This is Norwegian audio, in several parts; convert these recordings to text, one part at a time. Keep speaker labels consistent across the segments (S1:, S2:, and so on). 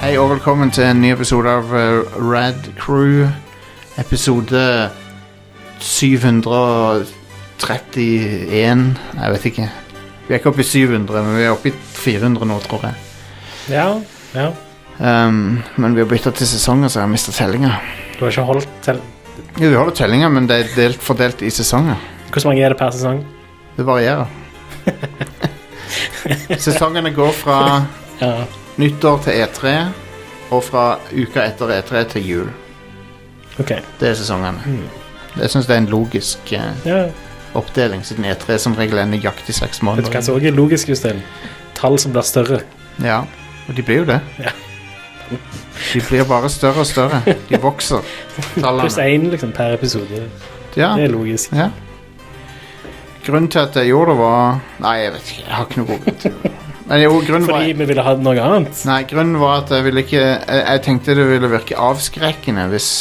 S1: Hei og velkommen til en ny episode av eh, Rad Crew. Episode 731 Nei, jeg vet ikke. Vi er ikke oppe i 700, men vi er oppe i 400 nå, tror jeg.
S2: Ja, ja.
S1: Ehm, men vi har bytta til sesonger, så jeg har mista tellinga.
S2: Du har ikke holdt til
S1: Jo, vi holder tellinga, men det er delt, fordelt i sesonger.
S2: Hvor mange er det per sesong?
S1: Det varierer. Sesongene går fra
S2: Ja.
S1: nyttår til E3 og fra uka etter E3 til jul.
S2: Ok.
S1: Det er sesongene.
S2: Mm.
S1: Jeg syns det er en logisk eh,
S2: Ja.
S1: oppdeling, siden E3 som regel er nøyaktig seks
S2: Vet du hva
S1: måneder.
S2: som også er logisk, Jostein? Tall som blir større.
S1: Ja, og de blir jo det.
S2: Ja.
S1: De blir bare større og større. De vokser,
S2: Pluss
S1: tallene.
S2: én liksom, per episode.
S1: Ja,
S2: Det er logisk.
S1: ja. Grunnen til at jeg gjorde det, var Nei, jeg vet ikke. Jeg har ikke noe god grunn til det. Men jo, grunnen var
S2: Fordi vi ville ha noe annet.
S1: Nei, grunnen var at jeg ville ikke Jeg, jeg tenkte det ville virke avskrekkende hvis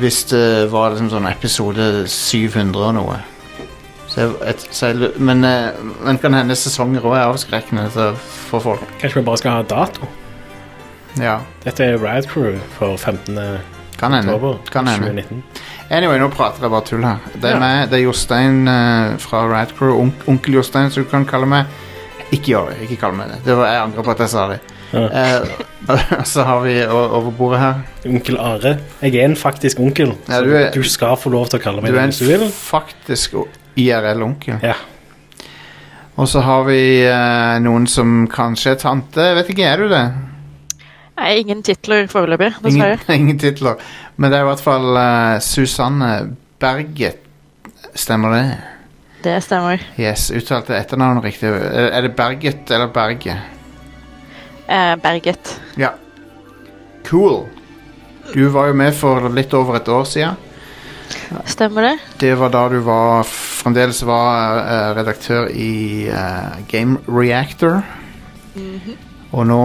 S1: Hvis det var liksom sånn episode 700 og noe. Så jeg, et, så jeg, lu- men, eh, men kan hende sesonger òg er avskrekkende så- for folk.
S2: Kanskje vi bare skal ha dato?
S1: Ja,
S2: Dette er Rad Crew for 15.
S1: kan hende.
S2: oktober
S1: Kan hende.
S2: 2019.
S1: Anyway, nå prater jeg bare tull her. Det er
S2: Ja.
S1: meg, det er Jostein eh, fra Radcrew. Onk, onkel Jostein, som du kan kalle meg. Ikke gjør det. ikke kall meg det. det var, jeg angrer på at jeg sa det.
S2: Ja.
S1: Eh, så har vi o- over bordet her
S2: Onkel Are. Jeg er en faktisk onkel.
S1: Ja,
S2: så
S1: du er-
S2: du skal få lov til å kalle meg
S1: Du
S2: det
S1: er
S2: hvis du vil.
S1: en faktisk o- IRL-onkel.
S2: Ja.
S1: Og så har vi eh, noen som kanskje er tante. Jeg vet ikke, er du det?
S3: Nei, ingen titler foreløpig, dessverre.
S1: Ingen, ingen titler. Men det er i hvert fall eh, Susanne Berget. Stemmer det?
S3: Det stemmer.
S1: Yes, uttalte etternavnet riktig. Er er det Berget eller Berget?
S3: Eh, Berget.
S1: Ja. Cool. Du var jo med for litt over et år siden.
S3: Stemmer det?
S1: Det var da du var fremdeles var eh, redaktør i eh, Game Reactor.
S3: Mhm.
S1: Og nå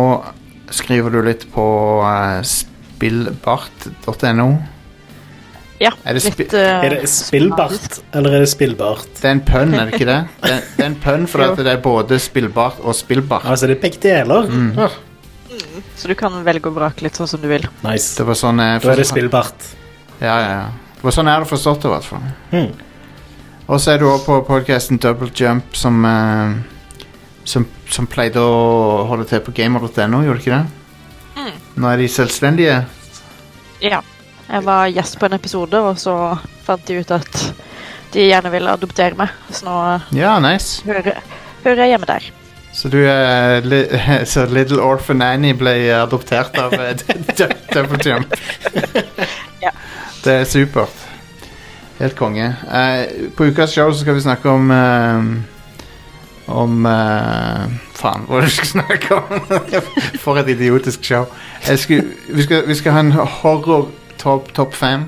S1: skriver du litt på eh, spillbart.no.
S3: Ja.
S1: Er det spi-
S3: litt, eh,
S2: Er det spillbart, eller er det spillbart?
S1: Det er en pønn, er det ikke det? Det er, det er en pønn fordi
S3: Jo.
S1: at det er både spillbart og spillbart.
S2: Altså, det er begge deler.
S1: Mm.
S2: Ah,
S3: Så du kan velge og vrake litt sånn som du vil.
S2: nice.
S1: Det var sånn jeg
S2: Da er det
S1: forstod-
S2: spillbart.
S1: Ja, ja, ja. Det var sånn jeg hadde forstått det, i hvert fall.
S2: Mhm.
S1: Og så er du også på podcasten Double Jump, som, eh, som, som pleide å holde til på gamer.no, gjorde ikke det? Nå er de selvstendige.
S3: Ja. Jeg var gjest på en episode, og så fant de ut at de gjerne ville adoptere meg. Så nå eh,
S1: Ja, nice.
S3: hører, hører jeg hjemme der.
S1: Så du er li Så Little Orphan Annie ble adoptert av eh, Du- Double Jump.
S3: Ja.
S1: Det er supert. Helt konge. Eh, på ukas show så skal vi snakke om eh, Om eh, Faen, hva er det vi skal snakke om? For et idiotisk show. Jeg skulle, vi, skal, vi skal ha en horror topp top fem.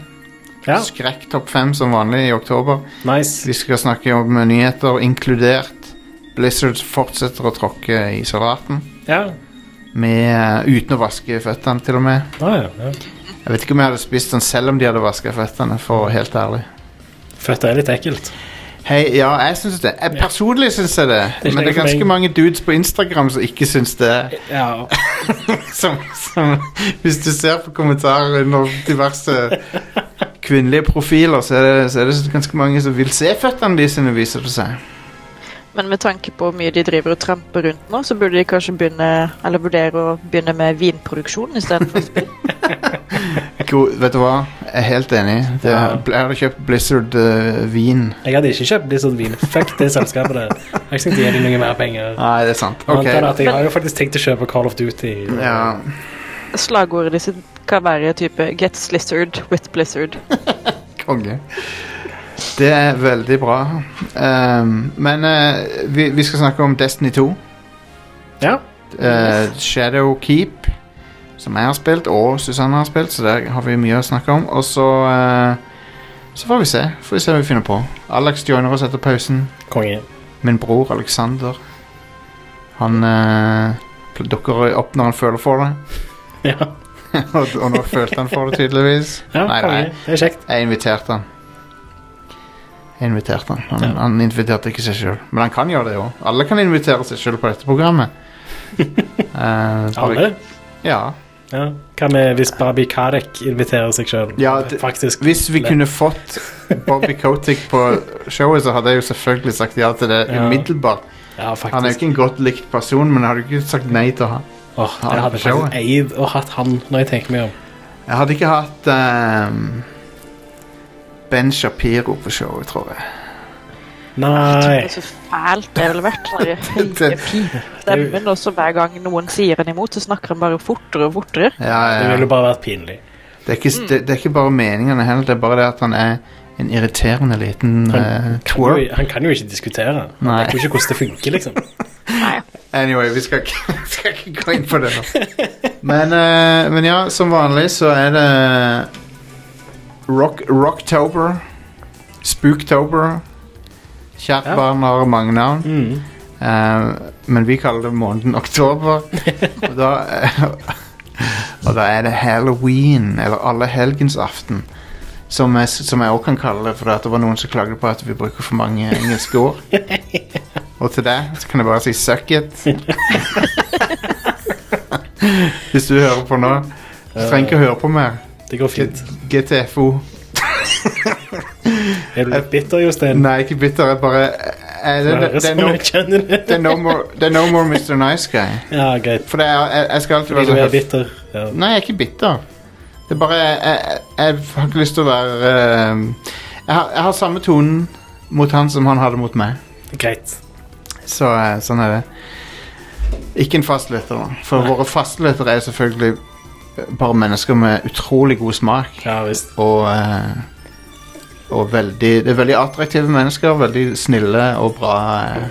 S2: Ja,
S1: Skrekk topp fem som vanlig i oktober.
S2: nice.
S1: Vi skal snakke om eh, nyheter, inkludert Blizzard fortsetter å tråkke i salaten.
S2: Ja,
S1: Med, eh, uten å vaske føttene, til og med.
S2: ah, ja, ja.
S1: Jeg vet ikke om jeg hadde spist den selv om de hadde vaska føttene. for å være helt ærlig.
S2: Føtter er litt ekkelt.
S1: Hei, ja, jeg synes det. Jeg, personlig syns jeg det.
S2: Det er
S1: Men
S2: ikke
S1: det er
S2: noe for
S1: ganske
S2: meg.
S1: mange dudes på Instagram som ikke syns det.
S2: Ja.
S1: Som, som, hvis du ser på kommentarer under diverse kvinnelige profiler, så er, det, så er det ganske mange som vil se føttene de sine, viser det seg.
S3: Men med tanke på hvor mye de driver og tramper rundt nå, så burde de kanskje begynne, eller vurdere å begynne med vinproduksjon istedenfor spill.
S1: God, vet du hva? Jeg er helt enig. Det,
S2: Ja.
S1: Jeg hadde kjøpt Blizzard eh, vin.
S2: Jeg hadde ikke kjøpt litt sånn vin. Fuck det selskapet der. Jeg skal ikke gi dem noe mer penger.
S1: Nei, det er sant.
S2: Annet
S1: Ok.
S2: enn at jeg har jo faktisk tenkt å kjøpe Call of Duty. eh,
S1: Ja.
S3: Slagordet ditt kan være type 'Get slizzard with blizzard'.
S1: Konge. Det er veldig bra. Ehm, men eh, vi, vi skal snakke om Destiny 2.
S2: Ja.
S1: eh, Shadow Keep, som jeg har spilt, og Susanne har spilt, så der har vi mye å snakke om. Og så eh, Så får vi se. Får vi se hva vi finner på. Alex joiner oss etter pausen.
S2: Konge.
S1: Min bror Alexander. Han eh, pl- dukker opp når han føler for det.
S2: Ja,
S1: og, og nå følte han for det, tydeligvis.
S2: ja
S1: nei, nei,
S2: konge. Det er kjekt.
S1: jeg inviterte han. Jeg inviterte han. Han,
S2: Ja.
S1: han inviterte ikke seg sjøl. Men han kan gjøre det òg. Alle kan invitere seg sjøl på dette programmet. Eh, bare,
S2: Alle.
S1: Ja.
S2: Ja. Hva med hvis Babi Karek inviterer seg sjøl?
S1: Ja, det-
S2: Faktisk.
S1: Hvis vi kunne fått Bobby Kotick på showet, så hadde jeg jo selvfølgelig sagt ja til det
S2: Ja.
S1: umiddelbart.
S2: Ja,
S1: Han er jo
S2: faktisk.
S1: ikke en godt likt person, men jeg hadde ikke sagt nei til han.
S2: Åh,
S1: han
S2: jeg
S1: på
S2: hadde
S1: showet.
S2: faktisk eid og hatt han, når jeg tenker meg om.
S1: Jeg hadde ikke hatt ehm, Ben Shapiro på showet, tror jeg.
S3: Det
S2: Nei.
S3: er så fælt det ville vært. Den der høye
S1: Det-
S3: stemmen, og så hver gang noen sier en imot, så snakker han bare fortere og fortere.
S1: Ja,
S2: Det
S1: ja.
S2: ville jo bare vært pinlig.
S1: Det, er ikke, det, det er ikke bare meningene heller, det er bare det at han er en irriterende liten eh,
S2: Kan jo,
S1: twerp.
S2: han kan jo ikke diskutere. Han
S1: Nei.
S2: vet jo ikke hvordan det funker, liksom.
S3: Nei,
S1: Anyway, vi skal, ikke- vi skal ikke gå inn på det nå. Men, eh, men ja, som vanlig så er det rock, Rocktober, Spooktober. Kjært
S2: Ja.
S1: barn har mange navn,
S2: Mm.
S1: eh, men vi kaller det måneden oktober. Og da, eh, og da er det halloween, eller allehelgensaften, som jeg, som jeg også kan kalle det, for at det var noen som klagde på at vi bruker for mange engelske ord. Og til det så kan jeg bare si suck it. Hvis du hører på nå. Du trenger ikke å høre på mer.
S2: Det går fint.
S1: GTFO.
S2: Er du litt bitter, Jostein?
S1: Nei, ikke bitter. Jeg bare eh, det, det, det, er no, det, er no more, det er no more Mr. Nice Guy.
S2: Ja, greit.
S1: For det er, jeg, jeg skal alltid
S2: Fordi
S1: være
S2: du
S1: så
S2: er
S1: høflig.
S2: bitter. Ja.
S1: Nei, jeg er ikke bitter. Det er bare Jeg, jeg, jeg har ikke lyst til å være eh, jeg, har, jeg har samme tonen mot han som han hadde mot meg.
S2: Greit.
S1: Så eh, sånn er det. Ikke en fastlytter, da. For
S2: Nei.
S1: våre fastlyttere er selvfølgelig bare mennesker med utrolig god smak.
S2: Ja visst.
S1: Og, eh, og veldig, det er veldig attraktive mennesker. Veldig snille og bra eh,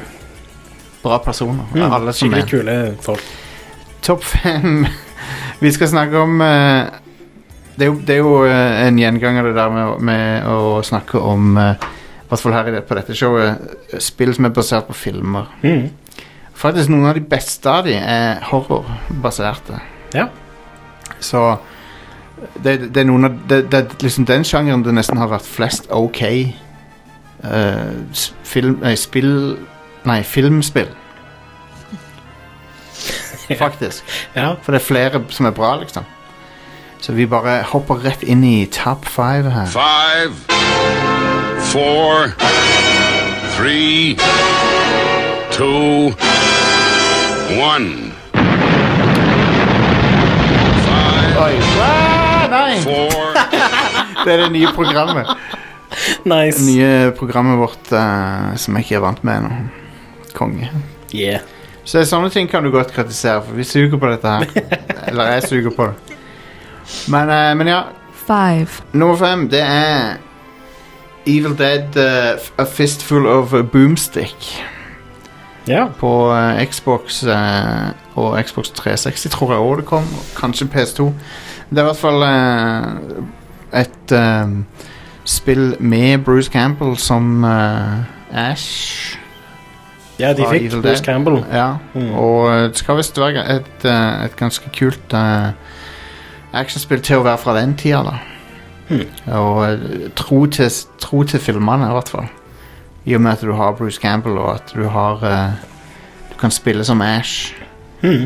S1: Bra personer.
S2: Mm,
S1: Alle som er
S2: Skikkelig kule folk.
S1: Topp fem. Vi skal snakke om eh, det, er jo, det er jo eh, en gjenganger, det der med, å- med å snakke om eh, I hvert fall her i det, på dette showet. Spill som er basert på filmer.
S2: Mm.
S1: Faktisk noen av de beste av de er horrorbaserte.
S2: Ja.
S1: Så det, det er noen av det, det er liksom den sjangeren det nesten har vært flest OK eh, s- film, nei, spill Nei, filmspill. Faktisk.
S2: ja.
S1: For det er flere som er bra, liksom. Så vi bare hopper rett inn i top five her.
S4: Five, four, three, two, one. Five,
S1: Oi. Ah, nei!
S4: four,
S1: Det er det nye programmet. Det
S2: Nice.
S1: nye programmet vårt eh, som jeg ikke er vant med ennå. Konge.
S2: Yeah.
S1: Så det er sånne ting kan du godt kritisere, for vi suger på dette her. Eller jeg suger på det. Men, eh, men ja.
S5: Five.
S1: Nummer fem, det er Evil Dead eh, A Fistful of Boomstick.
S2: Ja.
S1: på eh, Xbox eh, og Xbox 360 tror jeg også det kom. Kanskje PS2. Det er i hvert fall eh, et eh, spill med Bruce Campbell som eh, Ash.
S2: ja, de
S1: Fra
S2: fikk
S1: Evil
S2: Bruce
S1: Dead.
S2: Campbell.
S1: Ja.
S2: Mm.
S1: Og eh, det skal visst være et, eh, et ganske kult eh, actionspill til å være fra den tida, da.
S2: Hmm.
S1: Og eh, tro til, tro til filmene, i hvert fall. I og med at du har Bruce Campbell, og at du har eh, Du kan spille som Ash.
S2: Mm.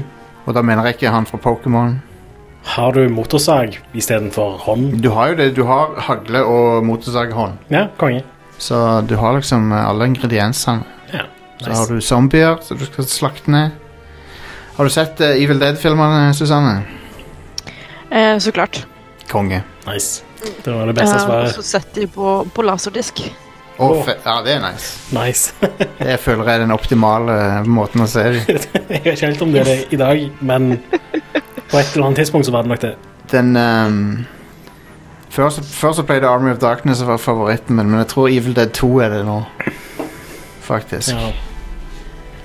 S1: Og da mener jeg ikke han fra Pokémon.
S2: Har du motorsag istedenfor hånd?
S1: Du har jo det, du har hagle og motorsaghånd.
S2: Ja, konge.
S1: Så du har liksom eh, alle ingrediensene.
S2: Ja,
S1: Så har
S2: nice.
S1: du zombier som du skal slakte ned. Har du sett eh, Evil Dead-filmene, Susanne?
S3: eh, så klart. Eh,
S1: Konge.
S2: nice. Det var det
S3: Jeg
S2: beste
S3: har
S2: svaret.
S3: også sett de på, på laserdisk.
S1: Å,
S2: Åh.
S1: fe ja, det er nice.
S2: Nice.
S1: Det føler jeg er den optimale eh, måten å se dem.
S2: Jeg vet ikke helt om det er det i dag, men på et eller annet tidspunkt så var det nok det.
S1: Den ehm, før, så, før så pleide Army of Darkness å være favoritten min, men jeg tror Evil Dead 2 er det nå. Faktisk.
S2: Ja.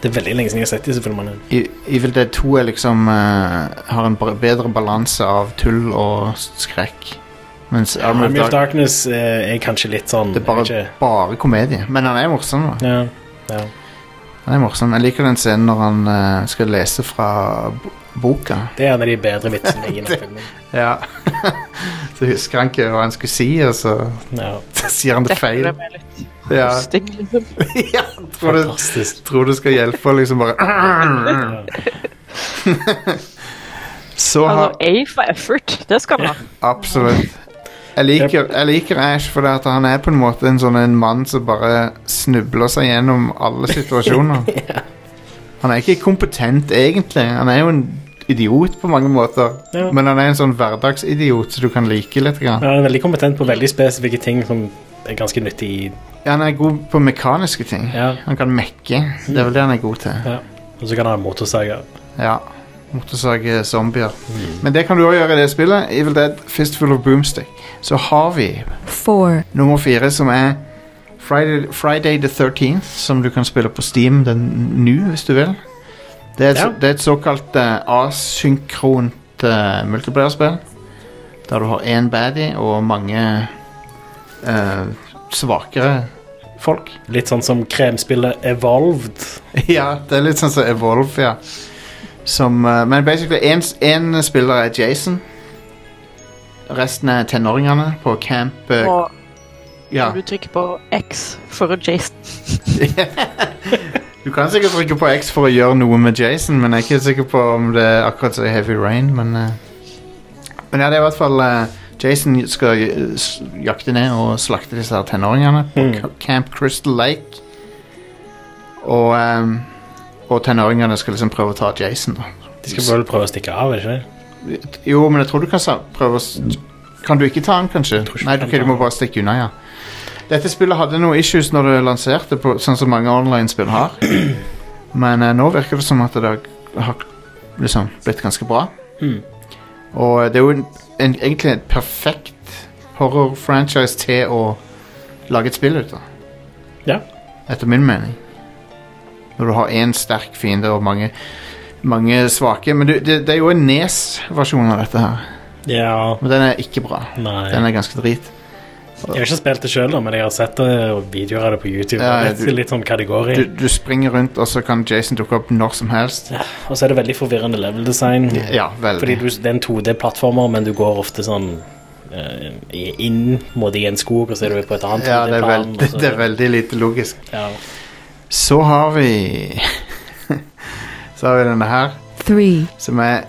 S2: Det er veldig lenge siden jeg har sett disse filmene.
S1: I- Evil Dead 2 er liksom eh, har en br- bedre balanse av tull og s- skrekk. Mens Army of
S2: Army of
S1: Dark
S2: Darkness eh, er kanskje litt sånn
S1: det er bare,
S2: ikke-
S1: bare komedie. Men han er morsom. da.
S2: Ja, ja.
S1: Han er morsom. Jeg liker den scenen når han eh, skal lese fra b- boka.
S2: Det er en av de bedre vitsene i denne filmen.
S1: Ja. så husker han ikke hva han skulle si, og så
S2: Ja,
S1: sier han det
S3: Dekker
S1: feil.
S3: det med litt
S1: Ja,
S3: hosting, liksom.
S1: ja tror, du,
S2: fantastisk.
S1: Mm. tror du skal hjelpe og liksom bare
S2: Ja.
S1: Så
S3: Altså,
S1: har
S3: A for effort. Det skal man ha.
S1: Absolutt. Jeg liker, jeg liker Ash fordi at han er på en måte en sånn en mann som bare snubler seg gjennom alle situasjoner. Han er ikke kompetent, egentlig. Han er jo en idiot på mange måter.
S2: Ja.
S1: Men han er en sånn hverdagsidiot som du kan like litt. Grann.
S2: Ja, Han er veldig kompetent på veldig spesifikke ting som er ganske nyttig i
S1: Han er god på mekaniske ting.
S2: Ja.
S1: Han kan mekke. Det er vel det han er god til.
S2: ja. Og så kan han ha motorsager.
S1: Ja. Motorsage zombier.
S2: Mm.
S1: Men det kan du òg gjøre i det spillet. Evil Dead Fistful of Boomstick. Så har vi
S5: four,
S1: Nummer fire som er Friday, Friday the 13th, som du kan spille på Steam den nå, hvis du vil. Det er et,
S2: Ja.
S1: det er et såkalt eh, asynkront eh, multiplayer-spill. Der du har én baddie og mange eh, svakere folk.
S2: Litt sånn som kremspillet Evolved.
S1: ja, det er litt sånn som Evolve, ja. Som, eh, men basically, én spiller er Jason. Resten er tenåringene på camp eh,
S3: Og
S1: ja.
S3: når du trykker på X for Jason
S1: Du kan sikkert trykke på X for å gjøre noe med Jason, men jeg er ikke sikker på om det er akkurat så Heavy Rain, men eh, Men ja, det er i hvert fall eh, Jason skal eh, s- jakte ned og slakte disse her tenåringene på
S2: Mm.
S1: Ca- Camp Crystal Lake. Og, ehm, og tenåringene skal liksom prøve å ta Jason, da.
S2: De skal vel prøve å stikke av, er det ikke det?
S1: Jo, men jeg tror du kan sa- prøve å s- Kan du ikke ta han, kanskje?
S2: tror ikke
S1: Nei,
S2: du kan
S1: ok, du
S2: ta
S1: må
S2: han.
S1: bare stikke unna, ja. Dette spillet hadde noen issues når det lanserte, på, sånn som mange online-spill har. Men eh, nå virker det som at det har- har liksom blitt ganske bra.
S2: Mm.
S1: Og eh, det er jo en, en, egentlig et perfekt horror-franchise til å lage et spill ut av.
S2: Ja.
S1: Etter min mening. Når du har én sterk fiende og mange, mange svake. Men du, det, det er jo en Nes-versjon av dette her.
S2: Ja,
S1: Men den er ikke bra.
S2: nei.
S1: Den er ganske drit.
S2: Jeg har ikke spilt det sjøl, men jeg har sett det og videoer av det på YouTube.
S1: Ja,
S2: Det er
S1: du-
S2: litt, litt sånn kategori.
S1: Du, du springer rundt, og så kan Jason dukke opp når som helst.
S2: Og så er det veldig forvirrende level design.
S1: Ja, veldig.
S2: Fordi du, det er en 2D-plattformer, men du går ofte sånn eh, i- inn mot i en skog, og så er du på et annet
S1: Ja, det er,
S2: 2D-plan,
S1: veld,
S2: og så-
S1: det er veldig lite logisk.
S2: Ja.
S1: Så har vi Så har vi denne her,
S5: three,
S1: som er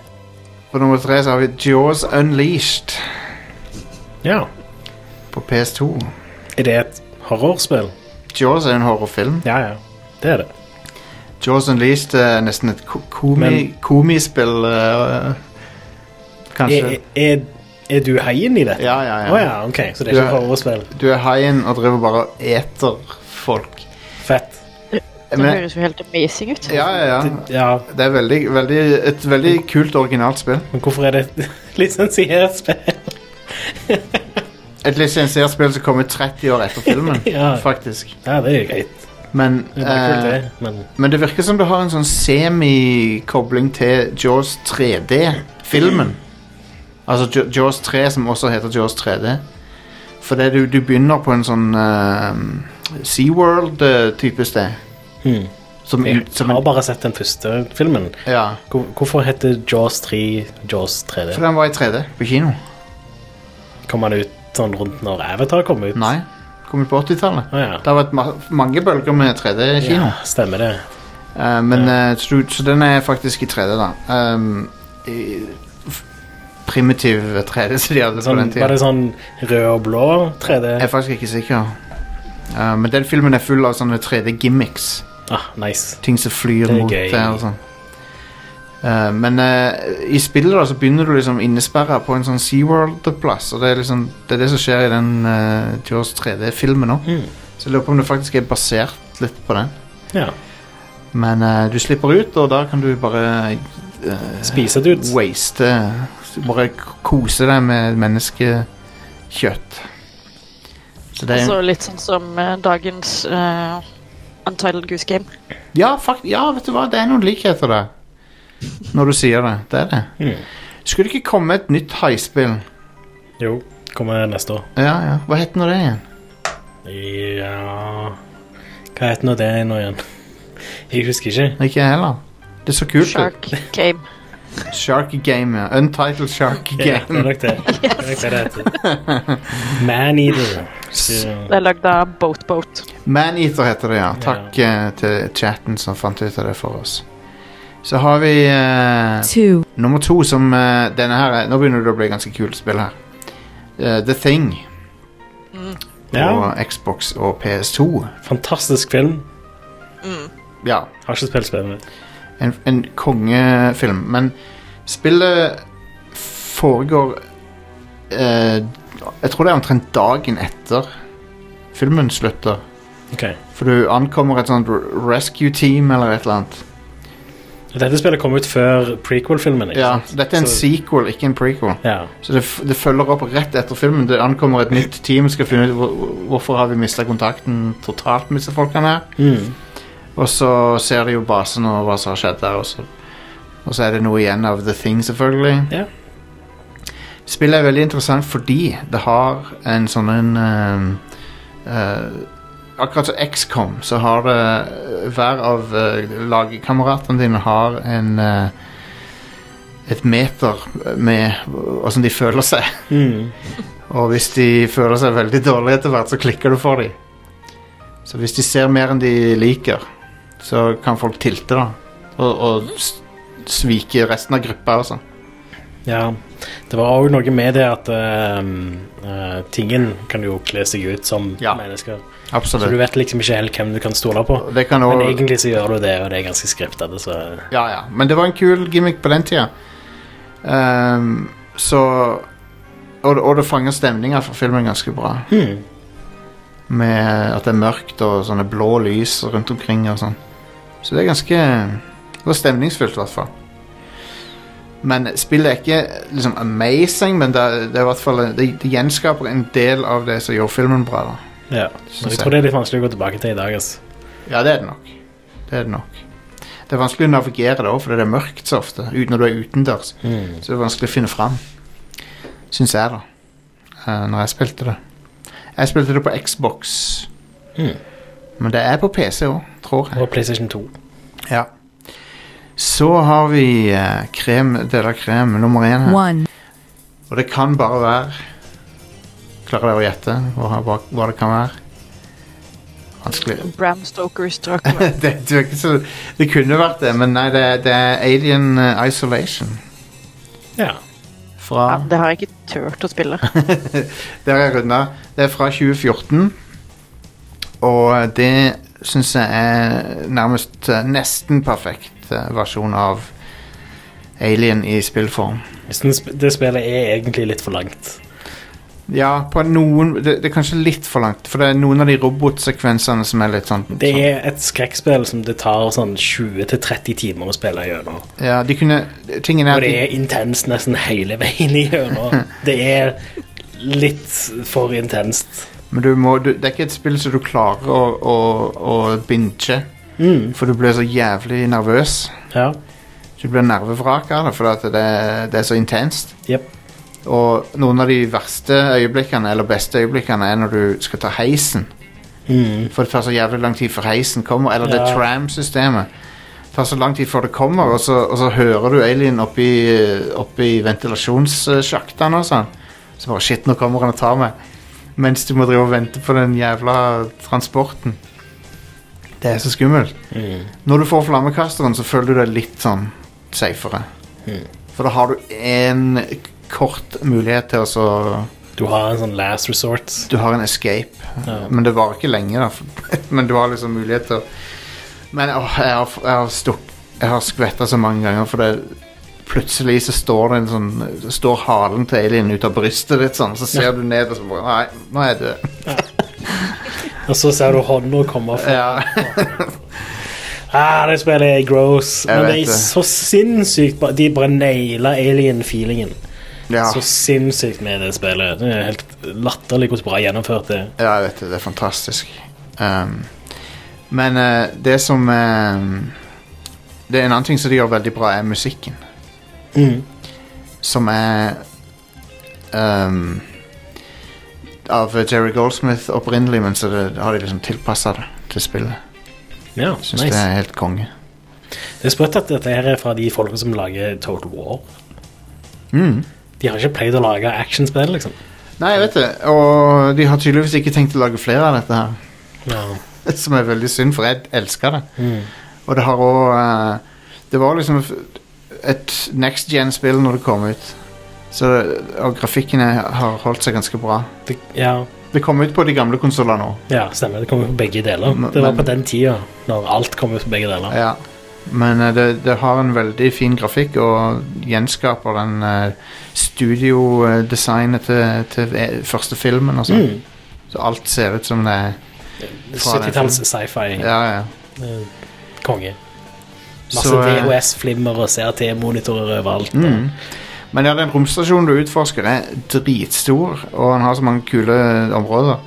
S1: På nummer tre så har vi Jaws Unleashed
S2: ja.
S1: på PS2.
S2: Er det et horrorspill?
S1: Jaws er en horrorfilm.
S2: Ja, ja. Det er det.
S1: Jaws Unleashed er nesten et ko- komi,
S2: Men-
S1: komispill eh,
S2: Er,
S1: Kanskje.
S2: er, er du haien i dette?
S1: Ja, ja,
S2: E- Å
S1: ja.
S2: ja, ok. Så det
S1: Du
S2: er ikke
S1: er-
S2: et horrorspill.
S1: Du er haien og driver bare og eter folk.
S2: Fett.
S3: Det
S1: Men-
S3: høres jo helt amazing ut.
S1: Ja, ja, ja.
S2: Det- Ja,
S1: Det er veldig, veldig, et veldig kult originalt spill.
S2: men hvorfor er det et lisensiert spill?
S1: Et lisensiert spill som kommer 30 år etter filmen,
S2: Ja.
S1: faktisk.
S2: Ja, det er jo greit.
S1: Men,
S2: Det er bare kult,
S1: eh,
S2: det. Men
S1: men det virker som det har en sånn semi-kobling til Jaws 3D-filmen. Altså Ja- Jaws 3, som også heter Jaws 3D. For det du, du begynner på en sånn eh, SeaWorld-type sted.
S2: hmm.
S1: Som,
S2: jeg
S1: ut- mm. som
S2: har
S1: en,
S2: bare sett den første filmen.
S1: ja,
S2: Hvor- Hvorfor heter Jaws 3 Jaws 3D?
S1: for den var i 3D på kino.
S2: Kom han ut sånn rundt når Avatar kom ut?
S1: Nei, kom ut på 80-tallet.
S2: Å ja.
S1: Det har vært ma mange bølger med 3D-kino.
S2: ja. Stemmer det.
S1: Eh, men eh, så, du- så den er faktisk i 3D, da. Um, i, f- primitiv 3D, som de hadde på
S2: Sånn,
S1: den
S2: var
S1: tida.
S2: det sånn rød og blå 3D?
S1: Jeg er faktisk ikke sikker. Eh, men den filmen er full av sånne 3D-gimmicks.
S2: Ah, nice.
S1: Ting som flyr
S2: Det er
S1: mot
S2: gøy.
S1: deg og sånn. Eh, men eh, i spillet da så begynner du liksom innesperra på en sånn SeaWorld-plass. Og det er liksom det, er det som skjer i den eh, Jaws 3D-filmen nå.
S2: Mm.
S1: Så jeg lurer på om det faktisk er basert litt på den.
S2: Ja.
S1: Men eh, du slipper ut, og da kan du bare eh,
S2: Spiser dudes.
S1: waste eh, Bare k- kose deg med menneskekjøtt. Så det er
S3: Altså litt sånn som eh, dagens eh, Untitled Goose Game.
S1: ja, fakt, ja, vet du hva, det er noen likheter der. Når du sier det. Det er det.
S2: Mm.
S1: Skulle det ikke komme et nytt haispill?
S2: Jo, kommer neste år.
S1: Ja, ja. Hva het nå det igjen?
S2: Ja Hva heter nå det nå igjen? Jeg husker ikke.
S1: Ikke jeg heller. Det er så kult ut.
S3: Shark Game.
S1: Shark Game, ja. Untitled Shark
S2: Ja, det er
S1: Game.
S2: nok det. det, er nok det, det heter. Maneater. Så-
S3: Det er lagd av Boat Boat.
S1: Maneater heter det, ja. Takk eh, til chatten som fant ut av det for oss. Så har vi eh,
S5: two,
S1: nummer to, som eh, denne her er- Nå begynner det å bli ganske kult spill her. Eh, The Thing
S2: Ja,
S1: og Xbox og PS2.
S2: fantastisk film.
S3: Mm.
S1: Ja,
S2: Har ikke spilt spillet.
S1: en, en kongefilm. Men spillet foregår eh, Jeg tror det er omtrent dagen etter filmen slutter.
S2: Ok.
S1: For du ankommer et sånt rescue team eller et eller annet.
S2: Og Dette spillet kom ut før prequel-filmen. ikke
S1: Ja,
S2: sant?
S1: så dette er en
S2: Så-
S1: sequel, ikke en prequel.
S2: Ja.
S1: Så det, f- det følger opp rett etter filmen. Det ankommer et nytt team skal finne ut hvor- hvor- hvorfor har vi mista kontakten totalt med disse folkene. her.
S2: Mm.
S1: Og så ser de jo basen og hva som har skjedd der. Og så, og så er det noe igjen av The Thing, selvfølgelig.
S2: Ja.
S1: Spillet er veldig interessant fordi det har en sånn en eh, eh, Akkurat som XCOM, så har det eh, hver av uh, lagkameratene dine har en eh, et meter med åssen de føler seg.
S2: Mm.
S1: Og hvis de føler seg veldig dårlige etter hvert, så klikker du for dem. Så hvis de ser mer enn de liker, så kan folk tilte, da. Og, og s- svike resten av gruppa og sånn.
S2: ja. Det var òg noe med det at ehm, eh, tingen kan jo kle seg ut som
S1: Ja.
S2: mennesker. Så du
S1: Absolutt.
S2: vet liksom ikke helt hvem du kan stole på.
S1: Det kan
S2: Men
S1: også,
S2: egentlig så gjør du det, og det er ganske skriptet. Så
S1: ja, ja. Men det var en kul gimmick på den tida. Ehm, så og, det- og det fanger stemninga for filmen ganske bra.
S2: hmm.
S1: Med at det er mørkt og sånne blå lys rundt omkring og sånn. Så det er ganske Det var stemningsfullt, i hvert fall. Men spillet er ikke liksom amazing, men det, er- det er i hvert fall det, det gjenskaper en del av det som gjorde filmen bra. da
S2: Ja. Men jeg tror det er litt vanskelig å gå tilbake til i dag. Altså.
S1: Ja, det er det nok. Det er det nok. Det er vanskelig å navigere det òg, fordi det er mørkt så ofte ut- når du er utendørs.
S2: Hmm.
S1: Så det er vanskelig å finne fram, syns jeg, da. eh, Når jeg spilte det. Jeg spilte det på Xbox,
S2: Mm.
S1: men det er på PC òg, tror jeg.
S2: Og PlayStation 2.
S1: Ja. Så har vi eh, krem, deler krem nummer én her.
S5: one,
S1: Og det kan bare være Klarer dere å gjette hva, hva, hva det kan være? Vanskelig.
S3: Bram Stokers Dracula.
S1: det, det, er ikke så, det kunne vært det, men nei, det, er- det er Alien eh, Isolation.
S2: Ja.
S1: Fra
S3: Ja, det har jeg ikke turt å spille.
S1: Der er jeg runda. Det er fra 2014. Og det syns jeg er nærmest eh, nesten perfekt eh, versjon av Alien i spillform.
S2: Jeg synes det spillet er egentlig litt for langt.
S1: Ja, på noen det, det er kanskje litt for langt, for det er noen av de robotsekvensene som er litt sånn
S2: Det er et skrekkspill som det tar sånn 20-30 timer å spille gjennom.
S1: sånn- Ja, de kunne Tingen er
S2: Og
S1: at
S2: det
S1: de,
S2: er intenst nesten hele veien igjennom. Det er litt for intenst.
S1: Men du må du, Det er ikke et spill som du klarer å, å, å binche,
S2: Mm.
S1: for du blir så jævlig nervøs.
S2: Ja.
S1: Du blir nervevrak av det, for at det, det er så intenst.
S2: Jep.
S1: Og noen av de verste øyeblikkene, eller beste øyeblikkene, er når du skal ta heisen.
S2: Mm.
S1: For det tar så jævlig lang tid før heisen kommer, eller det
S2: Ja.
S1: tram-systemet. Det tar så lang tid før det kommer, og så, og så hører du alien oppi, oppi ventilasjonssjaktene og sånn. Så bare shit, nå kommer han og tar meg. Mens du må drive og vente på den jævla transporten. Det er så skummelt.
S2: Mm.
S1: Når du får flammekasteren, så føler du deg litt sånn safere.
S2: Mhm.
S1: For da har du én kort mulighet til å så
S2: Du har en sånn last resort.
S1: Du har en escape.
S2: Ja.
S1: Men det varer ikke lenge, da. Men du har liksom mulighet til å Men åh, jeg har, jeg har, stukk- jeg har skvetta så mange ganger, for det plutselig så står det en sånn så står halen til alien ut av brystet ditt, sånn, så ser du ned og så bare Nei, nå er jeg død.
S2: Og så ser du hånda komme fra
S1: Ja.
S2: ah, Det spillet er gross.
S1: Jeg
S2: Men
S1: vet
S2: det er
S1: det.
S2: så sinnssykt bra. De bare naila alien-feelingen.
S1: ja.
S2: Så sinnssykt med det spillet. Det er helt latterlig hvor bra gjennomført det er.
S1: Ja, jeg vet det. Det er fantastisk. Um, men eh, det som eh, Det er en annen ting som de gjør veldig bra, er musikken.
S2: Mm.
S1: Som er um, Av Jerry Goldsmith opprinnelig, men så det, har de liksom tilpassa det til spillet.
S2: Ja,
S1: Syns
S2: nice.
S1: det er helt konge.
S2: Det er sprøtt at dette her er fra de folkene som lager Total War.
S1: Mm.
S2: De har ikke pleid å lage actionspill, liksom.
S1: Nei, jeg vet det. Og de har tydeligvis ikke tenkt å lage flere av dette her.
S2: Ja.
S1: Som er veldig synd, for jeg elsker det.
S2: Mm.
S1: Og det har òg Det var liksom et next gen-spill når det kom ut. Så, og grafikkene har holdt seg ganske bra.
S2: Det, ja,
S1: Det kom ut på de gamle konsollene òg.
S2: ja, stemmer. Det kom jo på begge deler.
S1: Men-
S2: Det var på
S1: men-
S2: den tida når alt kom ut på begge deler.
S1: Ja. Men eh, det, det har en veldig fin grafikk og gjenskaper den eh, studiodesignet til, til eh, første filmen. Altså.
S2: Mm.
S1: Så alt ser ut som det er Fra den
S2: 70-talls sci-fi.
S1: Ja, ja.
S2: Eh, Konge. Masse
S1: Så, eh,
S2: DOS-flimmer og CRT-monitorer overalt.
S1: Mm. Men ja, den romstasjonen du utforsker er dritstor, og han har så mange kule områder.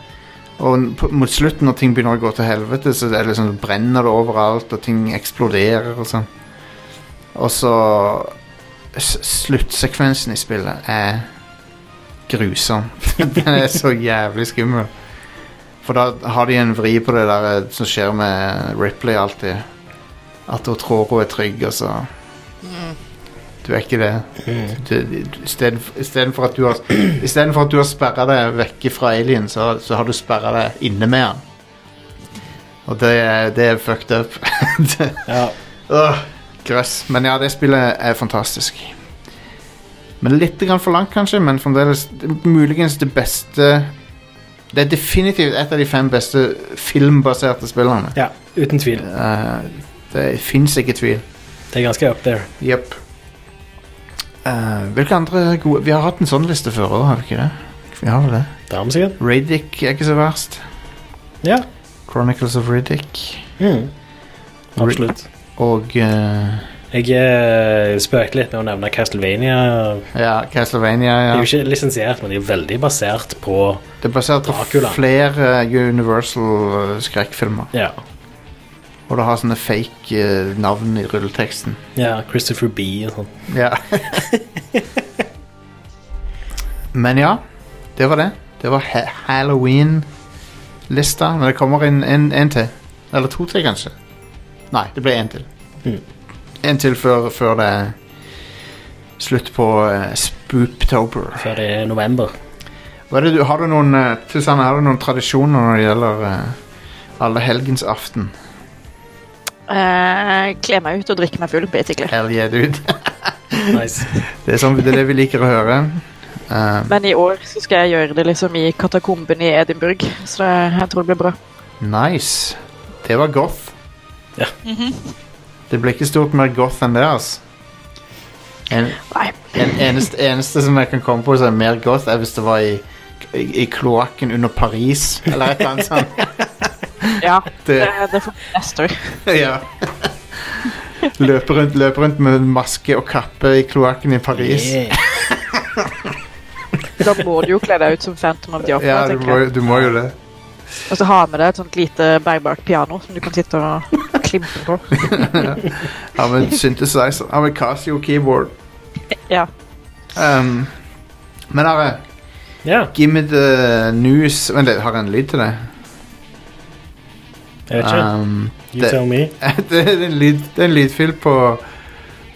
S1: Og n- på, mot slutten, når ting begynner å gå til helvete, så er det liksom, brenner det overalt, og ting eksploderer og sånn. Og så s- Sluttsekvensen i spillet er grusom. den er så jævlig skummel. For da har de en vri på det der eh, som skjer med Ripley alltid. At hun tror hun er trygg, og så Du er ikke det.
S2: Mm.
S1: Istedenfor at du har i stedet for at du har sperra deg vekke fra alien, så, så har du sperra deg inne med han. Og det, er- det er fucked up. det,
S2: Ja.
S1: Åh, grøss. Men ja, det spillet er fantastisk. Men litt grann for langt, kanskje, men fremdeles muligens det beste Det er definitivt et av de fem beste filmbaserte spillene.
S2: ja, uten tvil.
S1: Eh, det fins ikke tvil.
S2: Det er ganske up there.
S1: Jepp. Eh, hvilke andre gode Vi har hatt en sånn liste før òg, har vi ikke det? Vi har vel det.
S2: Det har vi sikkert.
S1: Riddick er ikke så verst.
S2: Ja.
S1: Chronicles of Riddick.
S2: Mm. Absolutt.
S1: Og eh,
S2: Jeg eh, spøkte litt med å nevne Castlevania.
S1: ja, Castlevania.
S2: De
S1: Ja.
S2: er jo ikke lisensiert, men de er veldig basert på
S1: Det er basert på
S2: Dracula.
S1: flere eh, Universal-skrekkfilmer.
S2: ja,
S1: Og det har sånne fake eh, navn i rulleteksten.
S2: ja Christopher B. og sånn.
S1: Ja. Men ja, det var det. Det var ha Halloween-lista. Men det kommer en, en, en til. Eller to til, kanskje. Nei, det ble en til.
S2: Mm.
S1: En til før, før det er slutt på eh, Spooptober.
S2: Før det er november.
S1: Hva er det du, har du noen, eh, Susanne, har du noen tradisjoner når det gjelder eh, alle helgens aften?
S3: Eh, Kle meg ut og drikke meg full, basically.
S1: Hell yeah, dude.
S2: Nice.
S1: Det er, sånn, det er det vi liker å høre. Eh,
S3: Men i år så skal jeg gjøre det liksom i katakomben i Edinburgh, så det, jeg tror det blir bra.
S1: Nice. Det var goth.
S2: Ja.
S1: Det ble ikke stort mer goth enn det, altså. En,
S3: Nei.
S1: en eneste, eneste som jeg kan komme på som er mer goth, er hvis det var i, i, i kloakken under Paris, eller et eller annet sånt.
S3: Ja, det,
S1: Det,
S3: det får bli neste år.
S1: ja. Løpe rundt, løpe rundt med maske og kappe i kloakken i Paris.
S2: Yeah.
S3: Da må du jo kle deg ut som Phantom of the Opera,
S1: Ja, du
S3: tenker
S1: må,
S3: jeg.
S1: jo- du må jo det.
S3: Og så ha med deg et sånt lite bærbart piano som du kan sitte og klimpe på.
S1: Ha med en synthesizer. Ha med Casio keyboard.
S3: Ja.
S1: Um, men Are,
S2: Ja.
S1: give me the news Vent litt, har jeg en lyd til det?
S2: Jeg vet ikke.
S1: Um,
S2: You
S1: det-
S2: tell me.
S1: det, er en lyd, det er en lydfil på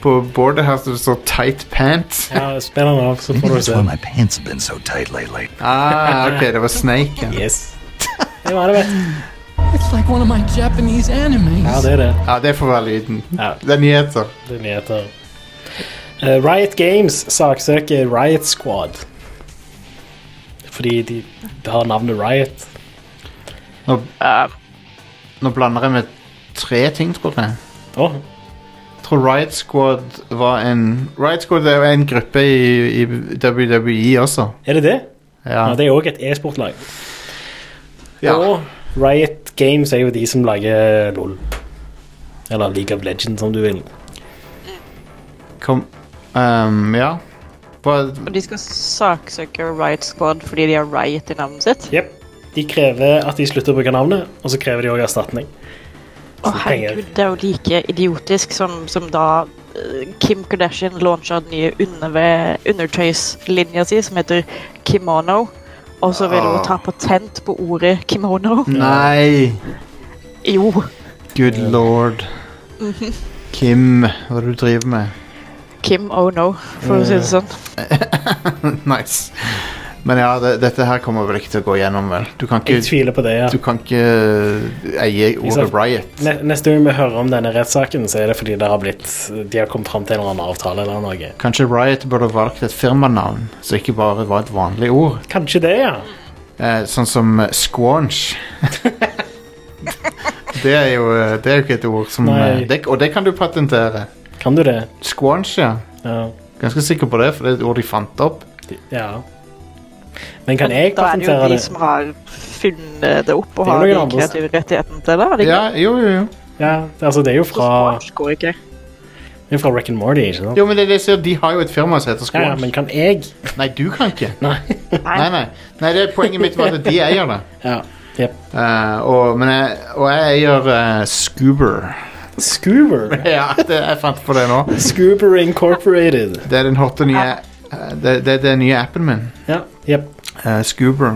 S1: På bordet her som det står 'tight pants'.
S2: Ja, Spill den av, så får du
S5: That's why
S2: se.
S5: my pants have been so tight lately.
S1: Ah, ok, det var Snake. Ja,
S2: Yes. Det var det, vet du.
S6: It's like one of my Japanese animes.
S2: Ja, det er det.
S1: Ja, det får være lyden.
S2: Ja,
S1: Det er nyheter.
S2: det er nyheter. Eh, Riot Games saksøker Riot Squad. Fordi de har navnet Riot.
S1: Nå,
S3: Eh,
S1: nå blander jeg med tre ting, tror jeg.
S2: Å,
S1: Jeg tror Riot Squad var en Riot Squad er jo en gruppe i, i WWE også.
S2: er det det? Ja,
S1: Ja.
S2: det er òg et e-sportlag.
S1: Ja.
S2: Og Riot Games er jo de som lager LOL. Eller League of Legends, om du vil.
S1: Kom um, Ja. Hva
S3: og de skal saksøke Riot Squad fordi de har Riot i navnet sitt.
S2: Jep. De krever at de slutter å bruke navnet, og så krever de òg erstatning.
S3: Å
S2: Så penger.
S3: herregud, det er jo like idiotisk som, som da eh, Kim Kardashian launcha den nye underve- undertøyslinja si som heter Kimono. Og så vil hun
S2: Ah.
S3: ta patent på ordet kimono.
S1: Nei!
S3: Jo.
S1: Good lord. Kim, hva er det du driver med?
S2: Mm.
S3: Kim oh no, for å si det sånn.
S1: nice. Men ja, det, dette her kommer vel ikke til å gå gjennom, vel? Du kan
S2: Jeg
S1: ikke,
S2: tviler på det, ja.
S1: du kan ikke eh, eie ordet
S2: Liksom-
S1: Riot.
S2: Ne- Neste gang vi hører om denne rettssaken, så er det fordi det har blitt, de har kommet fram til en eller annen avtale eller noe.
S1: Kanskje Riot burde valgt et firmanavn som ikke bare var et vanlig ord.
S2: Kanskje det, ja.
S1: Eh, sånn som eh, squanch. det, er jo, eh, det er jo ikke et ord som
S2: Nei.
S1: eh, det, Og det kan du patentere.
S2: Kan du det?
S1: Squanch, ja.
S2: Ja.
S1: Ganske sikker på det, for det er et ord de fant opp.
S2: ja. Men kan jeg
S3: da er det jo
S2: patentere
S3: de
S2: det?
S3: som har funnet det opp og
S2: Det er
S3: har
S2: noen
S3: de
S2: andre som-
S3: kreative rettighetene til det. er det ikke?
S1: Ja, jo, jo, jo.
S2: Ja, altså det er jo fra,
S3: Squanch går ikke.
S2: det er fra Rick and Morty, ikke sant?
S1: Jo, men det er det jeg sier, de har jo et firma som heter
S2: Ja, ja,
S1: Squanch.
S2: men kan jeg?
S1: Nei, du kan ikke.
S2: Nei.
S1: Nei, nei. nei det er poenget mitt var at de eier det.
S2: Ja. Jep.
S1: Eh, og, men jeg, og jeg eier eh, Scuber.
S2: Scoober.
S1: Ja, det, jeg fant på det nå.
S2: Scoober Incorporated.
S1: Det er den hotte nye eh, det, det er den nye appen min.
S2: Ja. Jep.
S1: Eh, Scuber.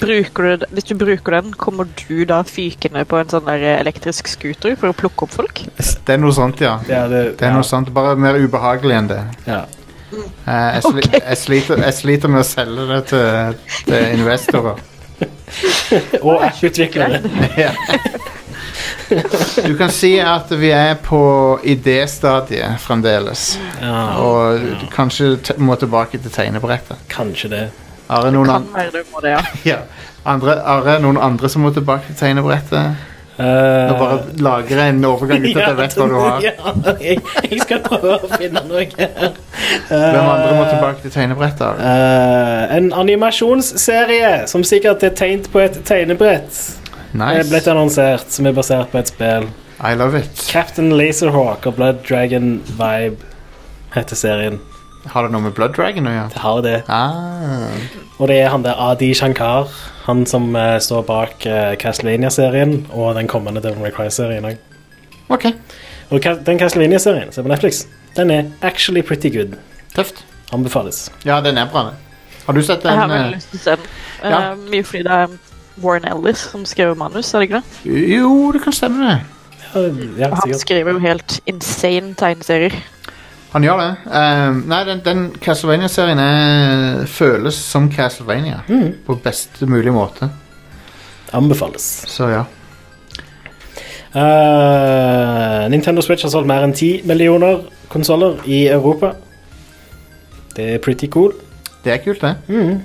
S3: Bruker du, hvis du bruker den, kommer du da fykende på en sånn der elektrisk scooter for å plukke opp folk?
S1: Det er noe sånt, ja.
S2: Det er det.
S1: Det er noe sånt, bare mer ubehagelig enn det.
S2: Ja.
S1: Eh, jeg, sli,
S3: Ok.
S1: jeg, sliter, jeg sliter med å selge det til, til investorer.
S2: Og apputviklere.
S1: Ja. Du kan si at vi er på idéstadiet fremdeles.
S2: Ja,
S1: Og kanskje t må tilbake til tegnebrettet.
S2: kanskje det.
S1: Are noen,
S3: Kan
S1: an
S3: være det må det, ja.
S1: ja. andre, Are, noen andre som må tilbake til tegnebrettet? Nå bare lager jeg en overgang uten at jeg vet hva du har.
S2: Eh, Ja, jeg, jeg skal prøve å finne noe.
S1: Hvem andre må tilbake til tegnebrettet? Are?
S2: Eh, en animasjonsserie som sikkert er tegnet på et tegnebrett. Er blitt
S1: Nice.
S2: annonsert som er basert på et spill.
S1: I love it.
S2: Captain Laserhawk og Blood Dragon Vibe heter serien.
S1: Har det noe med Blood Dragon å gjøre?
S2: Det har det.
S1: Ah.
S2: Og det er han der Adi Shankar, han som eh, står bak eh, Castlevania-serien og den kommende Devil May Cry-serien òg.
S1: Ok,
S2: Og Ca- den Castlevania-serien som er på Netflix, den er actually pretty good.
S1: tøft.
S2: Anbefales.
S1: Ja, den er bra, den. Har du sett
S3: Jeg har
S1: den? eh,
S3: veldig lyst til å se den. Eh,
S1: ja.
S3: mye fordi det er Warren Ellis som skriver manus, er det ikke det?
S1: Jo, det kan stemme, det.
S2: Ja, ja,
S3: Og han
S2: sikkert.
S3: skriver jo helt insane tegneserier.
S1: Han gjør det. Ehm, nei, den, den Castlevania-serien er- føles som Castlevania.
S2: Mm.
S1: På best mulig måte.
S2: Anbefales.
S1: Så ja.
S2: Eh, Nintendo Switch har solgt mer enn 10 millioner konsoller i Europa. Det er pretty cool.
S1: Det er kult, det.
S2: Mm.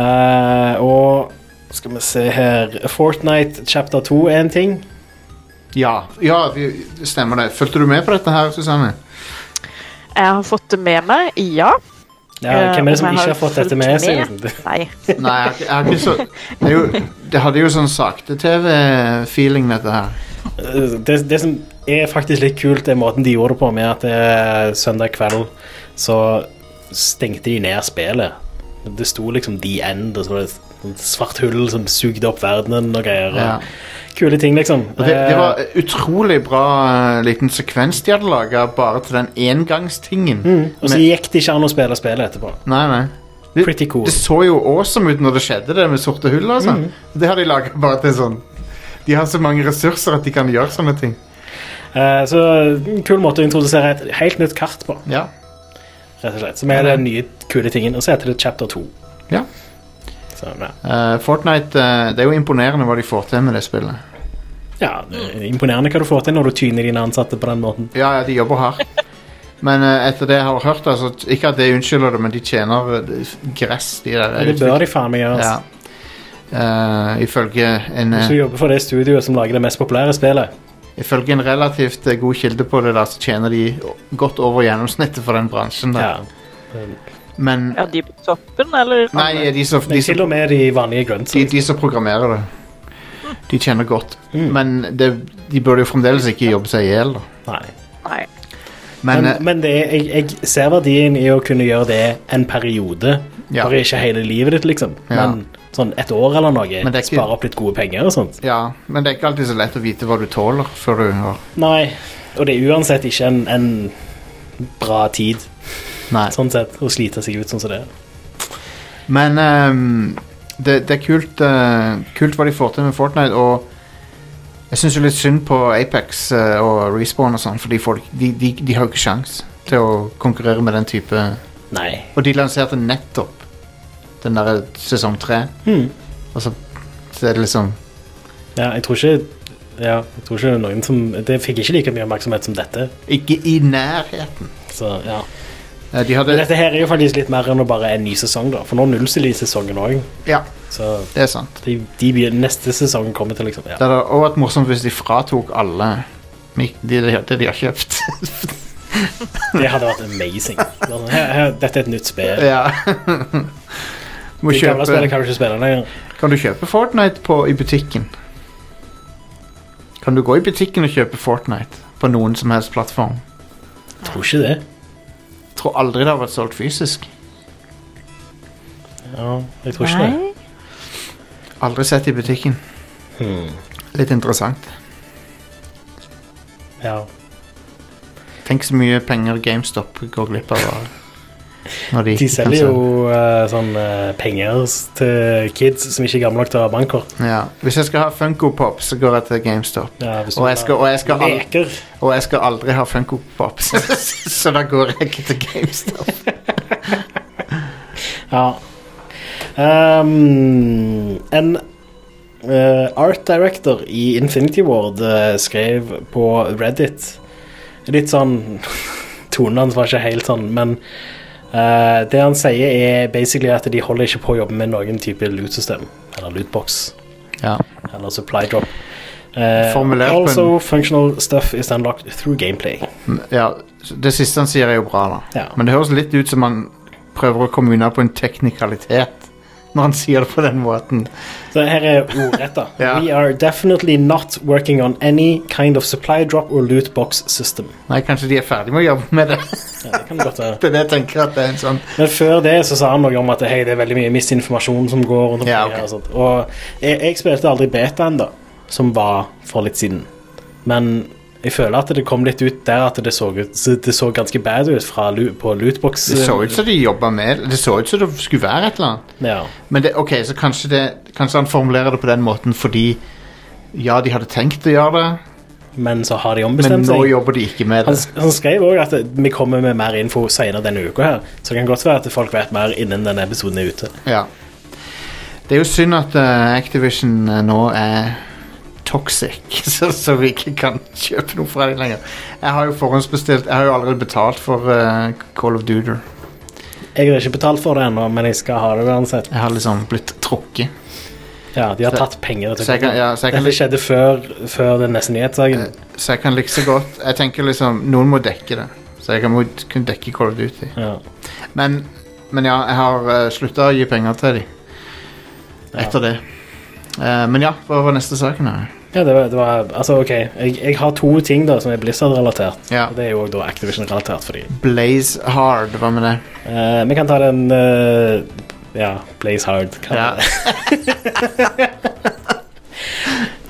S2: Eh, og skal vi se her Fortnite chapter 2 er en ting.
S1: Ja, ja vi, stemmer det. Fulgte du med på dette her, Susanne?
S3: Jeg har fått det med meg, ja.
S2: Ja,
S3: Eh,
S2: hvem er det som
S3: om jeg
S2: ikke
S3: har
S2: har fått dette
S3: fulgt
S2: med seg?
S3: med? Nei.
S1: Nei, jeg, har ikke- jeg har ikke så det, er jo, det hadde jo sånn sakte-TV-feeling, dette her.
S2: Eh, Det, det som er faktisk litt kult, er måten de gjorde det på, med at eh, søndag kveld så stengte de ned spillet. Det sto liksom The End, og så var det et sånt svart hull som sugde opp verdenen og greier.
S1: Ja.
S2: og Kule ting, liksom.
S1: Og det, det var
S2: Eh,
S1: utrolig bra eh, liten sekvens de hadde laga bare til den engangstingen.
S2: mm. og så
S1: Men-
S2: gikk det ikke an å spille spillet etterpå.
S1: Nei, nei. Det,
S2: Pretty cool.
S1: det så jo awesome ut når det skjedde, det med sorte hull. Altså. Det har de laga bare til sånn De har så mange ressurser at de kan gjøre sånne ting.
S2: Eh, så en kul måte å introdusere et helt nytt kart på,
S1: Ja.
S2: rett og slett. Som er den nye kule tingen. Og så heter det Chapter 2.
S1: Ja.
S2: Så, ja.
S1: Eh, Fortnite eh, Det er jo imponerende hva de får til med det spillet.
S2: ja, det er imponerende hva du får til når du tyner dine ansatte på den måten.
S1: Ja, ja, de jobber hardt. Men eh, etter det jeg har hørt, altså, t- ikke at det unnskylder det, men de tjener eh, det- gress, de der.
S2: Det bør de faen meg gjøre. altså.
S1: Ja. Eh, ifølge, en, eh,
S2: Hvis du jobber for det studioet som lager det mest populære spillet.
S1: ifølge en relativt eh, god kilde på det, da, så tjener de o- godt over gjennomsnittet for den bransjen.
S2: Ja.
S1: Da. Men
S3: Ja, de på toppen, eller?
S1: Nei, eh, de som, de
S2: Men til
S1: som,
S2: og med de vanlige grunts.
S1: de, de som programmerer det. De tjener godt.
S2: Mm.
S1: Men det, de burde jo fremdeles ikke jobbe seg i hjel, da.
S2: Nei.
S3: Nei.
S1: Men,
S2: Men,
S1: eh,
S2: men det, er- jeg, jeg ser verdien i å kunne gjøre det en periode.
S1: Ja.
S2: Bare ikke hele livet ditt, liksom.
S1: Ja.
S2: Men sånn et år eller noe.
S1: Men det er ikke-
S2: Spare opp litt gode penger og sånt.
S1: ja, men det er ikke alltid så lett å vite hva du tåler før du har
S2: Nei. Og det er uansett ikke en, en bra tid,
S1: Nei.
S2: sånn sett, å slite seg ut sånn som det.
S1: Men ehm, det, det er kult, eh, kult hva de får til med Fortnite, og jeg syns jo litt synd på Apex eh, og Respawn og sånn, for de, får- de, de, de har jo ikke sjans til å konkurrere med den type
S2: Nei.
S1: Og de lanserte nettopp den der sesong tre. Og så, så er det liksom
S2: Ja, jeg tror ikke ja, jeg tror ikke det er noen som Det fikk ikke like mye oppmerksomhet som dette.
S1: Ikke i nærheten.
S2: Så, ja.
S1: Eh, De hadde
S2: Men dette her er jo faktisk litt mer enn å bare en ny sesong, da. For nå nullstiller de sesongen òg.
S1: Ja,
S2: Så
S1: det er sant.
S2: de, de begynner- neste sesong kommer til, liksom.
S1: Det
S2: Ja.
S1: hadde også vært morsomt hvis de fratok alle mik- de- det de, de har kjøpt.
S2: Det hadde vært amazing. Sånn, Her, her, dette er et nytt spill.
S1: ja. Må
S2: De gamle spillene
S1: kjøpe,
S2: kan du ikke spille lenger.
S1: kan du kjøpe Fortnite på, i butikken? Kan du gå i butikken og kjøpe Fortnite på noen som helst plattform?
S2: Jeg tror ikke det.
S1: Tror aldri det har vært solgt fysisk.
S2: Ja, jeg tror ikke det.
S1: Aldri sett i butikken. Hmm. Litt interessant.
S2: Ja.
S1: Tenk så mye penger GameStop går glipp av. av- Når de,
S2: De
S1: ikke kan
S2: selger
S1: selge.
S2: jo eh, sånn eh, penger s- til kids som ikke er gamle nok til å ha bankkort.
S1: Ja. Hvis jeg skal ha Funko Pop, så går jeg til GameStop.
S2: Ja, hvis du
S1: Og jeg skal, og jeg skal,
S2: har
S1: al
S2: leker.
S1: og jeg skal aldri ha Funko Pop, så da går jeg ikke til GameStop.
S2: Ja. Ehm, en eh, art director i Infinity Ward eh, skrev på Reddit Litt sånn Tonen hans var ikke helt sånn, men eh, det han sier, er basically at de holder ikke på å jobbe med noen type loot-system. Eller lootbox.
S1: Ja.
S2: Eller supply drop. Eh,
S1: Formulert på en-
S2: also, functional stuff is unlocked through gameplay.
S1: ja. så Det siste han sier, er jo bra, da.
S2: Ja.
S1: Men det høres litt ut som han prøver å komme unna på en teknikalitet når han sier det på den måten.
S2: Så her er ordrett, da.
S1: Ja.
S2: We are definitely not working on any kind of supply drop or loot box system.
S1: Nei, kanskje de er ferdig med å jobbe med det.
S2: Ja, det kan godt være.
S1: Det er det jeg tenker at det er en sånn
S2: Men før det så sa han noe om at hei, det er veldig mye misinformasjon som går rundt omkring
S1: Ja, ok.
S2: her. Og, sånt. og jeg, jeg spilte aldri betaen, da, som var for litt siden. Men jeg føler at det kom litt ut der at det så, ut, så det så ganske bad ut fra, lu- på lootbox.
S1: Det så ut som de jobba med det. Det så ut som det skulle være et eller annet.
S2: Ja.
S1: Men det, ok, så kanskje, det, kanskje han formulerer det på den måten fordi ja, de hadde tenkt å gjøre det,
S2: Men så har de
S1: men
S2: ombestemt
S1: nå
S2: seg.
S1: jobber de ikke med
S2: Han,
S1: det.
S2: han skrev òg at vi kommer med mer info senere denne uka. her Så det kan godt være at folk vet mer innen denne episoden er ute.
S1: Ja. Det er jo synd at eh, Activision eh, nå er toxic, så, så vi ikke kan kjøpe noe fra dem lenger. Jeg har jo forhåndsbestilt Jeg har jo allerede betalt for eh, Call of Duty.
S2: Jeg har ikke betalt for det ennå, men jeg skal ha det uansett.
S1: Jeg har liksom blitt trukket.
S2: Ja, De har
S1: Så-
S2: tatt penger til
S1: Så jeg kan, ja, så jeg kan Eh,
S2: Dette skjedde før, før den neste nyhetssaken.
S1: Så jeg kan like så godt Jeg tenker liksom, noen må dekke det Så jeg kan må kunne dekke Call of Duty
S2: Ja.
S1: Men, men ja, jeg har uh, sluttet å gi penger til dem Etter det Eh, Men ja, hva var neste saken her?
S2: Ja, det var, det var Altså, OK. Jeg, jeg har to ting da som er Blizzard-relatert.
S1: Ja.
S2: Og det er jo også da Activision-relatert for dem.
S1: Blaze Hard, hva med det?
S2: vi kan ta den eh, Ja, Blaze Hard. Kan
S1: Ja,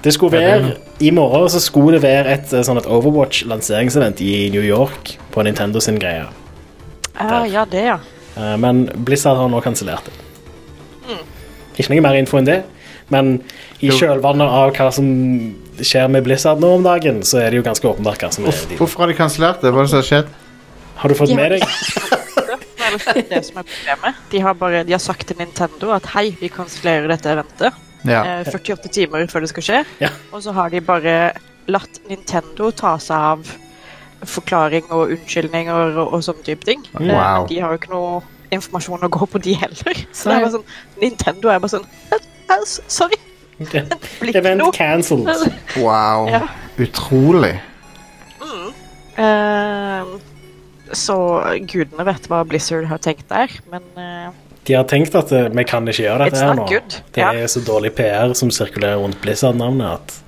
S2: Det
S1: Ja,
S2: skulle
S1: det er
S2: være I morgen så skulle det være et eh, sånn et Overwatch-lanseringsevent i New York på Nintendo sin greie.
S3: Ah, ja, det, ja.
S2: Eh, men Blizzard har nå kansellert det.
S3: Mm.
S2: Ikke noe mer info enn det. Men i
S1: Jo.
S2: kjølvannet av hva som skjer med Blizzard nå om dagen, så er det jo ganske åpenbart hva som er de.
S1: hvorfor har de kanslert det? Hva er det som har skjedd?
S2: Har du fått
S3: De har
S2: med deg?
S3: Det er vel det som er problemet. De har, bare, de har sagt til Nintendo at hei, vi kansellerer dette eventet
S1: Ja,
S3: eh, 48 timer før det skal skje.
S2: Ja.
S3: Og så har de bare latt Nintendo ta seg av forklaring og unnskyldninger og, og sånne type ting. Eh,
S1: Wow.
S3: men de har jo ikke noe informasjon å gå på, de heller. Så det er bare sånn, Nintendo er bare sånn eh, eh, Sorry, det blir ikke
S2: Event
S3: noe.
S2: cancelled.
S1: wow
S3: Ja.
S1: Utrolig
S3: Eh, så gudene vet hva Blizzard har tenkt der, men eh,
S2: De har tenkt at eh, vi kan ikke gjøre dette
S3: It's
S2: her nå.
S3: not good.
S2: Det
S3: Ja.
S2: er så dårlig PR som sirkulerer rundt Blizzard-navnet at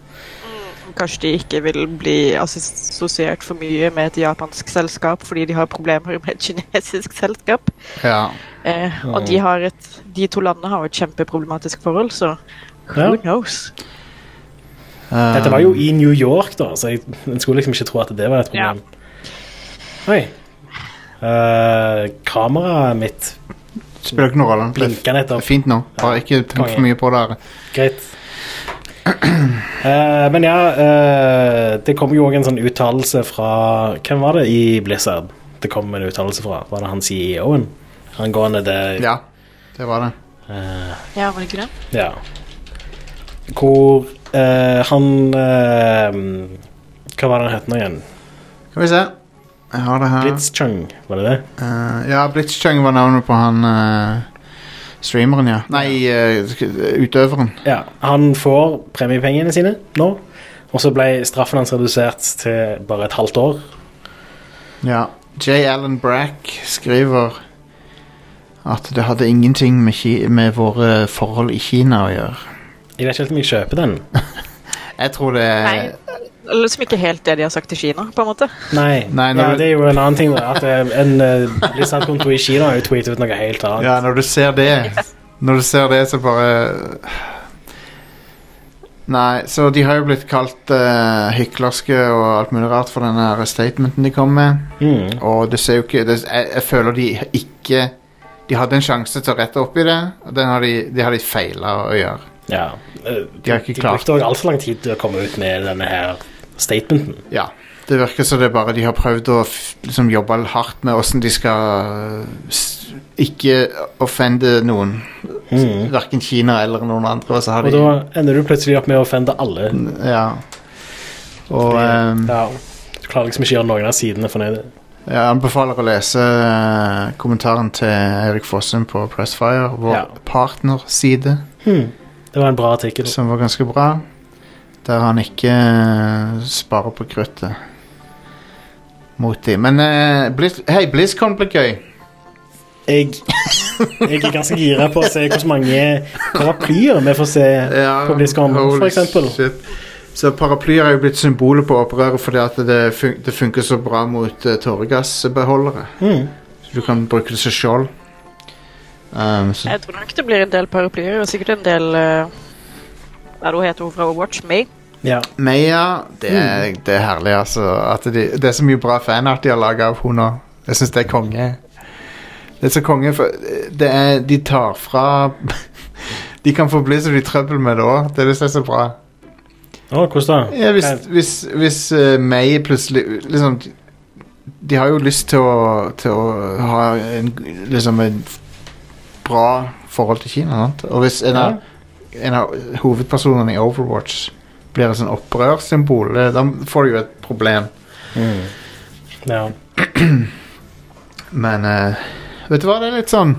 S3: Kanskje de ikke vil bli assosiert for mye med et japansk selskap fordi de har problemer med et kinesisk selskap.
S1: Ja,
S3: Eh, og de, har et, de to landene har et kjempeproblematisk forhold, så who
S2: Ja.
S3: knows?
S1: Eh,
S2: Dette var
S1: Um,
S2: jo i New York, da, så jeg en skulle liksom ikke tro at det var et problem. Oi. Eh, kameraet mitt
S1: spiller ikke noen rolle Det er f-
S2: blinka nettopp.
S1: fint nå, bare ikke tenk for mye på det her
S2: Greit. Eh, men ja, eh, det kom jo òg en sånn uttalelse fra Hvem var det i Blizzard? Det kom en uttalelse fra Var det han CEO-en? angående det
S1: Ja, det var det.
S2: eh,
S7: Ja, var det ikke det?
S2: Ja. Hvor eh, han eh, Hva var det han het nå igjen?
S1: Skal vi se. Jeg har det her.
S2: Blitzchung, var det det?
S1: Eh, ja, Blitzchung var navnet på han eh, streameren, ja. Nei, eh, sk- utøveren.
S2: Ja, han får premiepengene sine nå. Og så ble straffen hans redusert til bare et halvt år.
S1: Ja. J. Allen Brack skriver at det hadde ingenting med, Ki med våre forhold i Kina å gjøre.
S2: Jeg vet ikke helt om jeg kjøper den.
S1: Jeg tror det er
S3: Nei. Det er liksom ikke helt det de har sagt til Kina, på en måte.
S2: Nei,
S1: Nei, når
S2: ja,
S1: du-
S2: det er jo en annen ting. Da, at eh, en uh, lisenskonto i Kina har jo tweetet ut noe helt annet.
S1: Ja, når du ser det Når du ser det, så bare Nei, så de har jo blitt kalt eh, hyklerske og alt mulig rart for den her statementen de kom med.
S2: Mm.
S1: Og det ser jo ikke det, jeg, jeg føler de ikke De hadde en sjanse til å rette opp i det, og den har de, det har de feila å gjøre.
S2: Ja. eh,
S1: De har ikke
S2: de
S1: klart
S2: brukte òg altfor lang tid til å komme ut med denne her statementen.
S1: Ja. Det virker som det er bare de har prøvd å f- liksom, jobbe hardt med åssen de skal øh, s- ikke offende noen. Mm. Verken Kina eller noen andre. Og så har
S2: Og
S1: de
S2: da ender du plutselig opp med å offende alle.
S1: Ja. Og eh, øhm,
S2: ja. Du klarer liksom ikke å gjøre noen av sidene fornøyde.
S1: jeg anbefaler å lese øh, kommentaren til Eirik Fossum på Pressfire, vår
S2: Ja.
S1: partnerside,
S2: Mm. Det var en bra artikkel.
S1: som var ganske bra. Der han ikke øh, sparer på kruttet mot dem. Men øh, Blizz, hei, BlizzCon ble gøy.
S2: Jeg, jeg er ganske gira på å se hvor mange paraplyer vi får se på BlizzCon, for
S1: holy
S2: eksempel.
S1: shit. Så paraplyer er jo blitt symbolet på opprøret fordi at det, fun det funker så bra mot eh, tåregassbeholdere.
S2: Mm.
S1: Så du kan bruke det som skjold. Um, så,
S3: Jeg tror nok det blir en del paraplyer, og sikkert en del eh, Hva er det hun heter hun fra Overwatch? May?
S2: Ja.
S1: Meia, det er,
S2: Mm.
S1: det er herlig, altså. At de, det er så mye bra fanart de har laga av henne. Jeg syns det er konge. Det er så konge, for eh, det er, de tar fra De kan få Blizzard i trøbbel med det òg. Det er det som er så bra.
S2: Å, hvordan da?
S1: Ja, hvis,
S2: Kan-
S1: hvis, hvis eh, May plutselig liksom, de- De har jo lyst til å, til å ha en, liksom en bra forhold til Kina. Sant? Og hvis en, av, en av hovedpersonene i Overwatch blir et sånn opprørssymbol, eh, da får du jo et problem.
S2: Ja.
S1: Men eh, vet du hva, det er litt sånn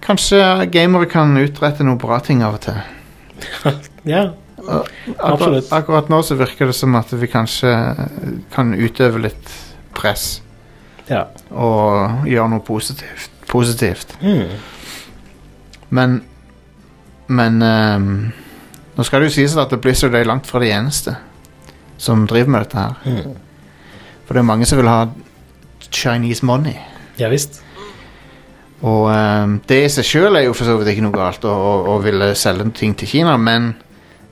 S1: Kanskje gamere kan utrette noen bra ting av og til.
S2: ja.
S1: Akkurat,
S2: Absolutt.
S1: akkurat nå så virker det som at vi kanskje eh, kan utøve litt press.
S2: ja.
S1: og gjøre noe positivt. positivt.
S2: Mm.
S1: Men Men ehm, Nå skal det jo sies at Blizzard er langt fra de eneste som driver med dette her.
S2: Mhm.
S1: For det er mange som vil ha Chinese money.
S2: Ja visst.
S1: Og ehm, det i seg sjøl er jo for så vidt ikke noe galt å, å, å ville selge ting til Kina, men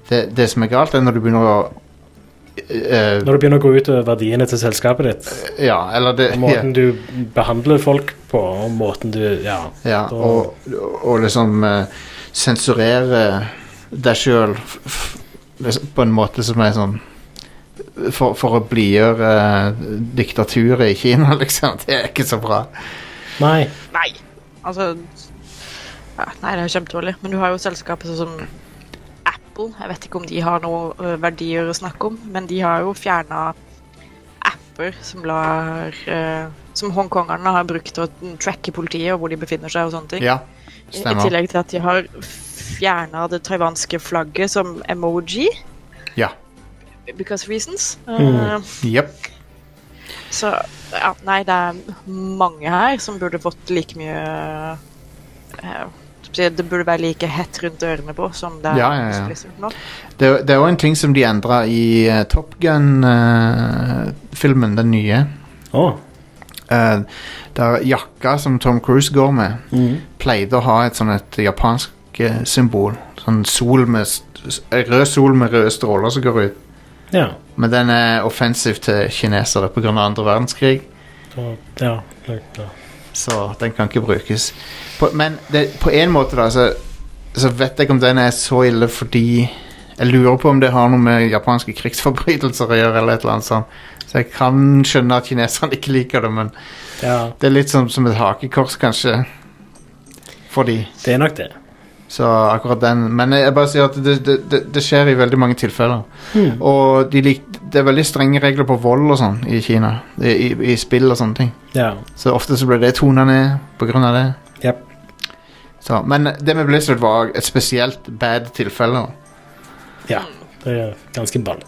S1: det, det som er galt, er når du begynner å eh,
S2: Når det begynner å gå ut over verdiene til selskapet ditt,
S1: Ja, eller det
S2: og måten du behandler folk på, og måten du Ja.
S1: Ja,
S2: Da-
S1: og, og liksom eh, sensurere deg sjøl liksom, på en måte som er sånn For, for å blidgjøre eh, diktaturet i Kina, liksom. Det er ikke så bra.
S2: Nei.
S3: Nei. Altså ja, Nei, det er kjempedårlig. Men du har jo selskaper sånn som Apple. Jeg vet ikke om de har noen eh, verdier å snakke om, men de har jo fjerna apper som lar eh, Som hongkongerne har brukt til å tracke politiet og hvor de befinner seg og sånne ting.
S1: Ja,
S3: I i
S1: stemmer.
S3: tillegg til at de har fjerna det taiwanske flagget som emoji.
S1: Ja. Mm.
S3: Because reasons. Eh,
S1: Jepp.
S3: så ja, nei, det er mange her som burde fått like mye eh, Det burde være like hett rundt ørene på som det er
S1: Ja, ja, ja.
S3: hos Blizzard nå.
S1: Det, det er òg en ting som de endra i eh, Top Gun-filmen, den nye.
S2: Å.
S1: Eh, der jakka som Tom Cruise går med,
S2: Mm.
S1: pleide å ha et sånn et japansk eh, symbol. Sånn sol med st- s- rød sol med røde stråler som går ut.
S2: Ja.
S1: Men den er offensiv til kinesere pga. andre verdenskrig,
S2: Da, ja. ja.
S1: så den kan ikke brukes. På, men det, på en måte, da, så, så vet jeg ikke om den er så ille fordi jeg lurer på om det har noe med japanske krigsforbrytelser å gjøre. eller et eller annet sånt. Så jeg kan skjønne at kineserne ikke liker det, men
S2: ja.
S1: det er litt som, som et hakekors, kanskje. for de.
S2: Det er nok det.
S1: Så akkurat den. Men jeg bare sier at det, det, det, det skjer i veldig mange tilfeller.
S2: Hmm.
S1: Og de lik, det er veldig strenge regler på vold og sånn i Kina. I, i, i spill og sånne ting.
S2: Ja.
S1: Så ofte så ble det tona ned på grunn av det.
S2: Jep.
S1: Så, men det med Blizzard var et spesielt bad tilfelle.
S2: ja. Det er ganske balle.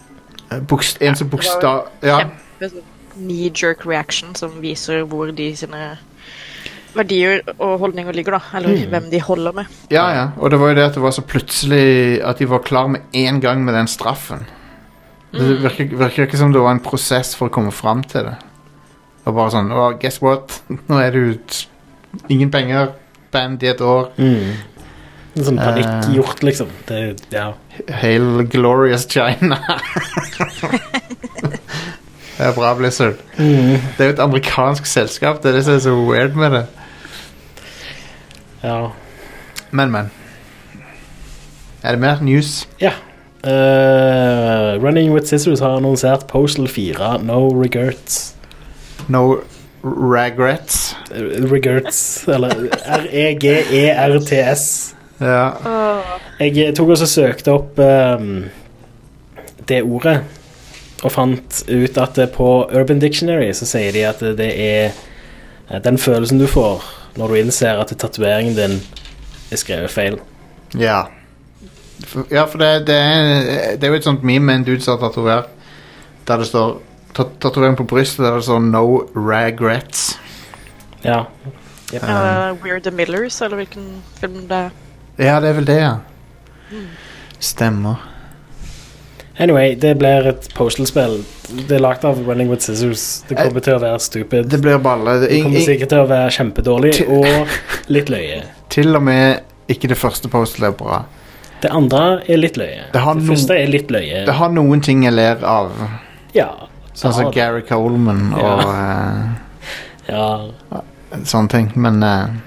S1: Bokst, en som bokstav... Ja.
S3: sånn Knee-jerk reaction som viser hvor de sine verdier og holdninger ligger, da.
S1: Mm.
S3: Eller hvem de holder med.
S1: Ja, ja. Og det var jo det at det var så plutselig at de var klar med én gang med den straffen. Det virker, virker ikke som det var en prosess for å komme fram til det. Og bare sånn oh, Guess what? Nå er det ut. Ingen penger. Band i et år.
S2: Mm. En Sånn panikkgjort, liksom. Det, ja.
S1: Hail glorious China. det er bra, Blizzard. Det er jo et amerikansk selskap. Det er det som er så weird med det.
S2: ja.
S1: Men, men. Er det mer news?
S2: ja. Eh, Running With Scissors har annonsert Postal 4 No Regrets.
S1: No regrets?
S2: Eh, Regrets, eller E R-E-G-E-R-T-S.
S1: Ja.
S2: Jeg eh, tok også og søkte opp ehm, det ordet, og fant ut at eh, på Urban Dictionary så sier de at det er eh, den følelsen du får når du innser at tatoveringen din er skrevet feil.
S1: Ja. For, ja, for det, det, er, det er jo et sånt meme med en dude som har tatovert der det står tat- Tatovering på brystet der det står 'No regrets'.
S2: Ja.
S3: Eller Eh, We're the Millers, eller hvilken film det er.
S1: Ja, det er vel det, ja. Stemmer.
S2: Anyway, det blir et postal-spill. Det er lagd av Running With Scissors. Det kommer til å være stupid.
S1: Det blir balle. Det,
S2: Det
S1: ing-
S2: kommer
S1: ing-
S2: sikkert til å være kjempedårlig og litt løye.
S1: til og med ikke det første postet er bra.
S2: Det andre er litt løye.
S1: Det
S2: Det,
S1: har noen-
S2: første er litt løye.
S1: Det har noen ting jeg ler av,
S2: Ja.
S1: sånn som
S2: det har det.
S1: Gary Coleman og
S2: Ja.
S1: eh, sånne ting, men eh,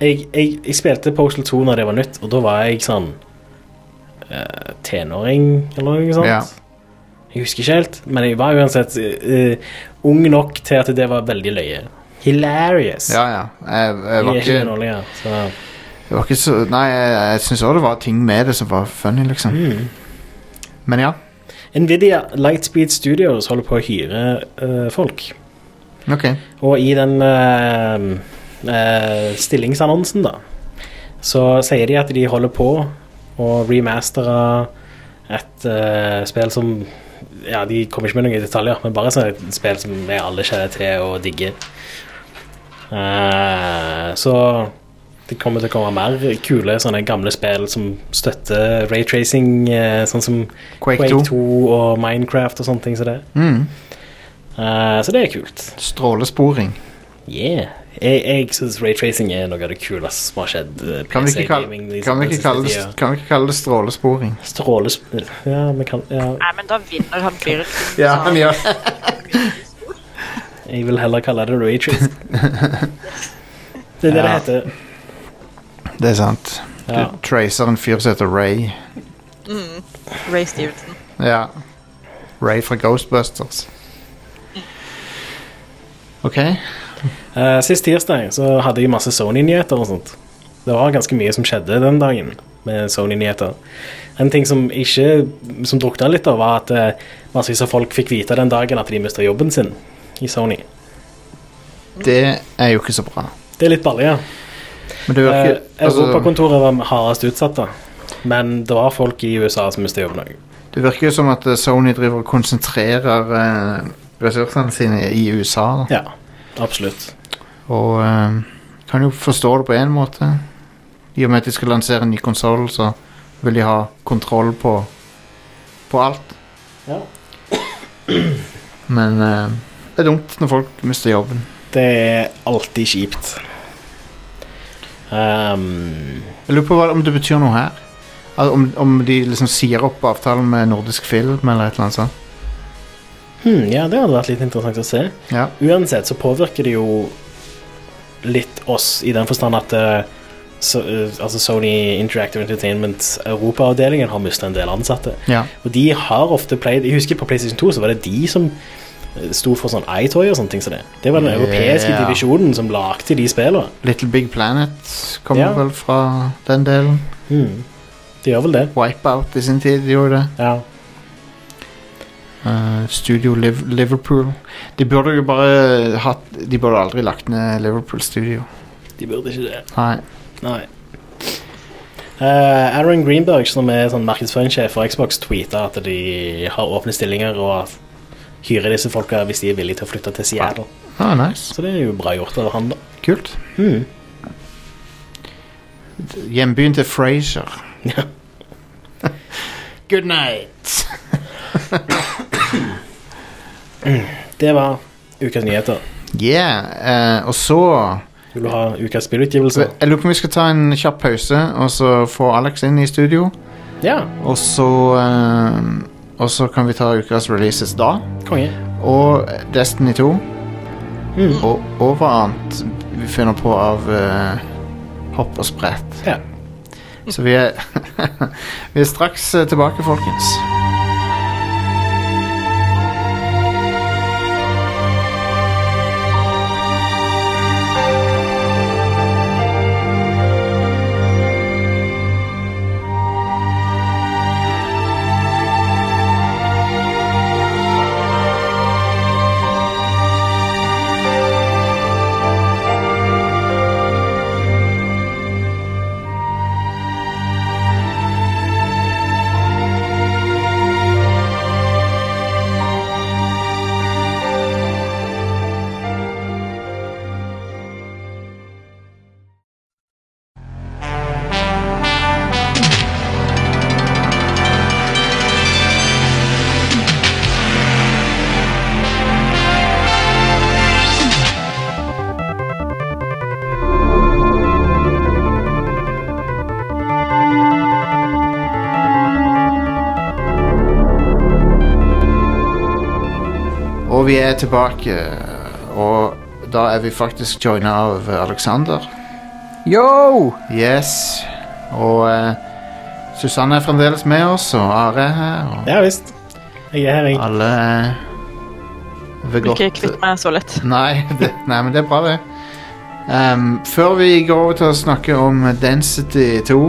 S2: jeg, jeg, jeg spilte Postal 2 når det var nytt, og da var jeg sånn eh, tenåring eller noe sånt.
S1: Ja.
S2: Jeg husker ikke helt, men jeg var uansett eh, ung nok til at det var veldig løye. Hilarious.
S1: Ja, ja. Jeg, jeg var
S2: jeg er ikke
S1: ikke
S2: underlig, så
S1: Det var ikke så Nei, jeg, jeg syns òg det var ting med det som var funny, liksom.
S2: Mm.
S1: Men ja.
S2: Nvidia Lightspeed Studios holder på å hyre eh, folk.
S1: Ok.
S2: Og i den eh, eh, stillingsannonsen, da, så sier de at de holder på å remastere et eh, spill som Ja, de kommer ikke med noen detaljer, men bare sånn et spill som vi alle kjenner til og digger. Eh, så det kommer til å komme mer kule sånne gamle spill som støtter raytracing, eh, sånn som
S1: Quake
S2: Quake
S1: 2.
S2: 2. og Minecraft og sånne ting som det.
S1: Mm.
S2: Eh, så det er kult.
S1: Strålesporing.
S2: Yeah. Jeg, jeg syns raytracing er noe av det kuleste som har skjedd. eh,
S1: Kan vi
S2: PC
S1: ikke kalle,
S2: gaming liksom. de
S1: kan vi
S2: siste
S1: ikke kalle, det,
S2: tida.
S1: kan vi ikke kalle det strålesporing?
S2: Strålespill Ja, vi kan ja,
S3: Nei, men da vinner han fyren.
S1: Ja, han gjør det.
S2: Jeg vil heller kalle det raytracing. Det er det det
S1: Ja.
S2: heter.
S1: Det er sant. Du
S2: Ja.
S1: tracer en fyr som heter Ray.
S3: Ray Stevenson.
S1: Ja. Ray fra Ghostbusters. OK.
S2: Eh, sist tirsdag så hadde jeg masse Sony-nyheter og sånt. Det var ganske mye som skjedde den dagen med Sony-nyheter. En ting som ikke Som drukna litt, da, var at eh, massevis av folk fikk vite den dagen at de mista jobben sin i Sony.
S1: Det er jo ikke så bra.
S2: Det er litt balje. Ja.
S1: Men det
S2: Eh,
S1: virker altså,
S2: Europakontoret var hardest utsatt, da. Men det var folk i USA som mistet jobben òg.
S1: Det virker jo som at eh, Sony driver og konsentrerer eh, ressursene sine i USA. Da.
S2: Ja, absolutt.
S1: Og eh, kan jo forstå det på en måte. I og med at de skal lansere en ny konsoll, så vil de ha kontroll på, på alt.
S2: Ja.
S1: Men eh, det er dumt når folk mister jobben.
S2: Det er alltid kjipt. Ehm,
S1: Jeg lurer på hva, om det betyr noe her. Al om, om de liksom sier opp avtalen med nordisk film eller et eller annet sånt.
S2: hm, ja, det hadde vært litt interessant å se.
S1: Ja.
S2: Uansett så påvirker det jo litt oss, i den forstand at eh, så, eh, altså Sony Interactive Entertainment Europaavdelingen har mista en del ansatte.
S1: ja.
S2: Og de har ofte pleid Jeg husker på PlayStation 2 så var det de som sto for sånn iToy og sånne ting som det. Det var den europeiske
S1: Ja.
S2: divisjonen som lagde de spillene.
S1: Little Big Planet kommer
S2: Ja.
S1: vel fra den delen. Hmm.
S2: De gjør vel det.
S1: Wipeout i sin tid gjorde det.
S2: Ja.
S1: Eh, Studio Liv Liverpool. De burde jo bare hatt De burde aldri lagt ned Liverpool Studio.
S2: De burde ikke det.
S1: Nei.
S2: Nei. Eh, Aaron Greenberg, som er sånn markedsføringssjef for Xbox, tweeta at de har åpne stillinger og at hyrer disse folka hvis de er villige til å flytte til Seattle.
S1: Ah, nice. Hmm.
S2: Så det er jo bra gjort av han, da.
S1: Kult. Hjembyen til Frazier.
S2: Ja.
S1: Good night.
S2: Det var ukas nyheter.
S1: Yeah. eh, og så
S2: Vil du ha ukas spillutgivelse?
S1: Jeg lurer på om vi skal ta en kjapp pause, og så få Alex inn i studio.
S2: Ja,
S1: Og så eh, Og så kan vi ta ukas releases da.
S2: konge.
S1: Og Destiny 2. Og, og hva annet vi finner på av eh, hopp og sprett.
S2: Ja.
S1: Så vi er Vi er straks eh, tilbake, folkens. Og vi er tilbake, og da er vi faktisk joina av eh, Alexander.
S7: Yo!
S1: Yes. Og eh, Susanne er fremdeles med oss, og Are er her. Og
S2: Ja visst. Jeg er her, jeg.
S1: alle er ved
S3: Vil ikke
S1: godt-
S3: kvitte meg så lett.
S1: Nei, det, nei, men det er bra, det. Ehm, før vi går over til å snakke om Density 2,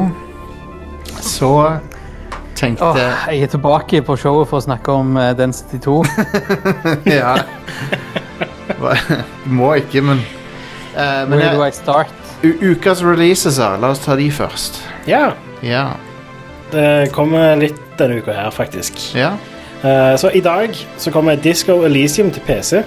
S1: så tenkte
S7: Åh, jeg er tilbake på showet for å snakke om eh, Density 2.
S1: Ja. Hva- Må ikke, men Eh, Men
S7: Where do
S1: jeg,
S7: I start?
S1: u- ukas releases her, la oss ta de først.
S2: Ja.
S1: Ja.
S2: Det kommer litt denne uka her, faktisk.
S1: ja.
S2: Eh, så i dag så kommer Disco Elysium til PC.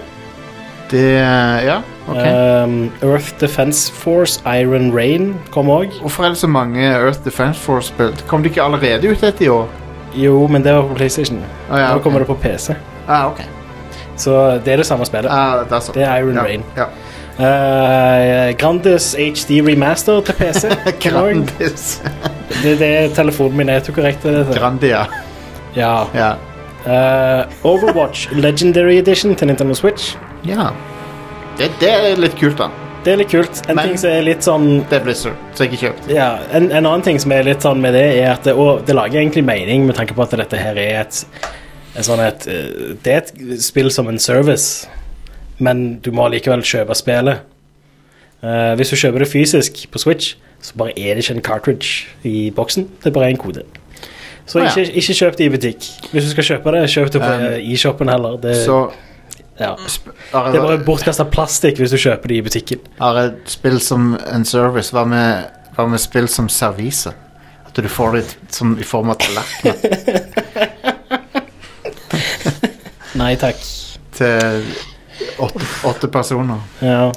S1: Det eh, Ja, OK.
S2: Um, Earth Defense Force, Iron Rain kom òg.
S1: Hvorfor er det så mange Earth Defense Force-spill? Kom de ikke allerede ut dette i år?
S2: Jo, men det var på PlayStation.
S1: Ah, ja,
S2: Nå
S1: ok.
S2: kommer det på PC.
S1: Ah, ok.
S2: Så det er det samme spillet.
S1: Ah, det er sånn.
S2: Det er Iron
S1: ja,
S2: Rain.
S1: Ja.
S2: Eh, Grandis HD Remaster til PC. kom også.
S1: Grandis.
S2: det, det er telefonen min. Er ikke korrekt? det er det.
S1: Grandia.
S2: Ja.
S1: Ja.
S2: Eh, Overwatch Legendary Edition til Nintendo Switch.
S1: ja. Det, det er litt kult, da.
S2: Det er litt kult. En
S1: Men-
S2: ting som er litt sånn
S1: Det er Blizzard, så jeg ikke kjøpt.
S2: Ja, en, en annen ting som er litt sånn med det, er at det, og det lager egentlig mening med tanke på at dette her er et, en sånn et eh, Det er et spill som en service, men du må likevel kjøpe spillet. Eh, hvis du kjøper det fysisk på Switch, så bare er det ikke en cartridge i boksen. Det er bare en kode. Så
S1: Å, ja.
S2: ikke, ikke kjøp det i butikk. Hvis du skal kjøpe det, kjøp det på
S1: Um,
S2: eh, e-shoppen heller. Det,
S1: Så
S2: ja.
S1: sp-
S2: det er bare
S1: Are,
S2: bortkasta plastikk hvis du kjøper det i butikken.
S1: are spill som en service. Hva med, hva med spill som servise? At du får det som, i form av tallerkener
S2: Nei takk.
S1: til åtte, åtte personer.
S2: Ja.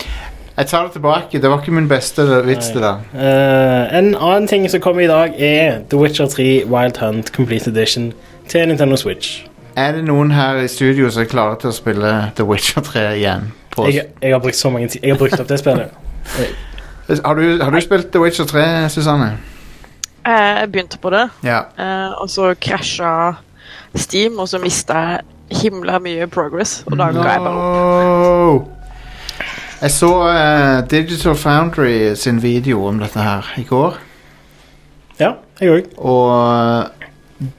S1: Jeg tar det tilbake. Det var ikke min beste vits, det der.
S2: Eh, en annen ting som kommer i dag, er The Witcher 3 Wild Hunt Complete Edition til Nintendo Switch.
S1: Er det noen her i studio som er klare til å spille The Witcher 3 igjen? På,
S2: Jeg, jeg har brukt så mange ti- Jeg har brukt opp det spillet.
S1: har, du, har du spilt The Witcher 3, Susanne?
S3: Eh, Jeg begynte på det,
S1: Ja.
S3: eh, og så krasja Steam, og så mista jeg himla mye progress, og da ga jeg bare opp.
S1: No. Jeg så eh, Digital Foundry sin video om dette her i går,
S2: Ja, jeg òg.
S1: og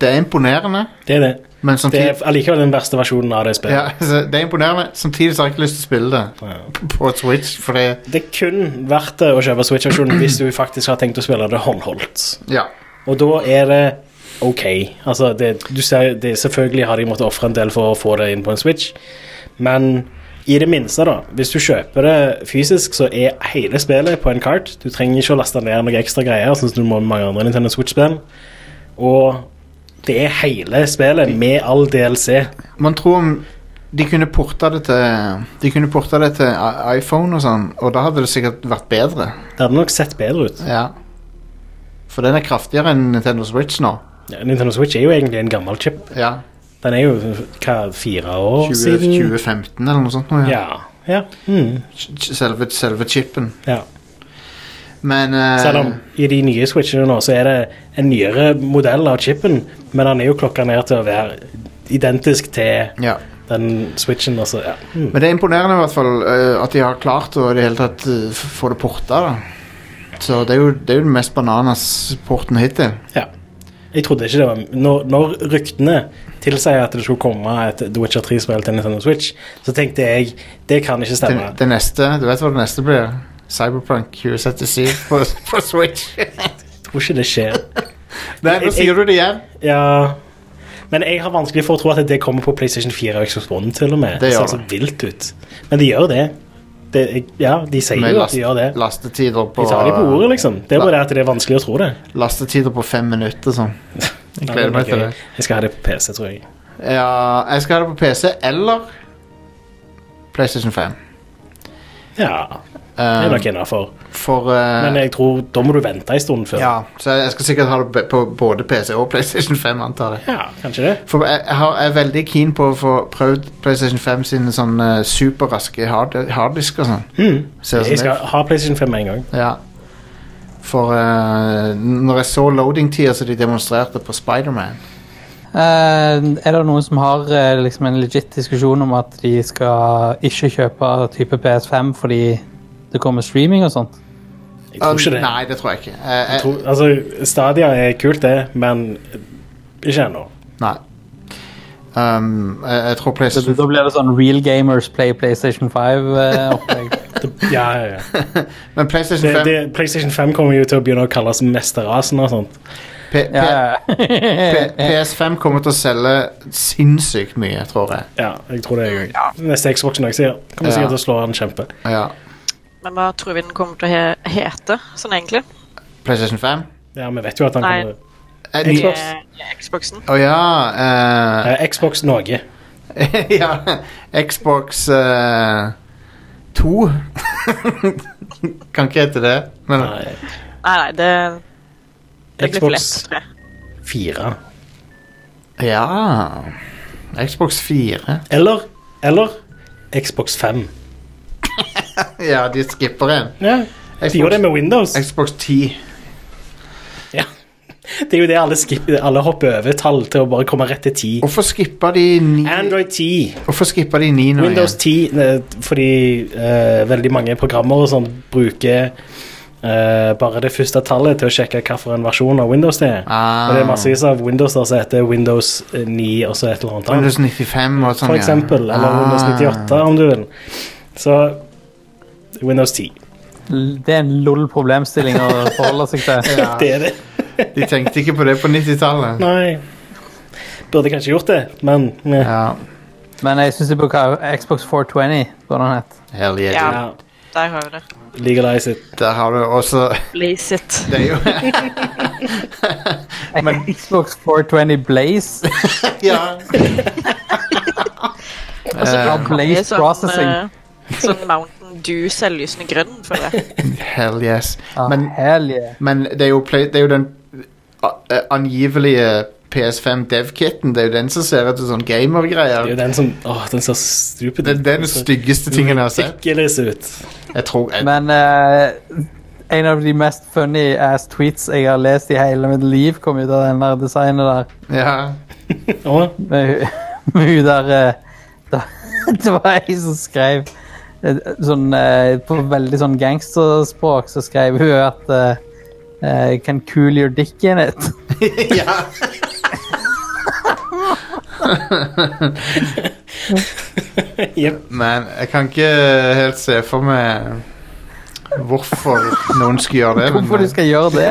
S1: det er imponerende.
S2: Det er det.
S1: Men
S2: Det
S1: samtidig
S2: er allikevel den verste versjonen av det
S1: ja,
S2: spillet.
S1: altså, Det er imponerende. Samtidig så har jeg ikke lyst til å spille det
S2: Ja.
S1: på Switch, for det
S2: Det er kun verdt det å kjøpe Switch-versjonen hvis du faktisk har tenkt å spille det håndholdt.
S1: Ja.
S2: Og da er det ok. Altså, det, du ser, det, selvfølgelig har de måttet ofre en del for å få det inn på en Switch, men i det minste, da. Hvis du kjøper det fysisk, så er hele spillet på en kart. Du trenger ikke å laste ned noe ekstra greier, sånn som du må med mange andre Nintendo Switch-spill. Og det er hele spillet med all DLC.
S1: Man tror om de kunne porta det til De kunne porta det til i- iPhone og sånn, og da hadde det sikkert vært bedre.
S2: Det hadde nok sett bedre ut.
S1: Ja. For den er kraftigere enn Nintendo Switch nå.
S2: Ja, Nintendo Switch er jo egentlig en gammel chip.
S1: Ja.
S2: Den er jo hva, fire år
S1: 20,
S2: siden?
S1: 2015 eller noe sånt. Nå, ja.
S2: Ja. ja. Mm,
S1: Selve, selve chipen.
S2: ja.
S1: Men eh,
S2: Selv om i de nye Switchene nå så er det en nyere modell av chipen, men den er jo klokka ned til å være identisk til
S1: ja.
S2: den Switchen. Altså, ja. Mm.
S1: Men det er imponerende i hvert fall eh, at de har klart å i det hele tatt eh, f- få det porta. da Så det er jo, det er jo den mest bananas-porten hittil.
S2: ja. Jeg trodde ikke det var Når, når ryktene tilsier at det skulle komme et The Witcher 3-spill til Nintendo Switch, så tenkte jeg det kan ikke
S1: Det,
S2: stemme.
S1: det neste, Du vet hva det neste blir? Cyberpunk 2077 på, på Switch.
S2: Jeg tror ikke det skjer.
S1: Nei, nå sier du det igjen.
S2: Ja Men jeg har vanskelig for å tro at det kommer på PlayStation 4 og Xbox One til og med.
S1: Det gjør
S2: ser så
S1: det.
S2: vilt ut. Men de gjør det. det ja, de sier
S1: Med
S2: jo at de gjør det.
S1: last, lastetider på
S2: De tar det på ordet, liksom. Det er bare
S1: La-
S2: det at det er vanskelig å tro det.
S1: Lastetider på fem minutter sånn. Jeg
S2: Ja,
S1: gleder
S2: men
S1: meg til
S2: ok.
S1: det.
S2: Jeg skal ha det på PC, tror jeg.
S1: Ja, jeg skal ha det på PC eller PlayStation 5.
S2: Ja, det er
S1: Um,
S2: nok innafor.
S1: for eh,
S2: Men jeg tror da må du vente en stund før.
S1: Ja, så jeg skal sikkert ha det be- på både PC og PlayStation 5, antar jeg.
S2: Ja, kanskje det.
S1: For jeg, jeg har- jeg er veldig keen på å få prøvd PlayStation 5 sine sånne superraske hard, harddisker og sånn. Ser
S2: Hmm. Jeg
S1: det
S2: skal
S1: ut.
S2: ha PlayStation 5 med en gang.
S1: Ja. For eh, når jeg så loading-tida som de demonstrerte på Spiderman
S7: Eh, er det noen som har eh, liksom en legit diskusjon om at de skal ikke kjøpe type PS5 fordi det kommer streaming og sånt?
S2: Jeg tror ikke det.
S1: Um, Nei, det tror jeg ikke. Eh,
S2: Jeg tror, altså, Stadia er kult, det, men ikke ennå.
S1: Nei. Um, jeg, jeg tror
S7: Så
S1: PlayStation
S7: da blir det sånn Real Gamers Play PlayStation eh, 5-opplegg.
S2: Ja, ja, ja.
S1: Men PlayStation
S2: Det,
S1: 5
S2: det, PlayStation 5 kommer jo til å begynne å kalles mesterasen og sånt.
S1: P, P, P,
S7: ja.
S1: PS5 kommer til å selge sinnssykt mye, tror jeg.
S2: Ja, jeg tror det er jeg òg. Neste Xbox Norge sier kommer
S1: Ja.
S2: sikkert til å slå en kjempe.
S1: Ja.
S3: Men hva tror vi den kommer til å he hete, sånn egentlig?
S1: PlayStation 5?
S2: Ja, vi vet jo at han
S3: Nei.
S2: kommer
S1: Eh,
S3: I,
S1: ny- Å
S2: Xbox.
S3: i Xboxen.
S1: ja eh,
S2: Eh, Xbox Norge.
S1: Ja. Xbox eh, 2. kan ikke hete det. Men
S2: Nei,
S3: Nei, nei, det, det blir for lett,
S2: Xbox
S3: tror jeg.
S2: 4.
S1: ja Xbox 4.
S2: Eller, eller Xbox 5.
S1: Ja, de skipper en.
S2: Ja, de gjorde det med Windows.
S1: Xbox 10.
S2: Ja. Det er jo det alle, skipper, alle hopper over tall til å bare komme rett til 10.
S1: Hvorfor skippa de 9?
S2: Android 10,
S1: Hvorfor skippa de 9 nå
S2: Windows 10, eh, fordi eh, veldig mange programmer og sånn bruker eh, bare det første tallet til å sjekke hvilken versjon av Windows det er.
S1: Ah.
S2: Og det er massevis av Windows der som heter Windows 9 og så et eller annet. annet.
S1: Windows 95 og sånn,
S2: For eksempel.
S1: ja. Ah.
S2: Eller Windows 98, om du vil. Så Windows 10.
S7: Det er en LOL-problemstilling å forholde seg til.
S2: Det er det.
S1: Ah, de tenkte ikke på det på 90-tallet.
S2: Nei. Burde kanskje gjort det, men eh.
S1: Ja.
S7: Men jeg syns de bør ha Xbox 420, hva den het.
S1: Hell yeah.
S3: Ja.
S1: dude.
S2: ja.
S3: Der har vi det.
S2: Legalize it.
S1: Der har du også
S3: Blaze it.
S1: Det er jo
S7: Xbox 420 Blaze.
S1: Ja.
S7: Ja,
S3: Det er
S7: Eh, Blaze
S3: sånn,
S7: Processing.
S3: eh, sånn Mountain Dew selvlysende grønn, føler jeg.
S1: Hell yes.
S7: Ah,
S1: Men,
S7: hell yeah.
S1: men det, er jo play, det er jo den a- eh, angivelige PS5 dev-kitten. Det er jo den som ser ut som sånn
S2: Det er jo
S1: gamergreier.
S2: den som Åh, den ser stupid Altså,
S1: Det, det er den styggeste tingen jeg har sett.
S2: Ridiculous ut.
S1: Jeg tror jeg,
S7: Men eh, en av de mest funny ass tweets jeg har lest i hele mitt liv, kom ut av den der designet der.
S1: Ja.
S2: Åh,
S7: Med, hu- med hun der eh, da, Det var ei som skrev eh, sånn, eh, På veldig sånn gangsterspråk så skrev hun at eh, eh, Can cool your dick in it.
S1: ja.
S2: Jep.
S1: Men jeg kan ikke helt se for meg hvorfor noen skal gjøre det.
S7: Hvorfor du skal gjøre det?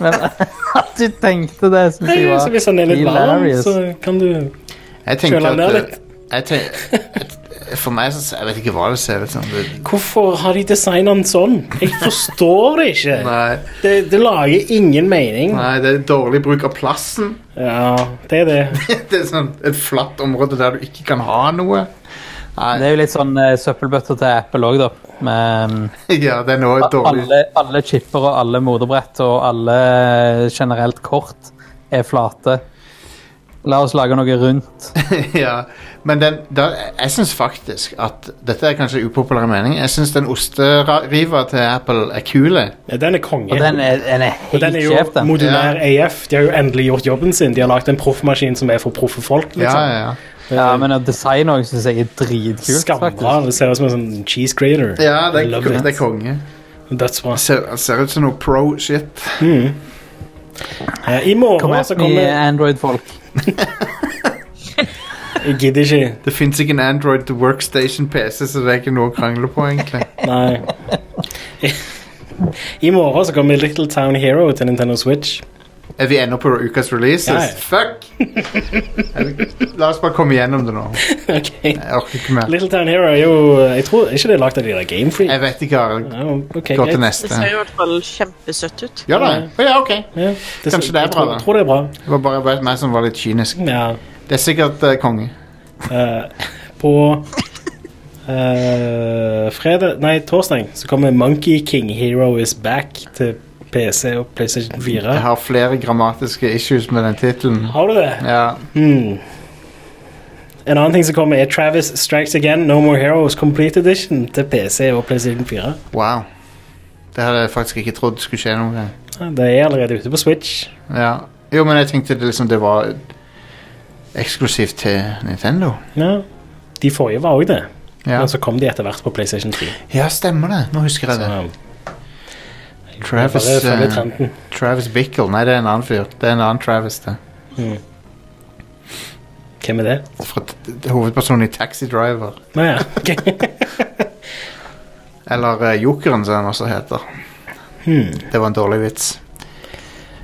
S7: Men at du tenkte det, syns
S2: Nei,
S7: jeg
S2: så
S7: var
S2: hvis han er litt varm,
S7: hilarious.
S2: så kan du
S1: jeg tenker
S2: Kjøler
S1: at
S2: den ned
S1: eh,
S2: litt.
S1: jeg tenk- For meg så Jeg vet ikke hva det ser ut som. Det,
S2: Hvorfor har de designet den sånn? Jeg forstår det ikke.
S1: nei,
S2: Det, det lager ingen mening.
S1: nei, det er dårlig bruk av plassen.
S2: Ja, det er det.
S1: Det er sånn et flatt område der du ikke kan ha noe.
S7: Det er jo litt sånn uh, søppelbøtter til Apple òg, da. Med mm,
S1: Ja, det er noe dårlig
S7: alle, alle chipper og alle moderbrett og alle generelt kort er flate. La oss lage noe rundt.
S1: ja, men den, da, jeg syns faktisk at Dette er kanskje upopulær mening. Jeg syns den osteriva til Apple er kule.
S2: Ja, Den er konge.
S7: Og den er, den er
S2: Og
S7: helt
S2: den er jo
S7: sjef, den.
S2: modulær AF. De har jo endelig gjort jobben sin. De har lagd en proffmaskin som er for proffe folk.
S1: Ja,
S2: liksom.
S1: ja,
S7: Ja, men å designe òg syns jeg er dritkult,
S2: Skambra.
S7: faktisk.
S2: Det ser ut som en sånn cheese grater.
S1: ja. ja det,
S2: Love
S1: er,
S2: it.
S1: det er konge.
S2: Dødsbra.
S1: Ser, ser ut som noe pro shit.
S2: Eh, I
S7: Kom
S2: morgen så
S7: at me,
S2: kommer
S7: Android-folk.
S2: Jeg gidder ikke.
S1: Det fins ikke en Android workstation PC, så det er ikke noe å krangle på, egentlig.
S2: Nei. I morgen så kommer Little Town Hero til Nintendo Switch.
S1: Er vi ennå på ukas releases?
S2: Ja, ja.
S1: Fuck! La oss bare komme gjennom det nå.
S2: Ok.
S1: Jeg orker ikke mer.
S2: Little Town Hero er jo Jeg tror ikke det er lagd av de der Game Freak.
S1: Jeg vet ikke, Arild.
S2: Ja, ok,
S1: Gå
S2: greit.
S1: til
S3: Det ser
S1: neste.
S3: i hvert fall kjempesøtt ut.
S1: Ja da. Å ja, ok.
S2: Ja, det,
S1: Kanskje det er
S2: jeg
S1: bra,
S2: tror,
S1: da.
S2: Tror det er bra.
S1: Det var bare meg som var litt kynisk.
S2: Ja.
S1: Det er sikkert eh, konge.
S2: Eh, på eh, fredag Nei, torsdag så kommer Monkey King Hero is back til PC og PlayStation 4.
S1: Jeg har flere grammatiske issues med den tittelen.
S2: Har du det?
S1: Ja.
S2: Hmm. En annen ting som kommer, er Travis Strikes Again No More Heroes Complete Edition til PC og PlayStation 4.
S1: Wow. Det hadde jeg faktisk ikke trodd skulle skje noe.
S2: Ja, Det er allerede ute på Switch.
S1: Ja. Jo, men jeg tenkte det, liksom, det var eksklusivt til Nintendo.
S2: Ja. De forrige var òg det,
S1: Ja.
S2: men så kom de etter hvert på PlayStation 3.
S1: ja, stemmer det. Nå husker jeg
S2: Så,
S1: det.
S2: um,
S1: Travis,
S2: bare følge
S1: eh,
S2: trenden.
S1: Travis Bickle. Nei, det er en annen fyr. Det er en annen Travis, det.
S2: Hvem er det?
S1: Fra t- t- hovedpersonen i Taxi Driver.
S2: Nå ja. ok.
S1: Eller eh, Jokeren, som han også heter.
S2: Hmm.
S1: Det var en dårlig vits.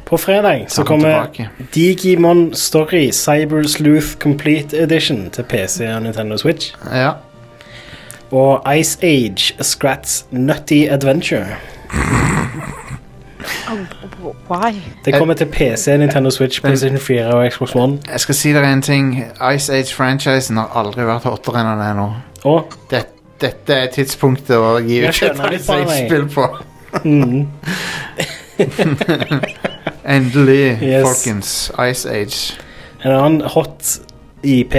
S2: På fredag så
S1: Ta den
S2: kommer
S1: tilbake.
S2: Digimon Story Cyber Sleuth Complete Edition til PC og Nintendo Switch.
S1: Ja.
S2: Og Ice Age Scrats Nutty Adventure.
S3: Why?
S2: Det kommer til PC, Nintendo Switch, PlayStation 4 og Xbox One.
S1: Jeg skal si dere en ting. Ice Age-franchisen har aldri vært hottere enn den er nå.
S2: Og
S1: det, dette er tidspunktet å gi
S2: Jeg
S1: ut et
S2: skjønner det på meg.
S1: spill på.
S2: Hmm.
S1: Endelig,
S2: Yes.
S1: folkens. Ice Age.
S2: en annen hot IP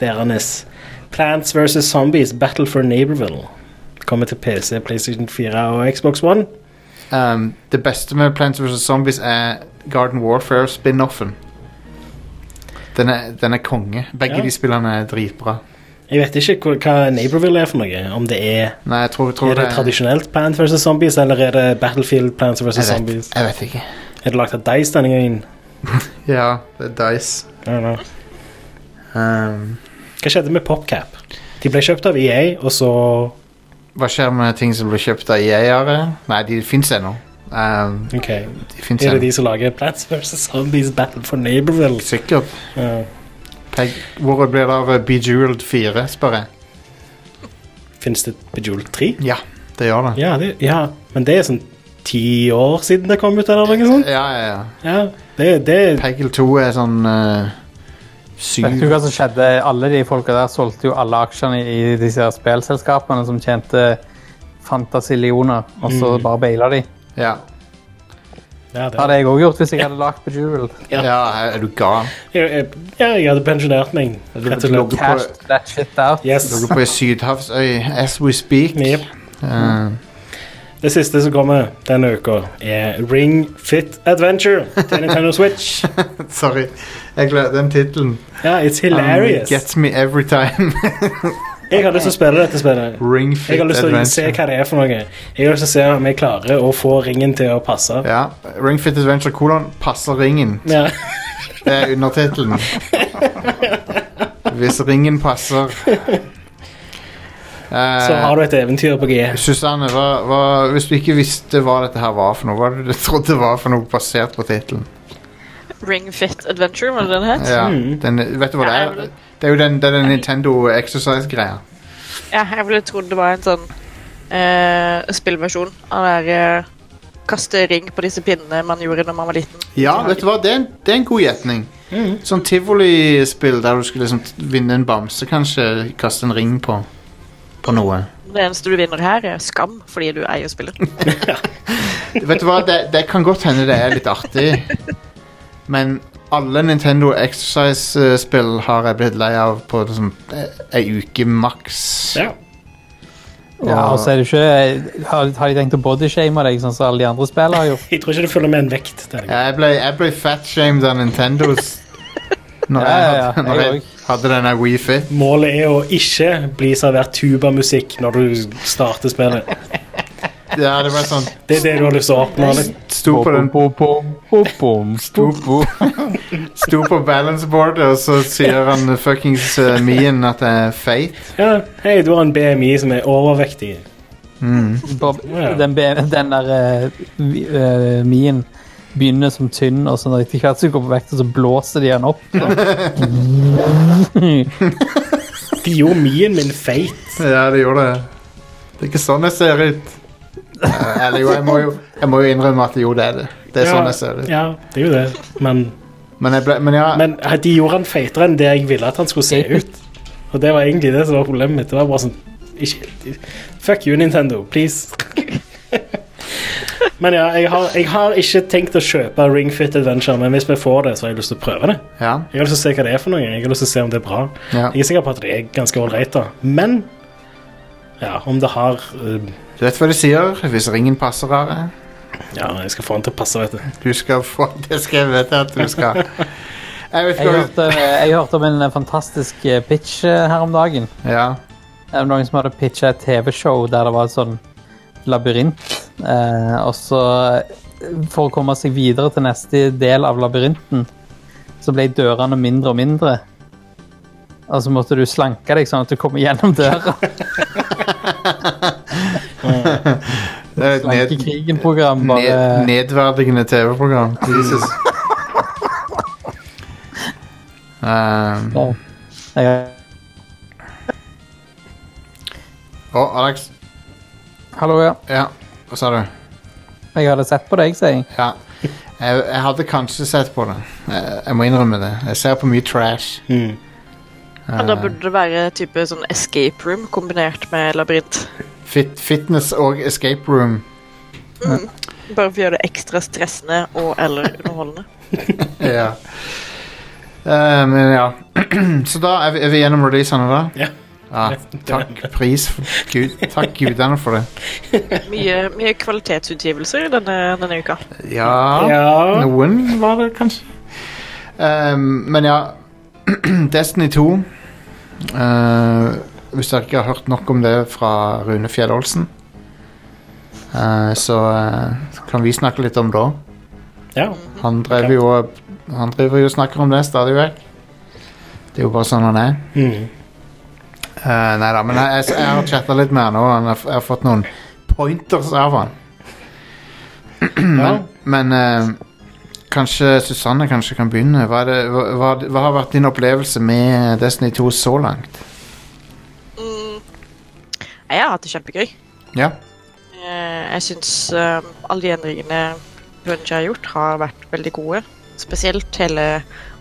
S2: deres. Plants vs. Zombies Battle for Neighborville. Kommer til PC, PlayStation 4 og Xbox One.
S1: Um, det beste med Plants vs. Zombies er Garden Warfare-spin-offen. Den er, den er konge. Begge
S2: Ja.
S1: de spillene er dritbra.
S2: Jeg vet ikke hvor- hva Neighborville er for noe. Om det er,
S1: Nei, jeg tror, tror
S2: er det tradisjonelt Plants vs. Zombies, eller er det Battlefield Plants
S1: jeg
S2: vs.
S1: vet,
S2: Zombies?
S1: jeg vet ikke.
S2: Er det lagt av Dice denne gangen?
S1: Ja, det er Dice.
S2: I don't know.
S1: Um,
S2: Hva skjedde med PopCap? De ble kjøpt av EA, og så
S1: hva skjer med ting som blir kjøpt av EA-ere? Nei, de fins ennå. Um,
S2: Ok,
S1: de finnes
S2: Er det
S1: ennå.
S2: de som lager Plants vs. Zombies Battle for Neighborville?
S1: Sikkert.
S2: Ja.
S1: Peg, hvor blir det av eh, Bejeweled 4, spør jeg?
S2: Finnes det Bejeweled 3?
S1: Ja, det gjør det.
S2: Ja, det, ja, men det er sånn ti år siden det kom ut, eller noe sånt?
S1: Ja, ja, ja.
S2: Ja, det, det
S1: Peggle 2 er sånn eh, syv
S7: Vet du hva som skjedde? Alle de folka der solgte jo alle aksjene i disse her spillselskapene som tjente fantasillioner, og så
S2: Mm.
S7: bare baila de.
S1: ja.
S2: Ja,
S7: Det
S2: det
S7: hadde jeg òg gjort hvis jeg hadde lagt Bejeweled.
S1: ja, er du gal?
S2: jeg, jeg, ja, jeg hadde pensjonert meg,
S1: du
S2: rett og slett.
S1: logger-
S7: Cashed that shit out.
S2: Yes.
S1: Dere på ei sydhavsøy as we speak.
S2: Jep.
S1: Eh,
S2: Det siste som kommer denne uka, er Ring Fit Adventure til Nintendo Switch.
S1: sorry, jeg glemte den tittelen.
S2: Ja, it's
S1: Um,
S2: hilarious.
S1: Gets me every time.
S2: Jeg har lyst til å spille dette spillet.
S1: Ring
S2: Jeg
S1: fit
S2: har lyst til å se
S1: adventure.
S2: hva det er for noe. Jeg har lyst til å se om jeg klarer å få ringen til å passe.
S1: Ja, Ring fit adventure kolon passer ringen.
S2: Ja.
S1: Det er undertittelen. hvis ringen passer.
S2: Så har du et eventyr på G.
S1: Uh, Susanne, hva, hva, hvis du ikke visste hva dette her var for noe, hva var det du trodde det var for noe basert på tittelen?
S3: Ring Fit Adventure, var det den het?
S1: Ja,
S2: Mm.
S1: den, vet du hva
S3: Ja,
S1: det er? Det er jo den, det er den Nintendo Exercise-greia.
S3: Ja, jeg ville trodd det var en sånn eh, spillversjon av det der eh, kaste ring på disse pinnene man gjorde når man var liten.
S1: Ja, vet du hva, det er en, det er en god gjetning.
S7: Mm.
S1: Sånn tivolispill der du skulle liksom t- vinne en bamse, kanskje kaste en ring på, på noe.
S3: Det eneste du vinner her, er skam, fordi du eier spillet.
S1: Vet du hva, det, det kan godt hende det er litt artig, men alle Nintendo Exercise-spill har jeg blitt lei av på liksom, eh, ei uke maks.
S2: Ja.
S7: Ja, og så er det ikke Har, har de tenkt å bodyshame deg, sånn som alle de andre spillene har gjort?
S2: Jeg tror ikke det følger med en vekt. denne gangen.
S1: Jeg ble, jeg ble fatshamed av Nintendos når,
S7: Ja,
S1: jeg,
S7: ja, ja,
S1: hadde, når
S7: jeg
S1: jeg hadde denne WeFit.
S2: Målet er å ikke bli servert tubamusikk når du starter spillet.
S1: Ja, det var sånn
S2: Det er det du har lyst til å oppnå. liksom.
S1: Sto på den Sto på, sto på balanceboardet, og så sier han fuckings uh, Mien at jeg er feit.
S2: Ja, Hei, du har en BMI som er overvektig.
S7: Bob, den, be- den der eh, vi- eh, mien begynner som tynn, og så når de etter hvert som går på vekt, så blåser de den opp.
S2: De gjorde mien min feit.
S1: Ja, det gjorde det. Det er ikke sånn jeg ser ut. Eh, Eller jo, jeg må jo, jeg må jo innrømme at jo, det er det. Det er
S2: Ja,
S1: sånn jeg ser ut.
S2: Ja, det er jo det. Men,
S1: Men, jeg ble, men ja,
S2: men eh, de gjorde han feitere enn det jeg ville at han skulle se ut. Og det var egentlig det som var problemet mitt. Det var bare sånn ikke, Fuck you, Nintendo. Please. Men ja, jeg har, jeg har ikke tenkt å kjøpe Ring Fit Adventure, men hvis vi får det, så har jeg lyst til å prøve det.
S1: ja,
S2: Jeg har lyst til å se hva det er for noe. Jeg har lyst til å se om det er bra.
S1: ja.
S2: Jeg er sikker på at det er ganske ålreit, da. Men ja, om det har eh,
S1: Du vet hva de sier? Hvis ringen passer, har jeg.
S2: Ja, jeg skal få den til å passe, vet du.
S1: Du skal få Det skal jeg vite at du skal. Jeg vet
S7: Jeg
S1: ikke
S7: hørte, jeg hørte om en eh, fantastisk eh, pitch eh, her om dagen.
S1: hva Ja.
S7: Det var noen som hadde pitcha et TV-show der det var et sånn labyrint. Eh, og så, eh, for å komme seg videre til neste del av labyrinten, så ble dørene mindre og mindre. Og så måtte du slanke deg sånn at du kom gjennom døra.
S1: Det er et
S7: Slanke
S1: ned,
S7: krigen-program. Bare
S1: ned, nedverdigende TV-program. Jesus. Um,
S7: Ja. Jeg
S1: Å, Alex.
S7: Hallo, ja.
S1: Ja, hva sa du?
S7: Jeg hadde sett på deg, sier jeg.
S1: Ja. Jeg, jeg hadde kanskje sett på det. Jeg, jeg må innrømme det. Jeg ser på mye trash.
S3: Og da burde det være type sånn escape room kombinert med labyrint.
S1: Fit, fitness og escape room.
S3: Bare for å gjøre det ekstra stressende og eller underholdende.
S1: Ja. Eh, men ja. Så da er vi, er vi gjennom releasene, da?
S2: Ja.
S1: Ja, takk pris for Gud, Takk gudene for det.
S3: Mye, mye kvalitetsutgivelser denne, denne uka.
S1: Ja,
S2: Ja.
S1: noen var det kanskje. Eh, men ja. Destiny 2. Eh, hvis dere ikke har hørt nok om det fra Rune Fjell Olsen, eh, så eh, kan vi snakke litt om det òg.
S2: ja.
S1: Han drev jo Han driver jo og snakker om det stadig vekk. Det er jo bare sånn han er.
S2: Mm.
S1: Eh, nei da, men jeg, jeg, jeg har chatta litt med han, og han har, f- jeg har fått noen pointers av han. Mm.
S2: ja.
S1: Men eh, kanskje Susanne kanskje kan begynne. Hva, er det, hva, hva, hva har vært din opplevelse med Destiny 2 så langt?
S3: Mm. Jeg har hatt det kjempegøy.
S1: Ja.
S3: Eh, Jeg syns alle de endringene Bungie har gjort, har vært veldig gode. Spesielt hele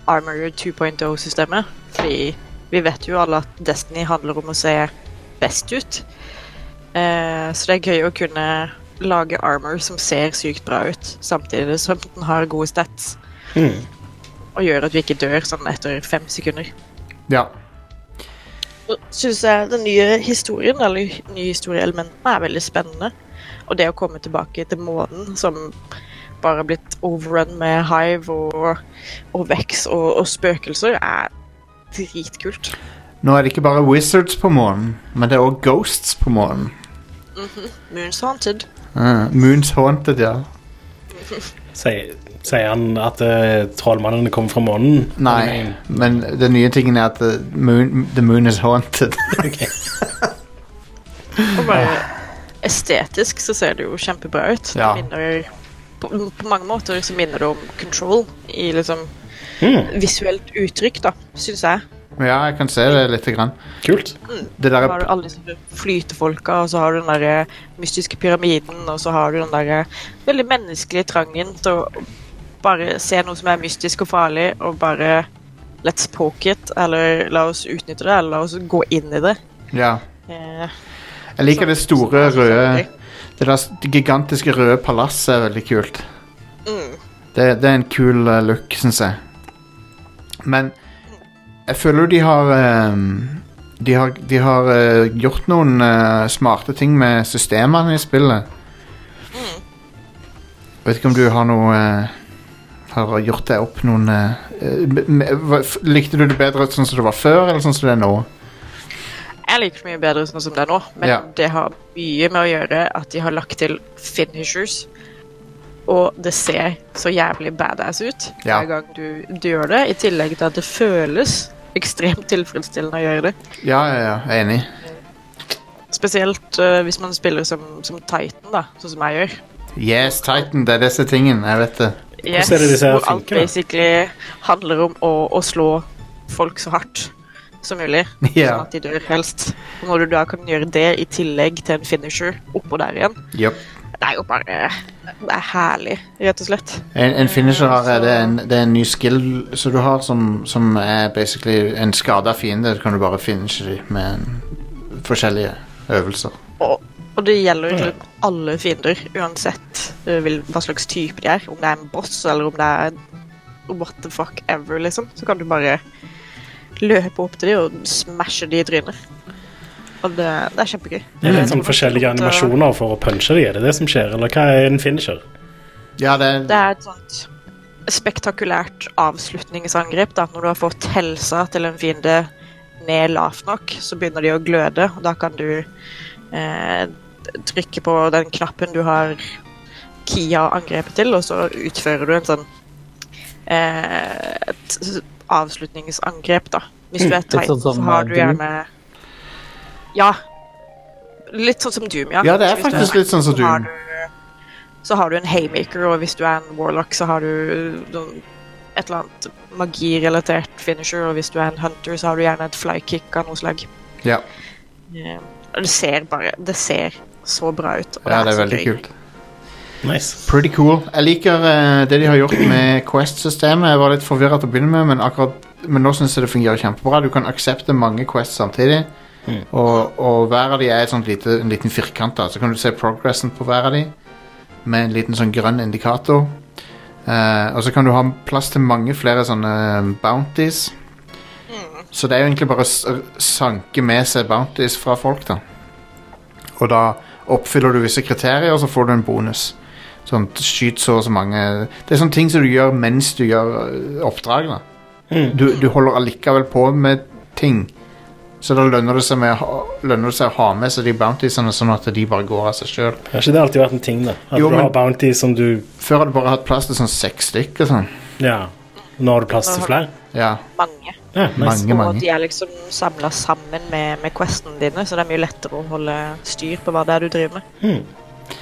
S3: Armored 2.0-systemet. Fordi vi vet jo alle at Destiny handler om å se best ut. Eh, Så det er gøy å kunne lage armor som ser sykt bra ut, samtidig som den har gode stats.
S2: Mm.
S3: Og gjør at vi ikke dør sånn etter fem sekunder.
S1: ja.
S3: syns jeg den nye historien, eller nye historieelementene, er veldig spennende. Og det å komme tilbake til månen som bare har blitt overrun med hive og, og vex og, og spøkelser, er dritkult.
S1: Nå er det ikke bare Wizards på månen, men det er òg Ghosts på månen.
S3: Moons Haunted.
S1: Eh, Moons Haunted, ja.
S2: Sier, sier han at eh, trollmannen kommer fra månen?
S1: Nei, men den nye tingen er at the moon, the moon is haunted.
S3: Og bare estetisk så ser det jo kjempebra ut.
S1: Ja.
S3: Det minner på, på mange måter så minner det om Control i liksom
S2: Mm.
S3: visuelt uttrykk, da, syns jeg.
S1: ja, jeg kan se det lite grann.
S2: Kult.
S1: Det der
S3: Da
S1: er
S3: har du alle disse flytefolka, og så har du den derre mystiske pyramiden, og så har du den derre veldig menneskelige trangen til å bare se noe som er mystisk og farlig, og bare let's poke it, eller la oss utnytte det, eller la oss gå inn i det.
S1: Ja.
S3: Eh,
S1: Jeg liker
S3: Så-
S1: det store,
S3: så-
S1: røde Det der s- det gigantiske røde palasset er veldig kult.
S3: Mm.
S1: Det, det er en kul eh, look, syns jeg. Men jeg føler jo de har ehm, De har, de har eh, gjort noen eh, smarte ting med systemene i spillet. Mm. Vet ikke om du har noe eh, Har gjort deg opp noen eh, eh, m- m- hva- f- Likte du det bedre sånn som det var før, eller sånn som det er nå?
S3: Jeg liker det mye bedre sånn som det er nå, men
S1: Ja.
S3: det har mye med å gjøre at de har lagt til finishers. Og det ser så jævlig badass ut
S1: Ja.
S3: hver gang du, du gjør det, i tillegg til at det føles ekstremt tilfredsstillende å gjøre det.
S1: Ja, ja, ja, jeg er enig.
S3: Spesielt øh, hvis man spiller som, som Titan, da, sånn som jeg gjør.
S1: Yes, Titan, det er disse tingene. Jeg vet det.
S3: Yes,
S2: er det disse her
S3: hvor alt
S2: funker, da?
S3: basically handler om å, å slå folk så hardt som mulig,
S1: Ja.
S3: sånn at de dør helst. Og når du da kan gjøre det i tillegg til en finisher oppå der igjen,
S1: Yep.
S3: Det er jo bare Det er herlig, rett og slett.
S1: En, en finisher her er
S3: så-
S1: det en, det er en ny skill som du har, som, som er basically en skada fiende. Så kan du bare finishe dem med en, forskjellige øvelser.
S3: Og, og det gjelder jo til alle fiender, uansett eh, hvil- hva slags type de er. Om det er en boss, eller om det er what the fuck ever, liksom. Så kan du bare løpe opp til dem og smashe dem i trynet. Og det, det er kjempegøy.
S2: Det er litt sånn forskjellige animasjoner for å punche de, er det det som skjer? Eller hva er en finisher?
S1: Ja, det er
S3: Det er et sånt spektakulært avslutningsangrep. Da. Når du har fått helsa til en fiende ned lavt nok, så begynner de å gløde. og Da kan du eh, trykke på den knappen du har kia angrepet til, og så utfører du en sånn eh, et s- avslutningsangrep, da. Hvis
S1: Mm,
S3: du er
S7: sånn
S3: titan, så
S7: som, eh,
S3: har du
S7: Doom.
S3: gjerne Ja. Litt sånn som Doom, ja.
S1: Ja, det er
S3: Hvis du
S1: faktisk litt sånn som
S3: så har
S1: Doom.
S3: du- Så har du en haymaker, og hvis du er en warlock, så har du noen- et eller annet magirelatert finisher, og hvis du er en hunter, så har du gjerne et flykick av noe slag.
S1: Ja,
S3: Eh, Og det ser bare Det ser så bra ut. Og
S1: ja det er
S3: så
S1: veldig
S3: gøy.
S1: kult.
S2: Nice.
S1: Pretty cool. Jeg liker eh, det de har gjort med Quest-systemet. Jeg var litt forvirra til å begynne med, men, akkurat, men nå syns jeg det fungerer kjempebra. Du kan aksepte mange Quests samtidig,
S2: Mm.
S1: og, og hver av de er et sånt lite, en liten firkant. da Så kan du se progressen på hver av de med en liten sånn grønn indikator. Eh, og så kan du ha plass til mange flere sånne eh, bounties. Så det er jo egentlig bare å s- sanke med seg bounties fra folk, da. Og da oppfyller du visse kriterier, og så får du en bonus. Sånn, skyt så og så mange Det er sånne ting som du gjør mens du gjør øh, oppdrag. da.
S2: Mm.
S1: Du, du holder allikevel på med ting. Så da lønner det seg, med, å ha- lønner det seg å ha med seg de bountiesene, sånn at de bare går av seg sjøl.
S2: Har ikke det alltid vært en ting, da? At
S1: Jo,
S2: du
S1: men-
S2: har bounty som du
S1: Før har du bare hatt plass til sånn seks stykker. Sånn.
S2: Ja. Nå har du plass til flere?
S1: Ja,
S3: Mange.
S2: Ja, nice.
S1: mange,
S3: Og
S1: mange.
S3: de er liksom samla sammen med, med questene dine, så det er mye lettere å holde styr på hva det er du driver med. Men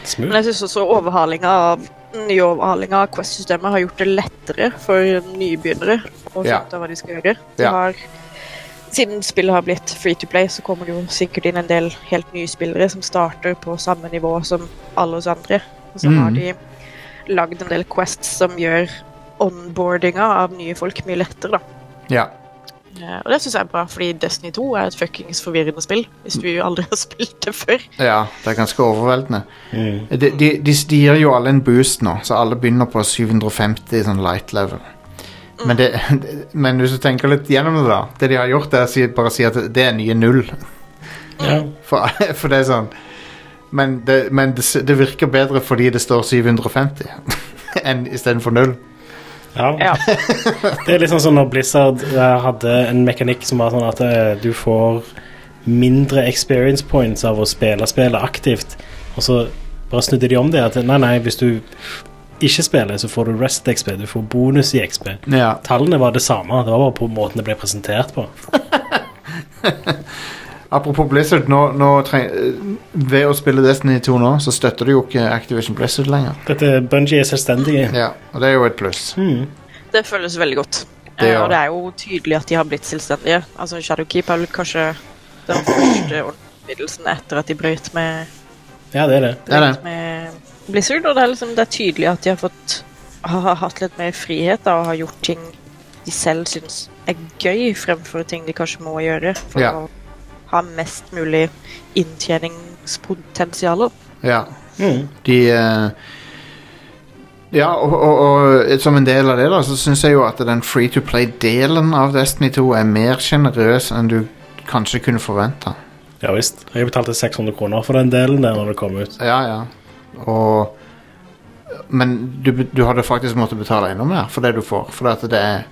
S2: Smooth.
S3: jeg syns også overhalinga av nye overhalinga av Quest-systemet har gjort det lettere for nybegynnere å finne
S1: Ja.
S3: ut av hva de skal gjøre. De
S1: Ja.
S3: har, siden spillet har blitt free to play, så kommer det jo sikkert inn en del helt nye spillere som starter på samme nivå som alle oss andre. Og så
S1: Mm.
S3: har de lagd en del quests som gjør onboardinga av nye folk mye lettere, da.
S1: Ja.
S3: Eh, Og det syns jeg er bra, fordi Destiny 2 er et fuckings forvirrende spill, hvis du aldri har spilt det før.
S1: ja, det er ganske overveldende.
S2: Mm.
S1: De, de, de gir jo alle en boost nå, så alle begynner på 750 sånn light level. Men, det, men hvis du tenker litt gjennom det, da Det de har gjort, er å si, bare si at det er nye null.
S2: Ja.
S1: For, for det er sånn Men, det, men det, s- det virker bedre fordi det står 750 enn istedenfor null.
S2: ja.
S3: Ja.
S2: Det er litt sånn som når Blizzard eh, hadde en mekanikk som var sånn at eh, du får mindre experience points av å spille spillet aktivt, og så bare snudde de om det. At nei, nei, hvis du ikke spiller, så får du rest XP, du får bonus i XP.
S1: Ja.
S2: Tallene var det samme, det var bare på måten det ble presentert på.
S1: Apropos Blizzard, nå, nå treng, eh, ved å spille Destiny 2 nå, så støtter du jo ikke Activision Blizzard lenger.
S2: Dette Bungie er selvstendige.
S1: Ja, og det er jo et pluss.
S3: Det føles veldig godt.
S1: Det
S3: Eh,
S1: gjør
S3: og det er jo tydelig at de har blitt selvstendige. Altså Shadowkeep er vel kanskje den første ordensutvidelsen etter at de brøt med,
S2: Ja, det er det.
S1: Det er det.
S3: med Blizzard. Og det er, liksom, det er tydelig at de har fått har, har hatt litt mer frihet da, og har gjort ting de selv syns er gøy, fremfor ting de kanskje må gjøre for
S1: Ja.
S3: å ha mest mulig inntjeningspotensial.
S1: Ja.
S2: Mm.
S1: De eh, Ja, og, og, og eh, som en del av det, da, så syns jeg jo at den free to play-delen av Destiny 2 er mer sjenerøs enn du kanskje kunne forventa.
S2: Ja visst. Jeg betalte 600 kroner for den delen der når det kom ut.
S1: Ja, ja. Og Men du, du hadde faktisk måttet betale enda mer for det du får. For at det er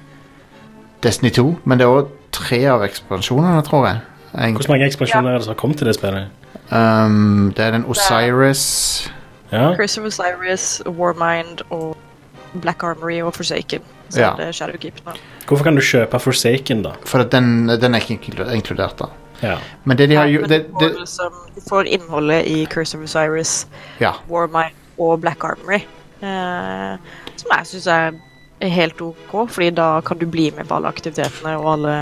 S1: Destiny 2, men det er òg tre av ekspansjonene, tror jeg. En-
S2: Hvor mange ekspansjoner er det som har kommet til det spillet?
S1: Um, det er den Osiris
S2: Ja,
S3: Curse of Osiris, Warmind og Black Armory og Forsaken. Så
S1: Ja.
S3: er det Shadowkeep nå.
S2: Hvorfor kan du kjøpe Forsaken, da?
S1: For at den, den er ikke inklu- inkludert, da.
S2: Ja.
S1: Men det de har
S3: Nei,
S1: gjort
S3: men
S1: det,
S3: du, får
S1: det,
S3: liksom, du får innholdet i Curse of Osiris,
S1: Ja.
S3: Warmind og Black Armory. Eh, som jeg syns er helt OK, fordi da kan du bli med på alle aktivitetene og alle,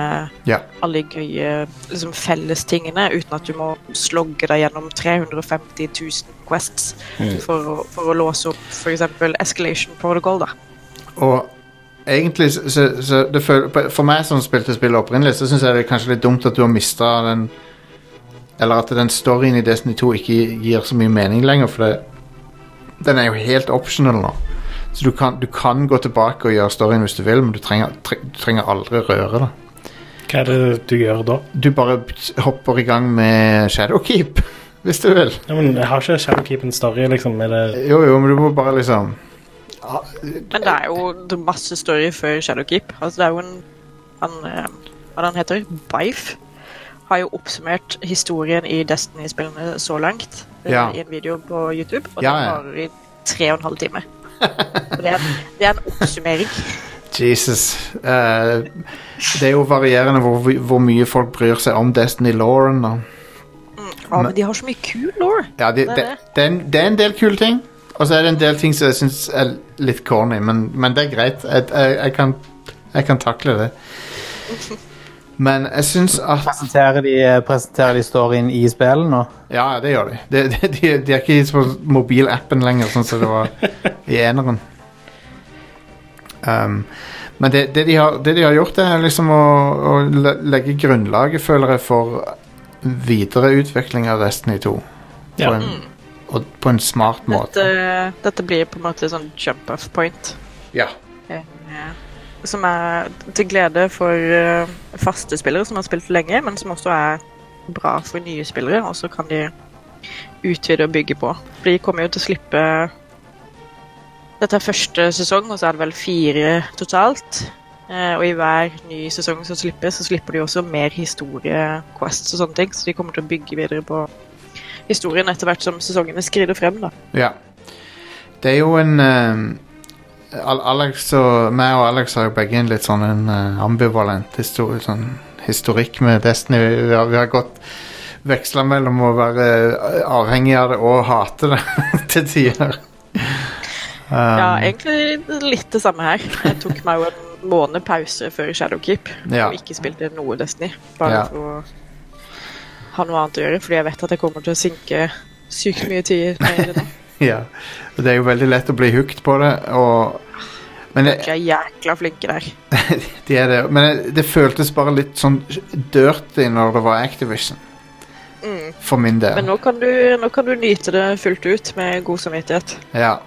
S1: Ja.
S3: alle gøye liksom, fellestingene uten at du må slogge deg gjennom 350 000 quests for, å, for å låse opp f.eks. Escalation Protocol. da.
S1: Og egentlig så, så, så det føl, For meg som spilte spillet opprinnelig, så syns jeg det er kanskje litt dumt at du har mista den Eller at den storyen i Destiny 2 ikke gir så mye mening lenger, for det, den er jo helt optional nå. Så du kan, du kan gå tilbake og gjøre storyen hvis du vil, men du trenger, tre, du trenger aldri røre det.
S2: Hva er det du gjør da?
S1: Du bare hopper i gang med Shadowkeep, hvis du vil.
S2: Ja, men jeg har ikke Shadowkeep en story, liksom. Er det
S1: Jo, jo, men du må bare liksom
S3: Men det er jo det er masse story før Shadowkeep. Altså, det er jo en han, eh, Hva den heter Bife har jo oppsummert historien i Destiny-spillene så langt eh,
S1: Ja.
S3: i en video på YouTube, og
S1: Ja, ja.
S3: den varer i tre og en halv time. Og det, er, det er en oppsummering.
S1: Jesus. Eh, det er jo varierende hvor, hvor mye folk bryr seg om Destiny Lauren. Da.
S3: Ja, men de har så mye kul law.
S1: Ja, det,
S3: Det er
S1: det,
S3: det.
S1: det, er en, det er en del kule ting, og så er det en del ting som jeg syns er litt corny, men, men det er greit. Jeg, jeg, jeg, kan, jeg kan takle det. Men jeg syns at
S7: Presenterer de, eh, presenterer de storyen i spillet nå?
S1: Ja, det gjør de. De, de, de, de er ikke på mobilappen lenger, sånn som det var i eneren. Um, men det, det, de har, det de har gjort, det er liksom å, å le- legge grunnlaget, føler jeg, for videre utvikling av Destiny 2.
S2: Ja.
S1: På en, og på en smart
S3: Dette, eh,
S1: måte.
S3: dette blir på en måte sånn jump-off point.
S1: Ja.
S3: Eh, Som er til glede for eh, faste spillere som har spilt lenge, men som også er bra for nye spillere. Og så kan de utvide og bygge på. For de kommer jo til å slippe Dette er første sesong, og så er det vel fire totalt. Eh, Og i hver ny sesong som slippes, så slipper de også mer historie, quests og sånne ting. Så de kommer til å bygge videre på historien etter hvert som sesongene skrider frem. da.
S1: Ja. Det er jo en eh, Al- Alex og meg og Alex har jo begge en litt sånn en eh, ambivalent histori sånn historikk med Destiny. Vi har, vi har gått veksla mellom å være eh, avhengig av det og hate det til tider. Um,
S3: Ja, egentlig litt det samme her. Jeg tok meg jo en måned pause før Shadowkeep.
S1: Ja.
S3: Og ikke spilte noe Destiny. Bare
S1: Ja.
S3: for å ha noe annet å gjøre, fordi jeg vet at jeg kommer til å sinke sykt mye tid ned i det. nå.
S1: ja. Og Det er jo veldig lett å bli hooked på det, og men jeg,
S3: De er jækla flinke der.
S1: de er det. Men jeg, det føltes bare litt sånn dirty når det var Activision.
S3: Mm.
S1: For min del.
S3: Men nå kan, du, nå kan du nyte det fullt ut med god samvittighet.
S1: Ja.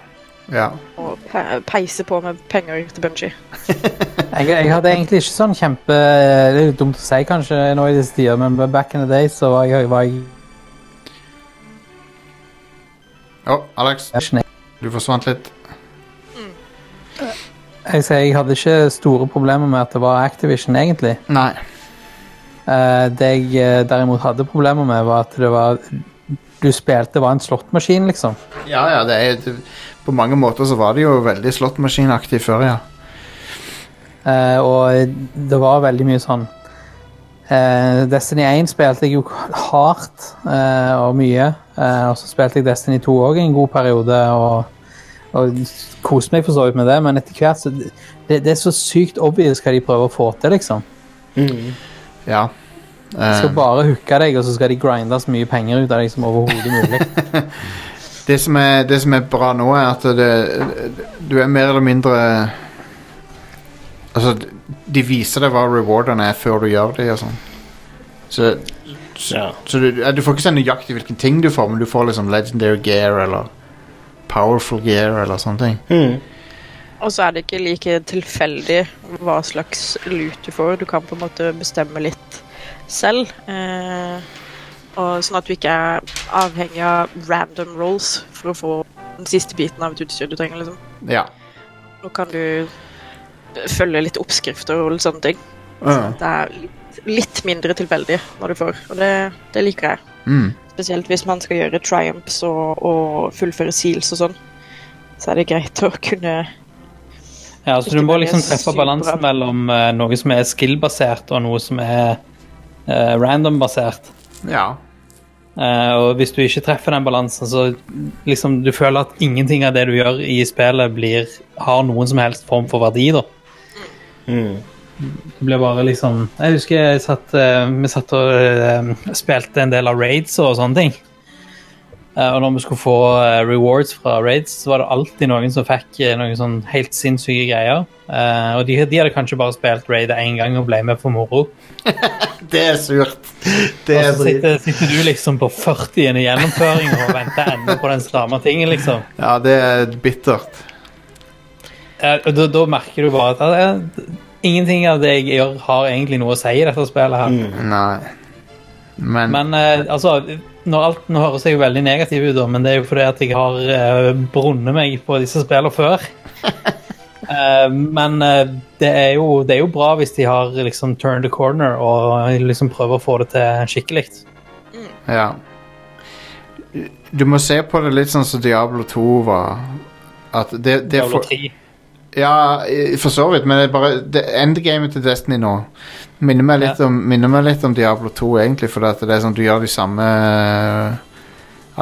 S1: ja.
S3: Og pe- peise på med penger til Bungie.
S7: Jeg, jeg hadde egentlig ikke sånn kjempe Det er litt dumt å si kanskje nå i disse tider, men back in the day så var jeg, var jeg
S1: Å, Alex,
S7: ikke
S1: du forsvant litt.
S7: Jeg, sier, jeg hadde ikke store problemer med at det var Activision, egentlig.
S1: Nei.
S7: Eh, det jeg eh, derimot hadde problemer med, var at det var Du spilte var en slåttmaskin, liksom.
S1: Ja, ja, det er det- På mange måter så var det jo veldig slåttmaskinaktig før, ja.
S7: Eh, og det var veldig mye sånn eh, Destiny 1 spilte jeg jo hardt eh, og mye. eh, og så spilte jeg Destiny 2 òg en god periode og, og koste meg for så vidt med det, men etter hvert så det, det er så sykt obvious hva de prøver å få til, liksom.
S1: ja.
S7: De skal
S1: Eh,
S7: bare hooke deg, og så skal de grinde så mye penger ut av deg som overhodet mulig.
S1: det, som er, det som er bra nå, er at det, du er mer eller mindre Altså, de viser deg hva rewardene er før du gjør det og sånn. Så,
S2: Ja.
S1: så du, ja, du får ikke se nøyaktig hvilken ting du får, men du får liksom legendary gear eller powerful gear eller sånne ting.
S2: Mm.
S3: Og så er det ikke like tilfeldig hva slags lut du får. Du kan på en måte bestemme litt selv. Eh, og sånn at du ikke er avhengig av random rolls for å få den siste biten av et utstyr du trenger. liksom.
S1: Ja.
S3: Nå kan du følge litt oppskrifter og litt sånne ting. Sånn at det er litt, litt mindre tilfeldig når du får, og det, det liker jeg.
S1: Mm.
S3: Spesielt hvis man skal gjøre triumphs og, og fullføre seals og sånn. Så er det greit å kunne
S7: Ja, så
S3: Ikke
S7: du må
S3: bare
S7: liksom
S3: sykt
S7: treffe
S3: bra.
S7: balansen mellom eh, noe som er skill-basert, og noe som er eh, random-basert.
S1: ja.
S7: Eh, og hvis du ikke treffer den balansen, så liksom du føler at ingenting av det du gjør i spillet, blir, har noen som helst form for verdi, da.
S1: mm.
S7: Det blir bare liksom Jeg husker jeg satt, eh, vi satt og eh, spilte en del av raids og sånne ting. Eh, og når vi skulle få eh, rewards fra raids, så var det alltid noen som fikk eh, noen sånn helt sinnssyke greier. Eh, og de, de hadde kanskje bare spilt raid én gang og ble med for moro.
S1: Det er surt. Altså, Det
S7: Og
S1: er
S7: så
S1: drit.
S7: sitter, sitter du liksom på 40. gjennomføring og venter ennå på den samme tingen, liksom.
S1: Ja, det er bittert.
S7: Eh, og Da, da merker du bare at eh, ingenting av det jeg gjør, har egentlig noe å si i dette spillet her.
S1: Nei. Men,
S7: Men eh, altså når alt, Nå høres jeg jo veldig negativ ut, da, men det er jo fordi at jeg har eh, brunnet meg på disse spillene før. Eh, men eh, det, er jo, det er jo bra hvis de har liksom turned the corner og liksom prøver å få det til skikkelig.
S1: ja. Du må se på det litt sånn som Diablo 2 var. At det, det
S7: Diablo
S1: for,
S7: 3.
S1: ja, i- for så vidt, men det er bare det, endgamet til Destiny nå minner meg litt,
S7: Ja.
S1: om, minner meg litt om Diablo 2, egentlig. For at det er sånn, du gjør de samme eh,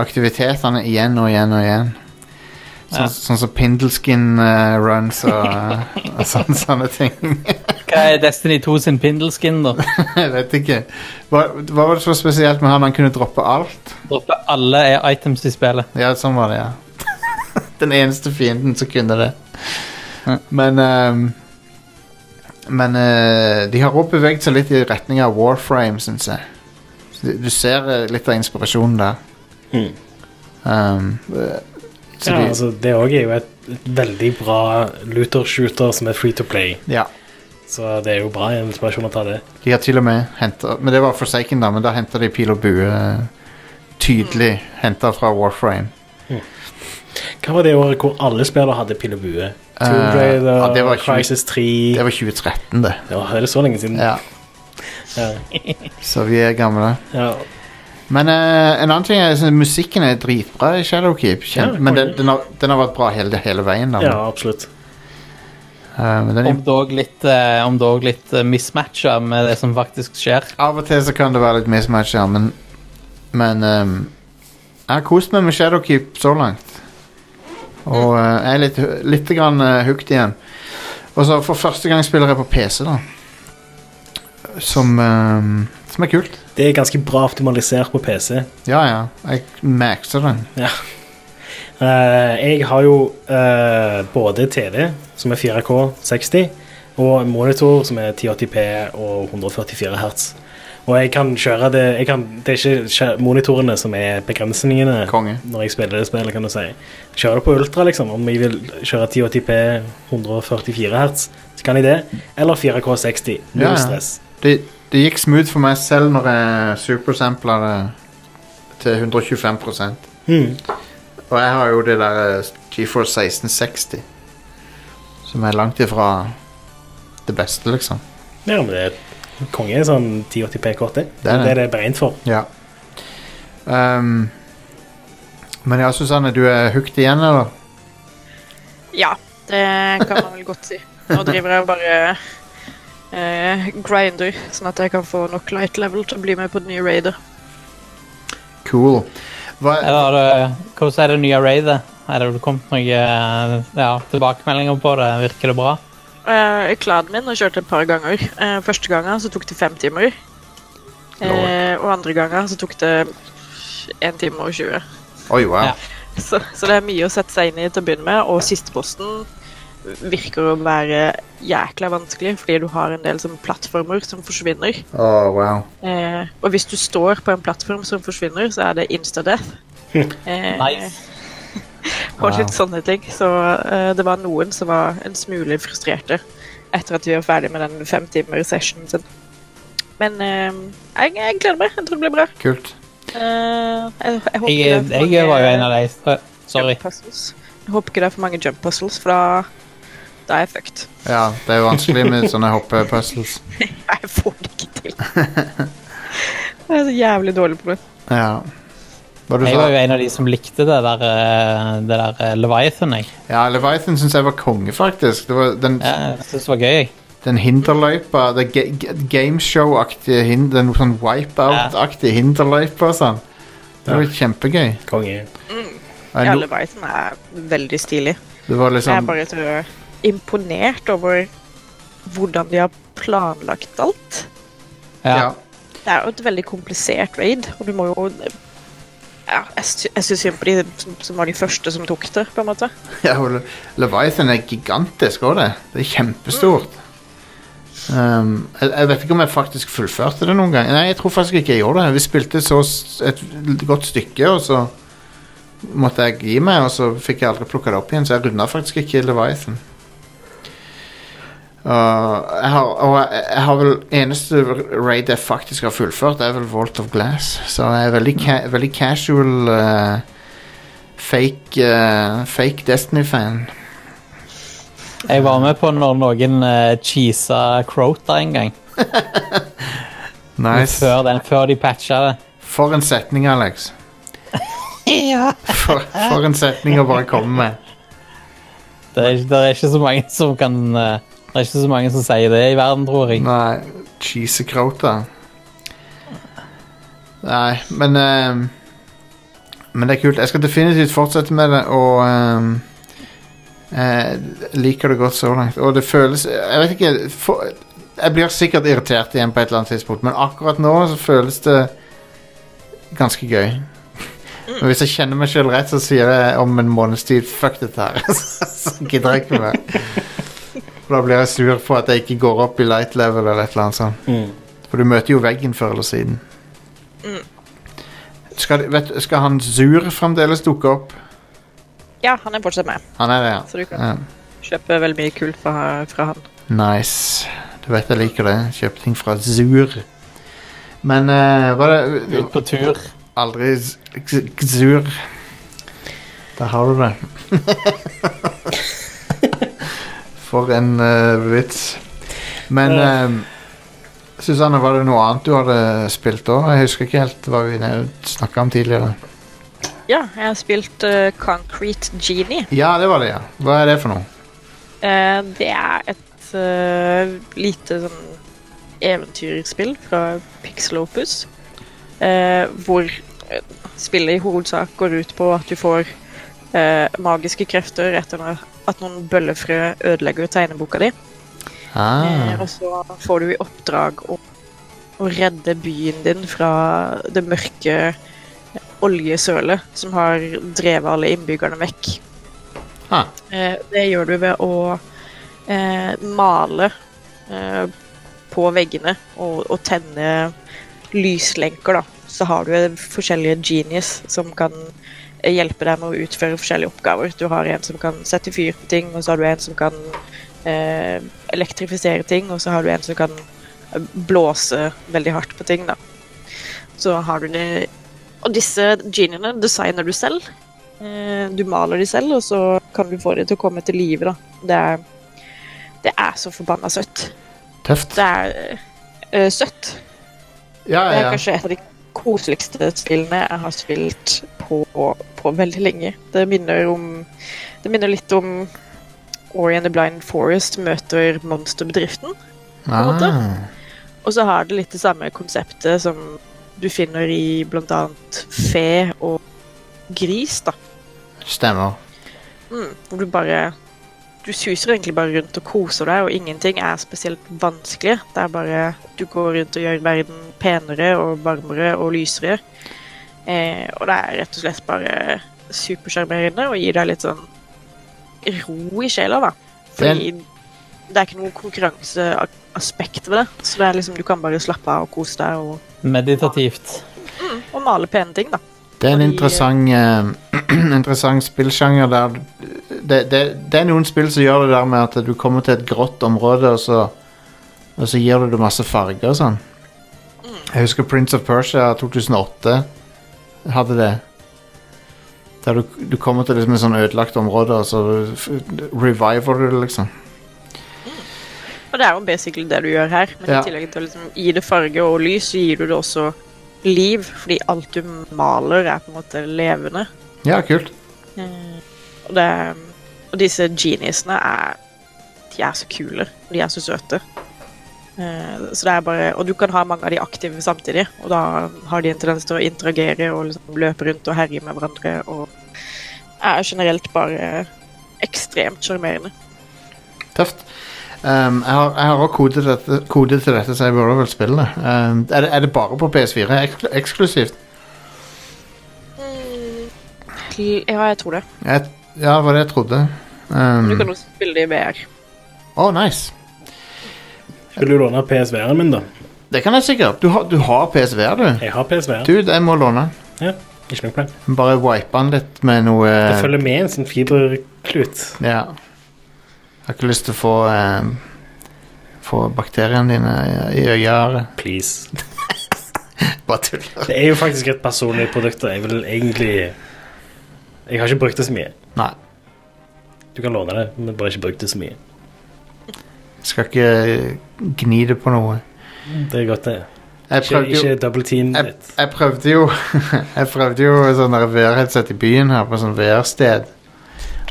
S1: aktivitetene igjen og igjen og igjen. Sånn
S7: Ja.
S1: sånn som Pindleskin-runs og, og sånne, sånne ting.
S7: Hva er Destiny 2 sin pindelskin, da?
S1: Jeg vet ikke. Hva, hva var det så spesielt med han? Han kunne droppe alt?
S7: Droppe alle er items i spillet.
S1: Ja, sånn var det, ja. Den eneste fienden som kunne det.
S7: Ja.
S1: Men ehm, Men eh, de har også beveget seg litt i retning av Warframe, syns jeg. Så Du, du ser eh, litt av inspirasjonen der.
S2: Mm.
S1: Ehm, eh, så
S2: Ja,
S1: de,
S2: altså, det òg er jo et, et veldig bra looter-shooter som er free to play,
S1: ja,
S2: så det er jo bra inspirasjon å ta det.
S1: de har til og med henta Men det var Forsaken, da, men da henta de pil og bue. eh, Tydelig henta fra Warframe.
S2: Hva var det året hvor alle spillere hadde pil og bue? Tomb
S1: Eh,
S2: Raider,
S1: ja, det var tjue-
S2: Crisis 3
S1: Det var 2013, det.
S2: Ja, er det så lenge siden?
S1: Ja,
S2: Ja.
S1: så vi er gamle.
S2: Ja.
S1: Men eh, en annen ting er at musikken er dritbra i Shadowkeep. Kjempe,
S2: Ja,
S1: men den,
S2: konge.
S1: den, har, den har vært bra hele, hele veien. Da.
S2: ja, absolutt.
S1: Eh, men den,
S7: Om dog litt, eh, om dog litt eh, mismatcha med det som faktisk skjer.
S1: av og til så kan det være litt mismatch, ja, men, men ehm, Jeg har kost meg med Shadowkeep så langt. Og eh, jeg er litt, litt grann, eh, hooked igjen. Og så for første gang spiller jeg på PC, da. Som, ehm, som er kult.
S2: Det er ganske bra optimalisert på PC.
S1: Ja, ja. Jeg maxer den.
S2: Eh, jeg har jo eh, både TV, som er 4K 60, og en monitor som er 1080P og 144 hertz. Og jeg kan kjøre det jeg kan, Det er ikke skje- monitorene som er begrensningene
S1: Konge.
S2: når jeg spiller det spillet, kan du si. Kjører det på ultra, liksom. Om jeg vil kjøre 1080P 144 hertz, så kan jeg det. Eller 4K 60. Null
S1: Ja, ja.
S2: stress.
S1: det, det gikk smooth for meg selv når jeg supersampla det til 125
S2: Mm.
S1: Og jeg har jo det der eh, GeForce 1660, som er langt ifra det beste, liksom.
S2: Ja, men det er konge er sånn 1080P-kort, det.
S1: Det er det.
S2: Det er det beregnet for.
S1: Ja. Ehm, Um, men ja, Susanne, du er hooked igjen, eller?
S3: Ja, det kan man vel godt si. Nå driver jeg og bare eh, grinder, sånn at jeg kan få nok light level til å bli med på den nye raidet.
S1: Cool. Hva,
S7: Eller har du, hvordan er det nye raidet? Er det kommet noen ja, tilbakemeldinger på det? Virker det bra?
S3: Eh, Klanen min har kjørt et par ganger. Eh, første gangen så tok det fem timer. Eh, og andre gangen så tok det én time og 20.
S1: oi, wow.
S7: Ja.
S3: Så, så det er mye å sette seg inn i til å begynne med, og siste posten virker å være jækla vanskelig, fordi du har en del sånn plattformer som forsvinner.
S1: Åh, wow.
S3: Eh, og hvis du står på en plattform som forsvinner, så er det insta-death. Eh,
S7: Nice.
S3: Og litt sånne ting. Så eh, det var noen som var en smule frustrerte etter at vi var ferdig med den fem timer sessionen sin. Men eh, jeg, jeg gleder meg. Jeg tror det blir bra.
S1: Kult.
S3: Eh, jeg, jeg håper
S7: Jeg,
S3: det er for
S7: jeg var jo
S3: mange
S7: en av de. eh, Sorry.
S3: jump puzzles. Jeg håper ikke det er for mange jump puzzles, for da, da er jeg fucked.
S1: Ja, det er jo vanskelig med sånne hoppepuzzles.
S3: Jeg får det ikke til. Jeg er så jævlig dårlig på det.
S1: Ja. Hva du
S7: Jeg var
S1: sa?
S7: jo en av de som likte det der, eh, det der eh, Leviathan, jeg.
S1: Ja, Leviathan syns jeg var konge, faktisk. Det var den,
S7: Jeg syntes det var gøy. jeg.
S1: den hinderløypa Det ga- ga- gameshow-aktige hin- Den sånn wipeout-aktige hinderløypa og sånn. Det var kjempegøy.
S2: Konge.
S1: Og jeg
S3: Ja,
S1: lo-
S3: Leviathan er veldig stilig.
S1: Det var
S3: Jeg er
S1: liksom
S3: bare så imponert over hvordan de har planlagt alt.
S1: Ja.
S7: Ja.
S3: Det er jo et veldig komplisert raid, og du må jo ja, jeg, sy jeg syns synd på de som, som var de første som tok det, på en måte.
S1: ja og Le- Leviathan er gigantisk òg, det. Det er kjempestort. Um, jeg, jeg vet ikke om jeg faktisk fullførte det noen gang. Nei, jeg tror faktisk ikke jeg gjorde det. Vi spilte så s- et godt stykke, og så måtte jeg gi meg, og så fikk jeg aldri plukka det opp igjen, så jeg runda faktisk ikke Leviathan. Uh, jeg har, og jeg, jeg har vel eneste raid jeg faktisk har fullført, er vel Vault of Glass. Så jeg er veldig, ca veldig casual eh, fake, eh, fake Destiny-fan.
S7: Jeg var med på når noen eh, cheesa Crota en gang. Før, den, før de patcha det.
S1: For en setning, Alex.
S7: Ja.
S1: For, for en setning å bare komme med.
S7: Det er, det er ikke så mange som kan eh, Det er ikke så mange som sier det i verden, tror jeg.
S1: Nei, cheesekrauta. Nei, men eh, Men det er kult. Jeg skal definitivt fortsette med det, og eh, eh, liker det godt så langt. Og det føles Jeg vet ikke for, Jeg blir sikkert irritert igjen på et eller annet tidspunkt, men akkurat nå så føles det ganske gøy. Men hvis jeg kjenner meg sjøl rett, så sier jeg om en måneds tid 'fuck dette her'. så gidder jeg ikke mer. For da blir jeg sur på at jeg ikke går opp i light level eller et eller annet sånt.
S2: Mm.
S1: For du møter jo veggen før eller siden. Skal, vet, skal han Zur fremdeles dukke opp?
S3: Ja, han er fortsatt med,
S1: Han er det, ja.
S3: så du kan
S1: ja.
S3: kjøpe veldig mye kult fra, fra han.
S1: Nice. Du vet jeg liker det. Kjøp ting fra Zur. Men eh, hva er det
S7: Ut på tur.
S1: Aldri z- z- Zur. Der har du det. For en eh, vits. Men
S2: Ja.
S1: eh, Susanne, var det noe annet du hadde spilt da? Jeg husker ikke helt hva vi snakka om tidligere.
S3: Ja, jeg har spilt eh, Concrete Genie.
S1: Ja, det var det, ja. Hva er det for noe?
S3: Eh, det er et eh, lite sånn eventyrspill fra Pixel Opus, eh, hvor eh, spillet i hovedsak går ut på at du får eh, magiske krefter etter no- at noen bøllefrø ødelegger tegneboka di. Eh,
S1: Ah,
S3: og så får du i oppdrag å, å redde byen din fra det mørke oljesølet som har drevet alle innbyggerne vekk.
S1: Ah.
S3: Eh, det gjør du ved å eh, male eh, på veggene og, og tenne lyslenker, da. Så har du forskjellige genius som kan hjelpe deg med å utføre forskjellige oppgaver. Du har en som kan sette fyr på ting, og så har du en som kan eh, elektrifisere ting, og så har du en som kan eh, blåse veldig hardt på ting, da. Så har du det Og disse geniene designer du selv. Eh, du maler de selv, og så kan du få de til å komme til live, da. Det er, det er så forbanna søtt.
S1: tøft.
S3: Det er eh, søtt.
S1: Ja,
S3: Det er
S1: ja.
S3: kanskje et av de koseligste spillene jeg har spilt på, på veldig lenge. Det minner om Det minner litt om Ori and the Blind Forest møter monsterbedriften. måte.
S1: Ah,
S3: Og så har det litt det samme konseptet som du finner i blant annet fe og gris, da.
S1: stemmer.
S3: Mm, hvor du bare Du suser egentlig bare rundt og koser deg, og ingenting er spesielt vanskelig. Det er bare Du går rundt og gjør verden penere og varmere og lysere. Eh, og det er rett og slett bare supersjarmerende og gir deg litt sånn ro i sjela, da. Fordi det er ikke noe konkurranseaspekt ved det. Så det er liksom, du kan bare slappe av og kose deg og,
S7: Meditativt.
S3: og male pene ting, da.
S1: Det er en
S3: Fordi-
S1: interessant, eh, interessant spillsjanger der det, det, det er noen spill som gjør det der med at du kommer til et grått område, og så, og så gir du det masse farger og sånn.
S3: Mm.
S1: Jeg husker Prince of Persia 2008 hadde det. Der du, du kommer til liksom et sånn ødelagt område, og så f- reviver du det, liksom.
S3: Og det er jo basically det du gjør her. Men
S1: Ja.
S3: i tillegg til å liksom gi det farge og lys, så gir du det også liv. Fordi alt du maler, er på en måte levende.
S1: Ja, kult.
S3: Og, det, og disse geniusene er De er så kule. Og de er så søte. Eh, Så det er bare Og du kan ha mange av de aktive samtidig. Og da har de en tendens til å interagere og liksom løpe rundt og herje med hverandre. Og er generelt bare ekstremt sjarmerende.
S1: Tøft. Um, jeg har- jeg har òg kode, til dette- kode til dette, så jeg burde vel spille det. Um, er det. Er det bare på PS4? Ekskl eksklusivt?
S3: Ja, jeg tror det.
S1: Jeg, ja, det var det jeg trodde.
S3: Du
S1: Um,
S3: kan også spille det i VR.
S1: oh, nice.
S2: Vil du låne PSV-en min, da?
S1: Det kan jeg sikkert. Du har, du har PSVR, du.
S2: Jeg har PSV.
S1: Dude, jeg må låne.
S2: Ja, ikke noe problem.
S1: Bare wipe den litt med noe
S2: Det
S1: eh,
S2: følger med en sånn fiberklut.
S1: Ja. Jeg har ikke lyst til å få eh, Få bakteriene dine i øyeharet.
S2: Please.
S1: Bare tull.
S2: Det er jo faktisk et personlig produkt, og jeg vil egentlig Jeg har ikke brukt det så mye.
S1: Nei.
S2: Du kan låne det, men bare ikke brukt det så mye.
S1: Skal ikke gni det på noe.
S2: Det er godt, det.
S1: Jeg
S2: Ikke,
S1: prøvde jo
S2: ikke double team
S1: jeg,
S2: it.
S1: jeg prøvde jo Jeg prøvde jo sånn der VR-headset i byen her, på sånn VR-sted.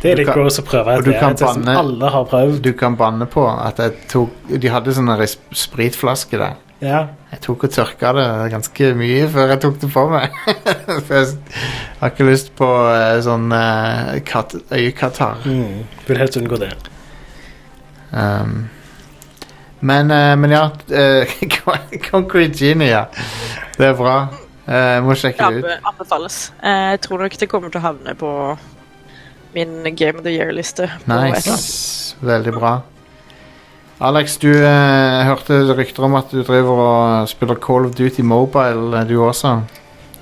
S2: Det er
S1: du
S2: litt
S1: kan-
S2: gross å prøve
S1: og
S2: et
S1: du kan
S2: VR-test som
S1: banne-
S2: alle har prøvd.
S1: Du kan banne på at jeg tok De hadde sånn der sp- spritflaske der.
S2: Ja.
S1: Jeg tok og tørka det ganske mye før jeg tok det på meg. For jeg s- har ikke lyst på eh, sånn eh, kat øyekatarr.
S2: Mm. Vil helst unngå det.
S1: Um, men, eh, men ja eh, Concrete Genie, ja. Det er bra. Eh, Jeg må sjekke det ut.
S3: Anbe anbefales. Eh, Jeg tror nok det kommer til å havne på min Game of the Year-liste. på et eller annet.
S1: Nice. Veldig bra. Alex, du eh, hørte rykter om at du driver og spiller Call of Duty Mobile, eh, du også.